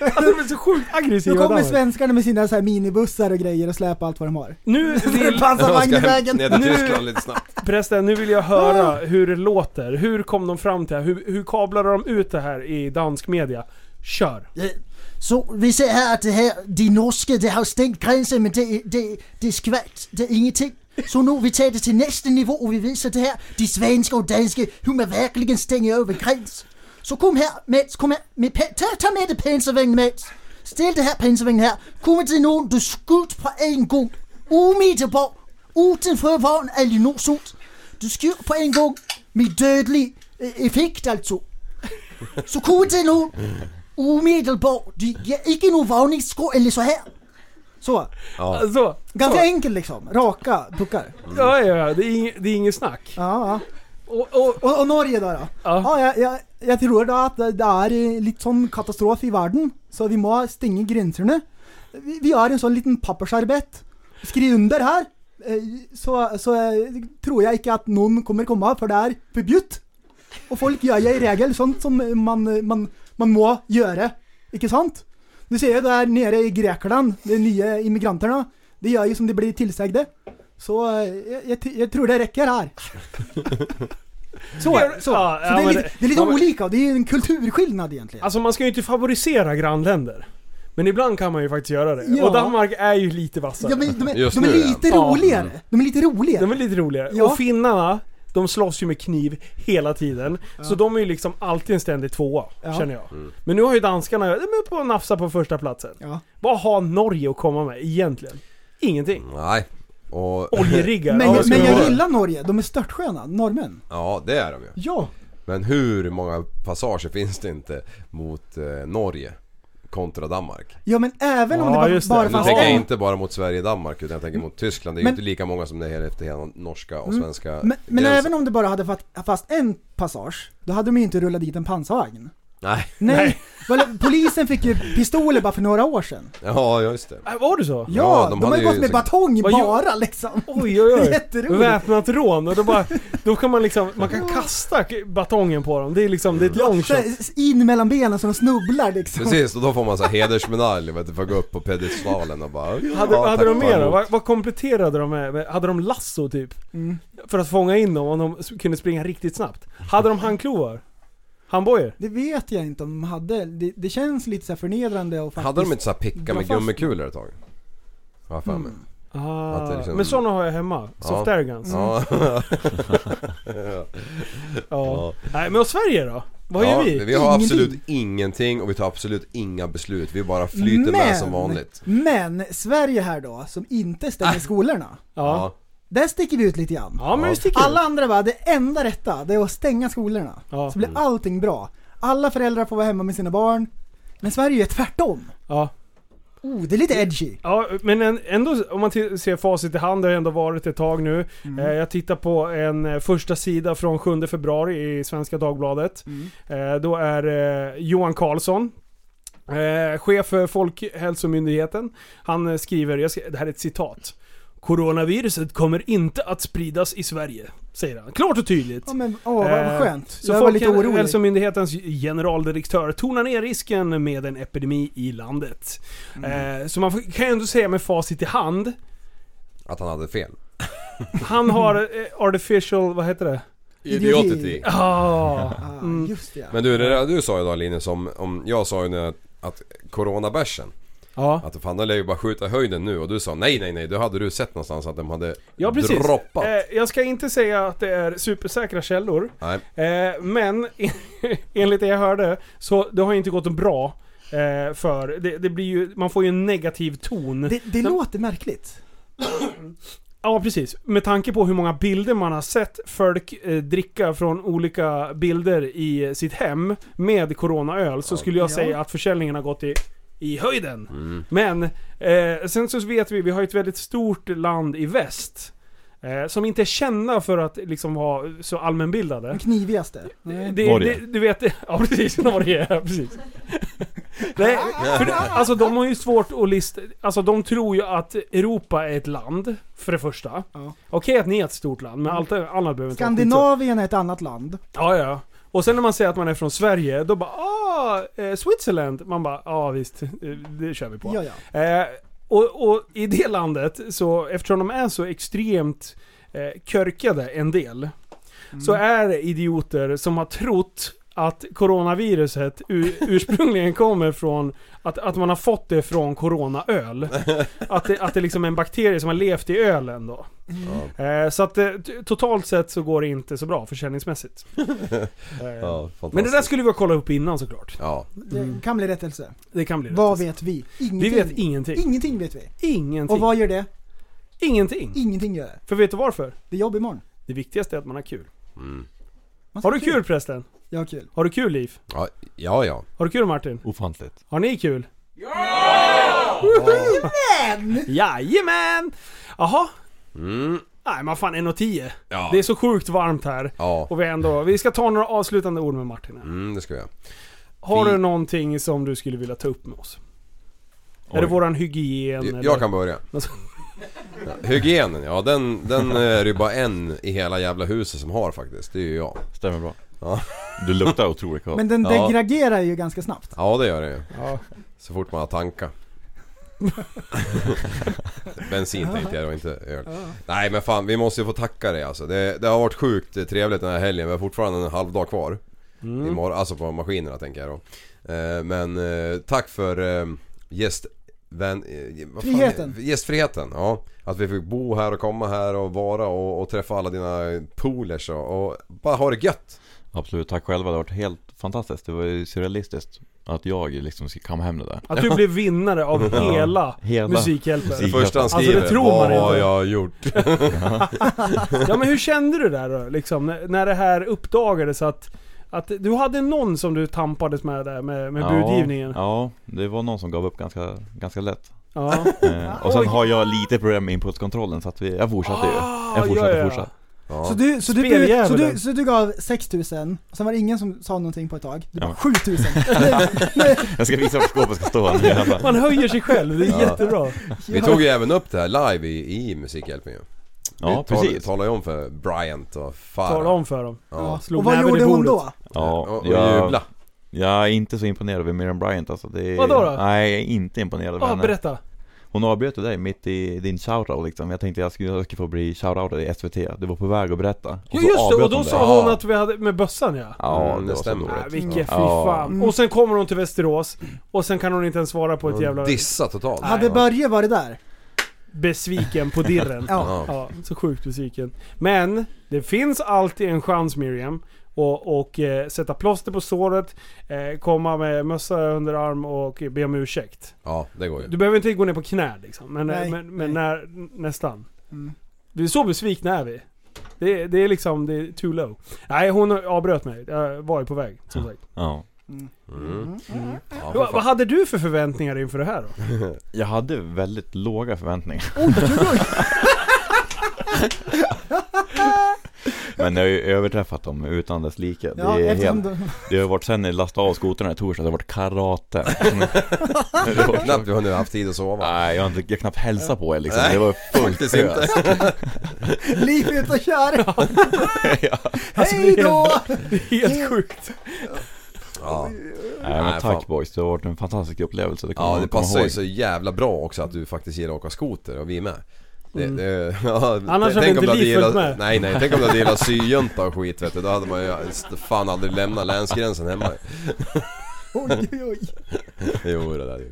[SPEAKER 6] Alltså de är så sjukt aggressiva
[SPEAKER 5] Nu kommer
[SPEAKER 6] Danmark.
[SPEAKER 5] svenskarna med sina så här minibussar och grejer och släpar allt vad de har.
[SPEAKER 6] Nu
[SPEAKER 5] En
[SPEAKER 6] vill,
[SPEAKER 5] pansarvagn i
[SPEAKER 7] Jag ska
[SPEAKER 5] vägen.
[SPEAKER 7] ner till
[SPEAKER 6] Nu-
[SPEAKER 7] Tyskland lite snabbt.
[SPEAKER 6] prästen, nu vill jag höra
[SPEAKER 5] Ah!
[SPEAKER 6] hur det låter. Hur kom de fram till det här? Hur, hur kablade de ut det här i dansk media? Kör!
[SPEAKER 9] Så vi ser her, at det her, de norske, det har jo stængt grænse, men det, det, det er skvalt, det er ingenting. Så nu vi tager det til næste niveau, og vi viser det her, de svenske og danske, hun er virkelig stænge over græns. Så kom her, mens, kom her, med, pæ- tag, tag med det pensevænge, mens. Stil det her pensevænge her, kom med til nogen, du skudt på en gang. Umiddelbart, uden forvogn er lige nu sult. Du skyder på en gang, med dødelig øh, effekt altså. Så kom til nogen, umiddelbart. Du ger icke någon varningsskå eller så här.
[SPEAKER 5] Så.
[SPEAKER 7] Ja.
[SPEAKER 6] Alltså,
[SPEAKER 5] Ganska
[SPEAKER 6] så.
[SPEAKER 5] enkelt liksom. Raka puckar.
[SPEAKER 6] Ja, ja, ja. Det är inget, det är inget snack.
[SPEAKER 5] Ja, ja.
[SPEAKER 6] Och, och,
[SPEAKER 5] Och, och Norge då? då?
[SPEAKER 6] Ja.
[SPEAKER 5] Ja, jag, jag, jag tror da at det er eh, litt sånn katastrofe i verden, så vi må stenge grensene. Vi, vi har en sånn liten pappersarbeidt. Skriv under her, eh, så, så eh, tror jeg ikke at noen kommer komme, for det er forbudt. Og folk gjør jo i regel sånt som man, man, man må gjøre, ikke sant? Du ser jo der nede i Grekland, de nye immigranterne, de gjør jo som de blir tilsagde. Så eh, jeg, jeg, t- jag tror det räcker här. Så, så. så
[SPEAKER 6] Ja, ja,
[SPEAKER 5] det, är
[SPEAKER 6] men
[SPEAKER 5] lite,
[SPEAKER 6] det-
[SPEAKER 5] det är lite
[SPEAKER 6] ja, men-
[SPEAKER 5] olika, det är ju en kulturskillnad egentligen.
[SPEAKER 6] Alltså man ska ju inte favorisera grannländer. Men ibland kan man ju faktiskt göra det.
[SPEAKER 5] Ja.
[SPEAKER 6] Och Danmark är ju lite vassare.
[SPEAKER 5] Ja, men de, är,
[SPEAKER 7] Just
[SPEAKER 5] de är
[SPEAKER 7] nu, ja.
[SPEAKER 5] lite
[SPEAKER 6] Ja.
[SPEAKER 5] roligare. De är lite roligare.
[SPEAKER 6] De är lite roligare.
[SPEAKER 5] Ja.
[SPEAKER 6] Och finnarna, de slåss ju med kniv hela tiden. Så de är ju liksom alltid en ständig tvåa,
[SPEAKER 5] Ja.
[SPEAKER 6] känner jag. Men nu har ju danskarna, de är på nafsa på första platsen.
[SPEAKER 5] Ja.
[SPEAKER 6] Vad har Norge att komma med egentligen? Ingenting.
[SPEAKER 7] Nej. Och...
[SPEAKER 6] Oljeriggar.
[SPEAKER 5] Men,
[SPEAKER 6] ja, det ska
[SPEAKER 5] men
[SPEAKER 6] vi
[SPEAKER 5] jag
[SPEAKER 6] vara.
[SPEAKER 5] gillar Norge, de är störtsköna, norrmän.
[SPEAKER 7] Ja det är de ju.
[SPEAKER 5] Ja.
[SPEAKER 7] Men hur många passager finns det inte mot eh, Norge kontra Danmark?
[SPEAKER 5] Ja men även om
[SPEAKER 6] Ja,
[SPEAKER 5] det
[SPEAKER 6] just
[SPEAKER 5] bara, bara
[SPEAKER 6] det.
[SPEAKER 7] Nu
[SPEAKER 5] fanns
[SPEAKER 7] tänker jag
[SPEAKER 5] en.
[SPEAKER 7] inte bara mot Sverige och Danmark utan jag tänker mot Tyskland. Det är ju
[SPEAKER 5] Men-
[SPEAKER 7] inte lika många som det är efter hela norska och svenska
[SPEAKER 5] Men, men
[SPEAKER 7] gränsen.
[SPEAKER 5] även om det bara hade fast, fast en passage, då hade de ju inte rullat dit en pansarvagn.
[SPEAKER 7] Nej.
[SPEAKER 5] Nej. Väl, Polisen fick ju pistoler bara för några år sedan.
[SPEAKER 7] Ja just det.
[SPEAKER 6] Äh, Var det så?
[SPEAKER 5] Ja, de, har
[SPEAKER 7] hade
[SPEAKER 5] ju
[SPEAKER 7] ju
[SPEAKER 5] gått med
[SPEAKER 7] så-
[SPEAKER 5] batong
[SPEAKER 6] Vad gör-
[SPEAKER 5] bara liksom.
[SPEAKER 6] Oj, oj, oj.
[SPEAKER 5] Jätteroligt.
[SPEAKER 6] Väpnat rån. Och då, bara, då kan man liksom, man kan kasta batongen på dem. Det är liksom, det är ett long
[SPEAKER 5] Så
[SPEAKER 6] shot.
[SPEAKER 5] här, In mellan benen så de snubblar liksom.
[SPEAKER 7] Precis, och då får man så här hedersmedalj vet du, för att gå upp på piedestalen och bara ja,
[SPEAKER 6] Hade,
[SPEAKER 7] tack
[SPEAKER 6] hade de
[SPEAKER 7] för
[SPEAKER 6] mer då?
[SPEAKER 7] emot.
[SPEAKER 6] Vad, vad kompletterade de med? med- Hade de lasso typ? För att fånga in dem om de s- kunde springa riktigt snabbt? Hade de handklovar? Handbojor?
[SPEAKER 5] Det vet jag inte om de hade. Det, det känns lite så här förnedrande och faktiskt...
[SPEAKER 7] Hade de inte så här picka
[SPEAKER 5] Dra
[SPEAKER 7] med
[SPEAKER 5] fast-
[SPEAKER 7] gummikulor ett tag? Vad fan med? Att
[SPEAKER 6] Ah,
[SPEAKER 7] det liksom-
[SPEAKER 6] Men sådana har jag hemma.
[SPEAKER 7] Ja.
[SPEAKER 6] Soft air guns. Ja.
[SPEAKER 7] Ja,
[SPEAKER 6] Nej, men och Sverige då? Vad gör vi?
[SPEAKER 7] vi har
[SPEAKER 5] Ingenting.
[SPEAKER 7] absolut ingenting och vi tar absolut inga beslut. Vi bara flyter med som vanligt.
[SPEAKER 5] Men Sverige här då, som inte stänger skolorna.
[SPEAKER 6] Ja.
[SPEAKER 5] Där sticker vi ut lite grann.
[SPEAKER 6] ja, men vi sticker
[SPEAKER 5] Alla andra bara, det enda rätta, det är att stänga skolorna.
[SPEAKER 6] Ja.
[SPEAKER 5] Så blir allting bra. Alla föräldrar får vara hemma med sina barn. Men Sverige är tvärtom.
[SPEAKER 6] Ja.
[SPEAKER 5] Oh, det är lite edgy.
[SPEAKER 6] Ja, men en- ändå om man till- ser facit i hand, det har ändå varit ett tag nu. Eh, Jag tittar på en eh, första sida från 7
[SPEAKER 5] Mm.
[SPEAKER 6] februari i Svenska Dagbladet. Eh, Då är eh, Johan Karlsson, Eh, chef för Folkhälsomyndigheten. Han eh, skriver, jag ska, det här är ett citat. Coronaviruset kommer inte att spridas i Sverige, säger han. Klart och tydligt.
[SPEAKER 5] Ja men åh vad
[SPEAKER 6] Eh,
[SPEAKER 5] skönt.
[SPEAKER 6] Så
[SPEAKER 5] jag var lite orolig.
[SPEAKER 6] Folkhälsomyndighetens generaldirektör tonar ner risken med en epidemi i landet.
[SPEAKER 5] Mm.
[SPEAKER 6] Eh, så man får- kan ju ändå säga med facit i hand,
[SPEAKER 7] Att han hade fel.
[SPEAKER 6] han har eh, artificial, vad heter det?
[SPEAKER 5] Idioti.
[SPEAKER 7] Idiotity.
[SPEAKER 6] Ah,
[SPEAKER 5] Ah,
[SPEAKER 6] mm.
[SPEAKER 5] Just det.
[SPEAKER 7] Men du, det där du sa ju då Linus om, om jag sa ju nu att, att coronabärsen,
[SPEAKER 6] Ja.
[SPEAKER 7] att fan den lär ju bara skjuta i höjden nu och du sa nej nej nej, då hade du sett någonstans att de hade
[SPEAKER 6] ja, precis.
[SPEAKER 7] droppat.
[SPEAKER 6] Eh, jag ska inte säga att det är supersäkra källor.
[SPEAKER 7] Nej.
[SPEAKER 6] Eh, men enligt det jag hörde så det har ju inte gått bra. Eh, för det, det blir ju, man får ju en negativ ton.
[SPEAKER 5] Det, det låter märkligt.
[SPEAKER 6] Ja, precis. Med tanke på hur många bilder man har sett folk eh, dricka från olika bilder i eh, sitt hem med coronaöl så skulle jag
[SPEAKER 5] Ja.
[SPEAKER 6] säga att försäljningen har gått i, i höjden. Men eh, sen så vet vi, vi har ju ett väldigt stort land i väst. Eh, som inte är kända för att liksom vara så allmänbildade.
[SPEAKER 5] De knivigaste.
[SPEAKER 6] Det,
[SPEAKER 8] Norge.
[SPEAKER 6] Det, du vet, ja precis, Norge. Ja, precis. Nej, för det, alltså de har ju svårt att lista... Alltså de tror ju att Europa är ett land, för det första.
[SPEAKER 5] Ja.
[SPEAKER 6] Okej att ni är ett stort land, men allt annat behöver inte vara skitstort.
[SPEAKER 5] Skandinavien är ett annat land.
[SPEAKER 6] Ja, ja. Och sen när man säger att man är från Sverige, då bara ah, eh, Switzerland. Man bara ja ah, visst, eh, det kör vi på.
[SPEAKER 5] Ja, ja.
[SPEAKER 6] Eh, och, och i det landet, så, eftersom de är så extremt eh, körkade en del,
[SPEAKER 7] Mm.
[SPEAKER 6] så är det idioter som har trott att coronaviruset u- ursprungligen kommer från att, att man har fått det från coronaöl. Att det, att det liksom är en bakterie som har levt i ölen då. Eh, så att eh, t- totalt sett så går det inte så bra försäljningsmässigt. Eh,
[SPEAKER 7] Ja,
[SPEAKER 6] Men det där
[SPEAKER 7] fantastiskt.
[SPEAKER 6] skulle vi ha kollat upp innan såklart.
[SPEAKER 7] Ja,
[SPEAKER 5] Det kan bli rättelse.
[SPEAKER 6] Det kan bli
[SPEAKER 5] Vad
[SPEAKER 6] rätt.
[SPEAKER 5] vet vi?
[SPEAKER 6] Vi
[SPEAKER 5] Ingenting.
[SPEAKER 6] vet ingenting.
[SPEAKER 5] Ingenting vet vi.
[SPEAKER 6] Ingenting.
[SPEAKER 5] Och vad gör det?
[SPEAKER 6] Ingenting.
[SPEAKER 5] Ingenting gör det.
[SPEAKER 6] För vet du varför?
[SPEAKER 5] Det är jobb imorgon.
[SPEAKER 6] Det viktigaste är att man har kul.
[SPEAKER 5] Man ska
[SPEAKER 6] Har du
[SPEAKER 5] ha
[SPEAKER 6] kul förresten?
[SPEAKER 5] Jag har kul.
[SPEAKER 6] Har du kul Liv?
[SPEAKER 7] ja, ja. ja.
[SPEAKER 6] Har du kul Martin?
[SPEAKER 8] Ofantligt.
[SPEAKER 6] Har ni kul? Ja! Jajamän! Jaha?
[SPEAKER 7] Mm.
[SPEAKER 6] Nej men fan, 1.10.
[SPEAKER 7] Ja.
[SPEAKER 6] Det är så sjukt varmt här.
[SPEAKER 7] Ja,
[SPEAKER 6] Och vi, ändå, vi ska ta några avslutande ord med Martin. här.
[SPEAKER 7] mm, det ska jag.
[SPEAKER 6] Har
[SPEAKER 7] vi-
[SPEAKER 6] du någonting som du skulle vilja ta upp med oss? Är
[SPEAKER 8] Oj.
[SPEAKER 6] det våran hygien?
[SPEAKER 7] Jag,
[SPEAKER 6] eller?
[SPEAKER 7] jag kan börja.
[SPEAKER 6] Alltså-
[SPEAKER 7] Ja, hygienen, ja den, den är det ju bara en i hela jävla huset som har faktiskt. Det är ju jag.
[SPEAKER 8] Stämmer bra.
[SPEAKER 7] Ja.
[SPEAKER 8] Du luktar otroligt gott.
[SPEAKER 5] Men den
[SPEAKER 7] Ja.
[SPEAKER 5] degraderar ju ganska snabbt.
[SPEAKER 7] Ja det gör det ju.
[SPEAKER 6] Ja.
[SPEAKER 7] Så fort man har tankar. Bensin tänkte jag då, inte öl. Nej men fan vi måste ju få tacka dig alltså. Det, det har varit sjukt trevligt den här helgen. Vi har fortfarande en halv dag kvar.
[SPEAKER 6] Mm.
[SPEAKER 7] Imorgon, alltså på maskinerna tänker jag då. Eh, Men eh, tack för eh, gäst... Vän, eh, vad fan-
[SPEAKER 5] Friheten.
[SPEAKER 7] Gästfriheten, ja. Att vi fick bo här och komma här och vara och, och träffa alla dina polers och, och bara ha det gött.
[SPEAKER 8] Absolut, tack själva. Det har varit helt fantastiskt. Det var ju surrealistiskt att jag liksom ska kamma hem det där.
[SPEAKER 6] Att du blev vinnare av
[SPEAKER 8] Ja.
[SPEAKER 6] hela,
[SPEAKER 8] Hela.
[SPEAKER 7] Det
[SPEAKER 6] Musikhjälpen.
[SPEAKER 8] Musik.
[SPEAKER 7] första han
[SPEAKER 6] Alltså, det
[SPEAKER 7] skriver,
[SPEAKER 6] tror man
[SPEAKER 7] vad
[SPEAKER 6] inte."
[SPEAKER 7] har jag gjort?
[SPEAKER 6] Ja men hur kände du där då? Liksom, när- när det här uppdagades att, att du hade någon som du tampades med där med, med budgivningen? Ja.
[SPEAKER 8] Ja, det var någon som gav upp ganska, ganska lätt.
[SPEAKER 6] ja.
[SPEAKER 8] Eh, och sen har jag lite problem med inputkontrollen så att vi, jag fortsatte ju.
[SPEAKER 5] Ah,
[SPEAKER 8] Jag fortsatte,
[SPEAKER 6] Ah, ja, ja.
[SPEAKER 8] fortsatte.
[SPEAKER 7] Ja.
[SPEAKER 5] Så du, så, du,
[SPEAKER 6] Speljävulen.
[SPEAKER 5] så, du, så du gav 6000, sen var det ingen som sa någonting på ett tag. Du bara
[SPEAKER 8] Ja.
[SPEAKER 5] 7000.
[SPEAKER 8] Jag ska visa var skåpet ska stå nu i alla fall.
[SPEAKER 6] Man höjer sig själv, det är
[SPEAKER 7] Ja.
[SPEAKER 6] jättebra.
[SPEAKER 7] Vi tog ju även upp det här live i, i Musikhjälpen ju.
[SPEAKER 8] Ja,
[SPEAKER 7] vi tal-
[SPEAKER 8] precis.
[SPEAKER 7] talade ju om för Bryant och Farah.
[SPEAKER 6] Tala om för dem.
[SPEAKER 7] Ja.
[SPEAKER 6] Slog
[SPEAKER 5] Och vad
[SPEAKER 6] näven i
[SPEAKER 5] gjorde hon
[SPEAKER 6] bordet.
[SPEAKER 5] då?
[SPEAKER 8] Ja,
[SPEAKER 7] och, och
[SPEAKER 8] jag,
[SPEAKER 7] jubla.
[SPEAKER 8] jag är inte så imponerad över Miriam Bryant alltså. Det är,
[SPEAKER 6] Vadå då? Ah,
[SPEAKER 8] Nej, jag är inte imponerad över
[SPEAKER 6] Ja,
[SPEAKER 8] henne.
[SPEAKER 6] berätta.
[SPEAKER 8] Hon avbröt ju dig mitt i din shoutout liksom. Jag tänkte jag skulle, jag skulle få bli shoutoutad i SVT. Du var på väg att berätta. Och
[SPEAKER 6] Ja
[SPEAKER 8] så
[SPEAKER 6] just det,
[SPEAKER 8] avbröt
[SPEAKER 6] och då
[SPEAKER 8] hon dig.
[SPEAKER 6] sa hon
[SPEAKER 7] Ja.
[SPEAKER 6] att vi hade med bössan ja.
[SPEAKER 8] Ja,
[SPEAKER 7] Mm,
[SPEAKER 8] det
[SPEAKER 7] det
[SPEAKER 8] var så
[SPEAKER 7] stämmer.
[SPEAKER 6] Nej,
[SPEAKER 8] dåligt.
[SPEAKER 6] vilket fy
[SPEAKER 8] Ja.
[SPEAKER 5] Mm.
[SPEAKER 6] fan. Och sen kommer hon till Västerås och sen kan hon inte ens svara på ett jävla...
[SPEAKER 7] Dissa totalt.
[SPEAKER 5] Hade Börje varit där?
[SPEAKER 6] Besviken på dirren.
[SPEAKER 5] Ja.
[SPEAKER 7] Ja.
[SPEAKER 6] Ja, så sjukt besviken. Men det finns alltid en chans Miriam. Och, och eh, sätta plåster på såret, eh, komma med mössa under arm och be om ursäkt.
[SPEAKER 7] ja, det går ju.
[SPEAKER 6] Du behöver inte gå ner på knä liksom, men,
[SPEAKER 5] Nej,
[SPEAKER 6] men, men
[SPEAKER 5] nej.
[SPEAKER 6] när, nästan.
[SPEAKER 5] Mm.
[SPEAKER 6] Det är så besvikna är vi. Det, är- det är liksom, det är too low. Nej, hon avbröt mig. Jag var ju på väg, som sagt.
[SPEAKER 8] Ja.
[SPEAKER 7] Mm. Ja, för
[SPEAKER 6] Vad, vad
[SPEAKER 7] fan.
[SPEAKER 6] hade du för förväntningar inför det här då?
[SPEAKER 8] Jag hade väldigt låga förväntningar. Men jag har ju överträffat dem utan dess like. Det,
[SPEAKER 5] Ja,
[SPEAKER 8] är
[SPEAKER 5] eftersom
[SPEAKER 8] helt,
[SPEAKER 5] du...
[SPEAKER 8] det har varit sen jag lastade av skotern i torsdags, det har varit karate. Det har varit-
[SPEAKER 7] Knappt vi har nu haft tid att sova.
[SPEAKER 8] Nej, jag har inte, jag har knappt hälsat på er liksom.
[SPEAKER 7] Nej,
[SPEAKER 8] det var fullt
[SPEAKER 7] Faktiskt inte.
[SPEAKER 8] ös.
[SPEAKER 5] Liv ut och kör!
[SPEAKER 8] ja.
[SPEAKER 5] Hej då!
[SPEAKER 6] Det är helt sjukt.
[SPEAKER 7] Ja.
[SPEAKER 8] Nej men
[SPEAKER 7] Nej,
[SPEAKER 8] tack
[SPEAKER 7] fan.
[SPEAKER 8] boys, det har varit en fantastisk upplevelse. Det kommer
[SPEAKER 7] ja,
[SPEAKER 8] man
[SPEAKER 7] det
[SPEAKER 8] komma
[SPEAKER 7] passar ju
[SPEAKER 8] ihåg.
[SPEAKER 7] så jävla bra också att du faktiskt gillar att åka skoter och vi är med. Det, det, ja,
[SPEAKER 6] Mm. Annars hade
[SPEAKER 7] tänk
[SPEAKER 6] inte
[SPEAKER 7] om du
[SPEAKER 6] Li följt
[SPEAKER 7] gillat,
[SPEAKER 6] med.
[SPEAKER 7] Nej nej, tänk om du hade gillat syjunta och skit vet du. Då hade man ju fan aldrig lämnat länsgränsen hemma.
[SPEAKER 5] Oj, oj, oj.
[SPEAKER 7] Jo det där är ju.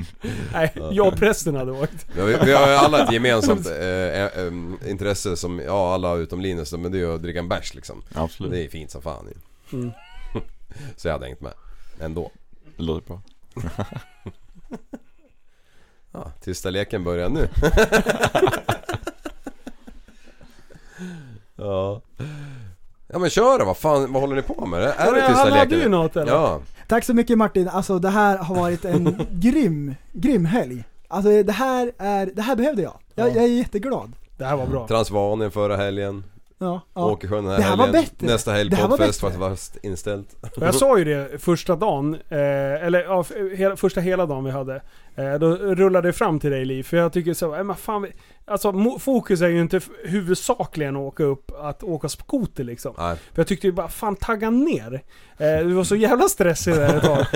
[SPEAKER 6] Nej, jag och prästen hade åkt.
[SPEAKER 7] Men vi, vi har ju alla ett gemensamt eh, eh, em, intresse som, ja alla utom Linus då, men det är ju att dricka en bärs liksom.
[SPEAKER 8] Absolut,
[SPEAKER 7] Det är fint som fan ju.
[SPEAKER 6] Mm.
[SPEAKER 7] Så jag hade hängt med. Ändå.
[SPEAKER 8] det låter bra.
[SPEAKER 7] Ja, tysta leken börjar nu. ja. Ja men kör då, vad fan, vad håller ni på med? Är det tysta
[SPEAKER 6] Hade
[SPEAKER 7] leken?
[SPEAKER 6] du något eller?
[SPEAKER 7] Ja.
[SPEAKER 5] Tack så mycket Martin, alltså det här har varit en grym, grym helg. Alltså det här är, det här behövde jag. Jag,
[SPEAKER 6] Ja.
[SPEAKER 5] jag är jätteglad.
[SPEAKER 6] Det här var bra.
[SPEAKER 7] Transvanien förra helgen,
[SPEAKER 5] Ja, ja.
[SPEAKER 7] Åkersjön den här
[SPEAKER 5] Det här var
[SPEAKER 7] helgen.
[SPEAKER 5] bättre.
[SPEAKER 7] Nästa helg
[SPEAKER 5] Det här var
[SPEAKER 7] poddfest
[SPEAKER 5] bättre.
[SPEAKER 7] fast inställt.
[SPEAKER 6] Och jag sa ju det första dagen, eh, eller ja, f- hela, första hela dagen vi hade. Eh, då rullade det fram till dig Liv, för jag tycker så, äh, men fan, vi- alltså mo- fokus är ju inte f- huvudsakligen att åka upp, att åka skoter liksom.
[SPEAKER 7] Nej.
[SPEAKER 6] För jag tyckte ju bara, fan tagga ner. Eh, du var så jävla stressig där ett tag.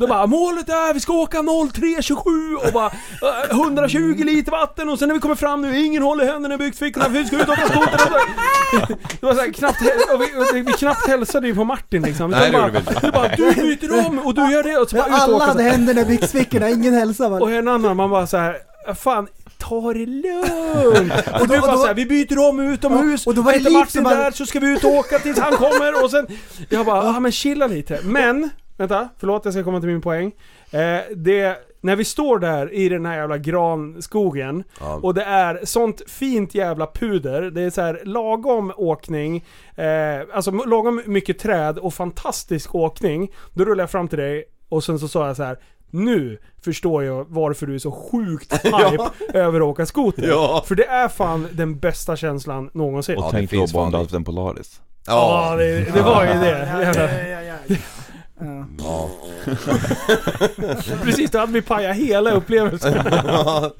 [SPEAKER 6] De bara, målet är vi ska åka 03.27 och bara eh, 120 liter vatten och sen när vi kommer fram nu, ingen håller händerna i byxfickorna för vi ska ut och åka skoter. Det var så här, knappt, häl- och vi, och vi, vi knappt hälsade ju på Martin liksom.
[SPEAKER 7] Nej, det
[SPEAKER 6] Utan
[SPEAKER 7] gjorde vi inte.
[SPEAKER 6] bara, det bara, du byter om och du gör det och så bara ut och
[SPEAKER 5] Alla
[SPEAKER 6] åka.
[SPEAKER 5] hade
[SPEAKER 6] så här.
[SPEAKER 5] händerna i byxfickorna, ingen hälsa var
[SPEAKER 6] Och en annan, man bara så här, fan Ta det lugnt! Och du
[SPEAKER 5] och
[SPEAKER 6] bara
[SPEAKER 5] då-
[SPEAKER 6] såhär, vi byter om utomhus,
[SPEAKER 5] Ja, och då var det
[SPEAKER 6] hittar
[SPEAKER 5] Liv
[SPEAKER 6] Martin
[SPEAKER 5] som bara-
[SPEAKER 6] där så ska vi ut och åka tills han kommer och sen... Jag bara, ja men chilla lite. Men, vänta, förlåt jag ska komma till min poäng. Eh, det, när vi står där i den här jävla granskogen
[SPEAKER 7] Ja.
[SPEAKER 6] och det är sånt fint jävla puder. Det är så här lagom åkning, eh, alltså m- lagom mycket träd och fantastisk åkning. Då rullade jag fram till dig och sen så sa jag så här. Nu förstår jag varför du är så sjukt hype över att åka skoter.
[SPEAKER 7] Ja.
[SPEAKER 6] För det är fan den bästa känslan någonsin.
[SPEAKER 8] Och
[SPEAKER 7] Ja, det
[SPEAKER 8] tänk då
[SPEAKER 7] finns
[SPEAKER 8] bara
[SPEAKER 7] fan
[SPEAKER 8] om du
[SPEAKER 7] det.
[SPEAKER 8] haft en Polaris.
[SPEAKER 6] Ja, det, det var ju det. Jävlar.
[SPEAKER 7] Ja.
[SPEAKER 6] Precis, då hade vi pajat hela upplevelsen.
[SPEAKER 7] Ja.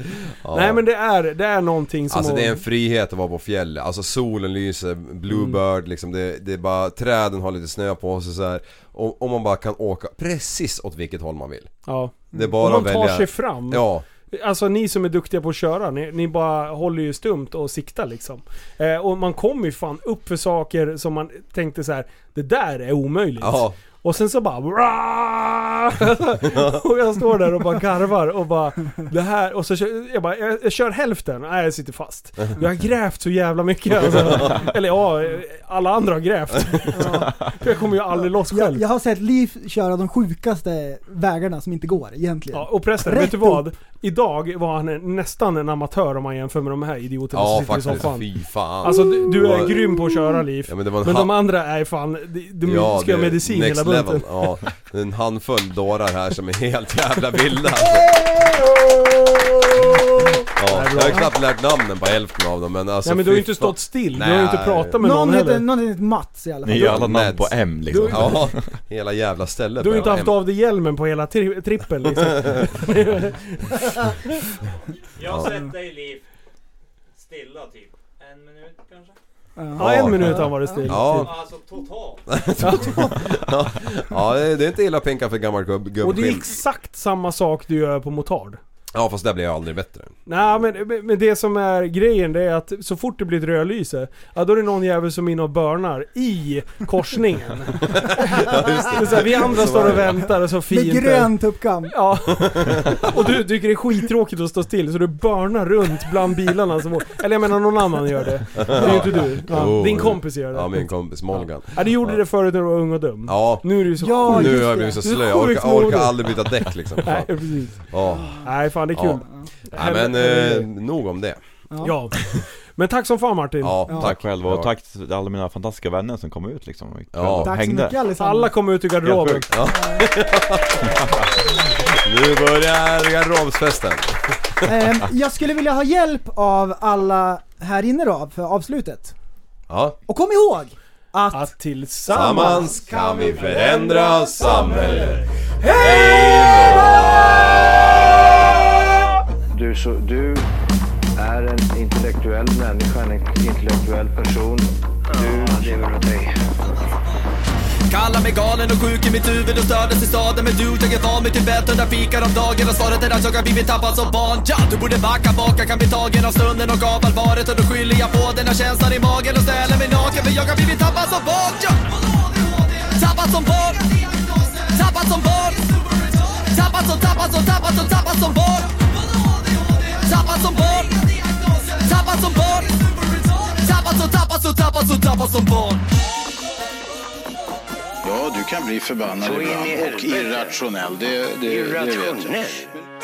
[SPEAKER 6] Nej men det är, det är någonting som...
[SPEAKER 7] Alltså det är en frihet att vara på fjället, alltså solen lyser, bluebird
[SPEAKER 6] Mm.
[SPEAKER 7] liksom, det, det är bara träden har lite snö på sig så här. Och, och man bara kan åka precis åt vilket håll man vill.
[SPEAKER 6] ja.
[SPEAKER 7] Det är bara
[SPEAKER 6] man
[SPEAKER 7] att
[SPEAKER 6] tar
[SPEAKER 7] välja.
[SPEAKER 6] sig fram.
[SPEAKER 7] Ja,
[SPEAKER 6] Alltså ni som är duktiga på att köra, ni, ni bara håller ju stumt och siktar liksom. Eh, och man kommer ju fan upp för saker som man tänkte så här: det där är omöjligt.
[SPEAKER 7] ja.
[SPEAKER 6] Och sen så bara Och jag står där och bara garvar och bara det här och så kör, jag bara, jag, jag kör hälften, nej jag sitter fast. Jag har grävt så jävla mycket alltså. Eller ja, alla andra har grävt. För jag kommer ju aldrig loss
[SPEAKER 5] jag,
[SPEAKER 6] själv.
[SPEAKER 5] jag har sett Liv köra de sjukaste vägarna som inte går egentligen.
[SPEAKER 6] Ja, och prästen,
[SPEAKER 5] Rätt
[SPEAKER 6] vet du vad? Idag var han nästan en amatör om man jämför med de här idioterna
[SPEAKER 7] ja
[SPEAKER 6] som sitter i
[SPEAKER 7] faktiskt.
[SPEAKER 6] soffan.
[SPEAKER 7] Fy fan.
[SPEAKER 6] Alltså du, du är
[SPEAKER 7] Ja.
[SPEAKER 6] grym på att köra Liv.
[SPEAKER 7] Ja,
[SPEAKER 6] men
[SPEAKER 7] men det var en
[SPEAKER 6] de
[SPEAKER 7] hand-
[SPEAKER 6] andra är fan, de, de
[SPEAKER 7] Ja,
[SPEAKER 6] ska ha
[SPEAKER 7] det är
[SPEAKER 6] medicin
[SPEAKER 7] next
[SPEAKER 6] hela bunten.
[SPEAKER 7] level. Ja, det är en handfull dårar här som är helt jävla vilda. Ja, jag har ju knappt lärt namnen på hälften av dem men alltså
[SPEAKER 6] Nej men du har ju
[SPEAKER 7] fy
[SPEAKER 6] inte
[SPEAKER 7] fan.
[SPEAKER 6] stått still, du
[SPEAKER 7] Nej.
[SPEAKER 6] har ju inte pratat med någon,
[SPEAKER 5] Någon
[SPEAKER 6] heller.
[SPEAKER 5] heter, någon heter Mats i alla
[SPEAKER 8] Ni
[SPEAKER 5] fall.
[SPEAKER 8] är ju alla namn
[SPEAKER 7] Mads.
[SPEAKER 8] på M liksom.
[SPEAKER 7] Ja, hela jävla stället.
[SPEAKER 6] Du har ju inte
[SPEAKER 7] bara
[SPEAKER 6] haft
[SPEAKER 7] en-
[SPEAKER 6] av dig hjälmen på hela tri trippeln liksom.
[SPEAKER 10] Jag har sett dig Liv stilla typ en minut kanske?
[SPEAKER 6] Ja en minut har varit still.
[SPEAKER 7] Ja,
[SPEAKER 10] Alltså totalt.
[SPEAKER 7] ja, det är inte illa att pinka för gammal gubb,
[SPEAKER 6] Och det är
[SPEAKER 7] gubbskinn.
[SPEAKER 6] exakt samma sak du gör på motard.
[SPEAKER 7] Ja fast där blir jag aldrig bättre.
[SPEAKER 6] Nej men, men- men det som är grejen det är att så fort det blir ett rödlyse, ja, då är det någon jävel som är inne och börnar i korsningen. det. är så här, vi andra
[SPEAKER 7] Så
[SPEAKER 6] står
[SPEAKER 7] var
[SPEAKER 6] och
[SPEAKER 7] det.
[SPEAKER 6] väntar och så fint.
[SPEAKER 5] Med grön tuppkam.
[SPEAKER 6] Ja. Och du tycker det är skittråkigt att stå still så du börnar runt bland bilarna som åker. Eller jag menar någon annan gör det. Det är ju inte du. Ja,
[SPEAKER 7] Jo.
[SPEAKER 6] din kompis gör det.
[SPEAKER 7] Ja min kompis Molgan.
[SPEAKER 6] Ja, du gjorde det förut när du var ung och dum.
[SPEAKER 7] Ja,
[SPEAKER 6] Nu är du ju så
[SPEAKER 5] Ja,
[SPEAKER 7] nu
[SPEAKER 5] just
[SPEAKER 7] har jag
[SPEAKER 5] det.
[SPEAKER 7] blivit så
[SPEAKER 6] Du är
[SPEAKER 7] slö. Jag orkar,
[SPEAKER 6] sjukt
[SPEAKER 7] jag orkar
[SPEAKER 6] modig.
[SPEAKER 7] aldrig byta däck liksom.
[SPEAKER 6] Nej,
[SPEAKER 7] Fan.
[SPEAKER 6] precis.
[SPEAKER 7] Ja.
[SPEAKER 6] Nej, fan det är kul.
[SPEAKER 7] Ja. Nej men eh, nog om det.
[SPEAKER 6] Ja. Men tack som fan Martin.
[SPEAKER 7] Ja,
[SPEAKER 8] Tack
[SPEAKER 7] tack.
[SPEAKER 8] själv och tack till alla mina fantastiska vänner som kom ut liksom.
[SPEAKER 7] Ja.
[SPEAKER 5] Tack så
[SPEAKER 8] Hängde.
[SPEAKER 5] mycket allesammans.
[SPEAKER 6] Alla kom ut ur
[SPEAKER 8] Helt
[SPEAKER 6] garderoben.
[SPEAKER 8] sjukt.
[SPEAKER 7] Nu börjar garderobsfesten.
[SPEAKER 5] Ehm, jag skulle vilja ha hjälp av alla här inne då, för avslutet.
[SPEAKER 7] Ja,
[SPEAKER 5] Och kom ihåg Att...
[SPEAKER 6] Att tillsammans
[SPEAKER 7] Tillsammans kan vi förändra samhället.
[SPEAKER 1] Du, så, du är en intellektuell människa, en intellektuell person. Du lever av dig.
[SPEAKER 2] Kallar mig galen och sjuk i mitt huvud och stördes i staden Men du, jag är van vid Tibet och där fikar om dagen Och svaret är att jag har blivit tappad som barn ja, Du borde backa bak, jag kan bli tagen av stunden och av allvaret Och då skyller jag på den här känslan i magen och ställer mig naken För jag har blivit tappad som barn ja. Tappad som barn Tappad som barn Tappad som, tappad som, tappad som, tappad som barn Tappad som barn Tappad som barn Tappad som, tappad som, tappad som, tappad som barn
[SPEAKER 3] Ja, du kan bli förbannad
[SPEAKER 1] Så in i
[SPEAKER 3] ibland och
[SPEAKER 1] helvete.
[SPEAKER 3] irrationell. Det, det, det vet jag.
[SPEAKER 1] Irrationell.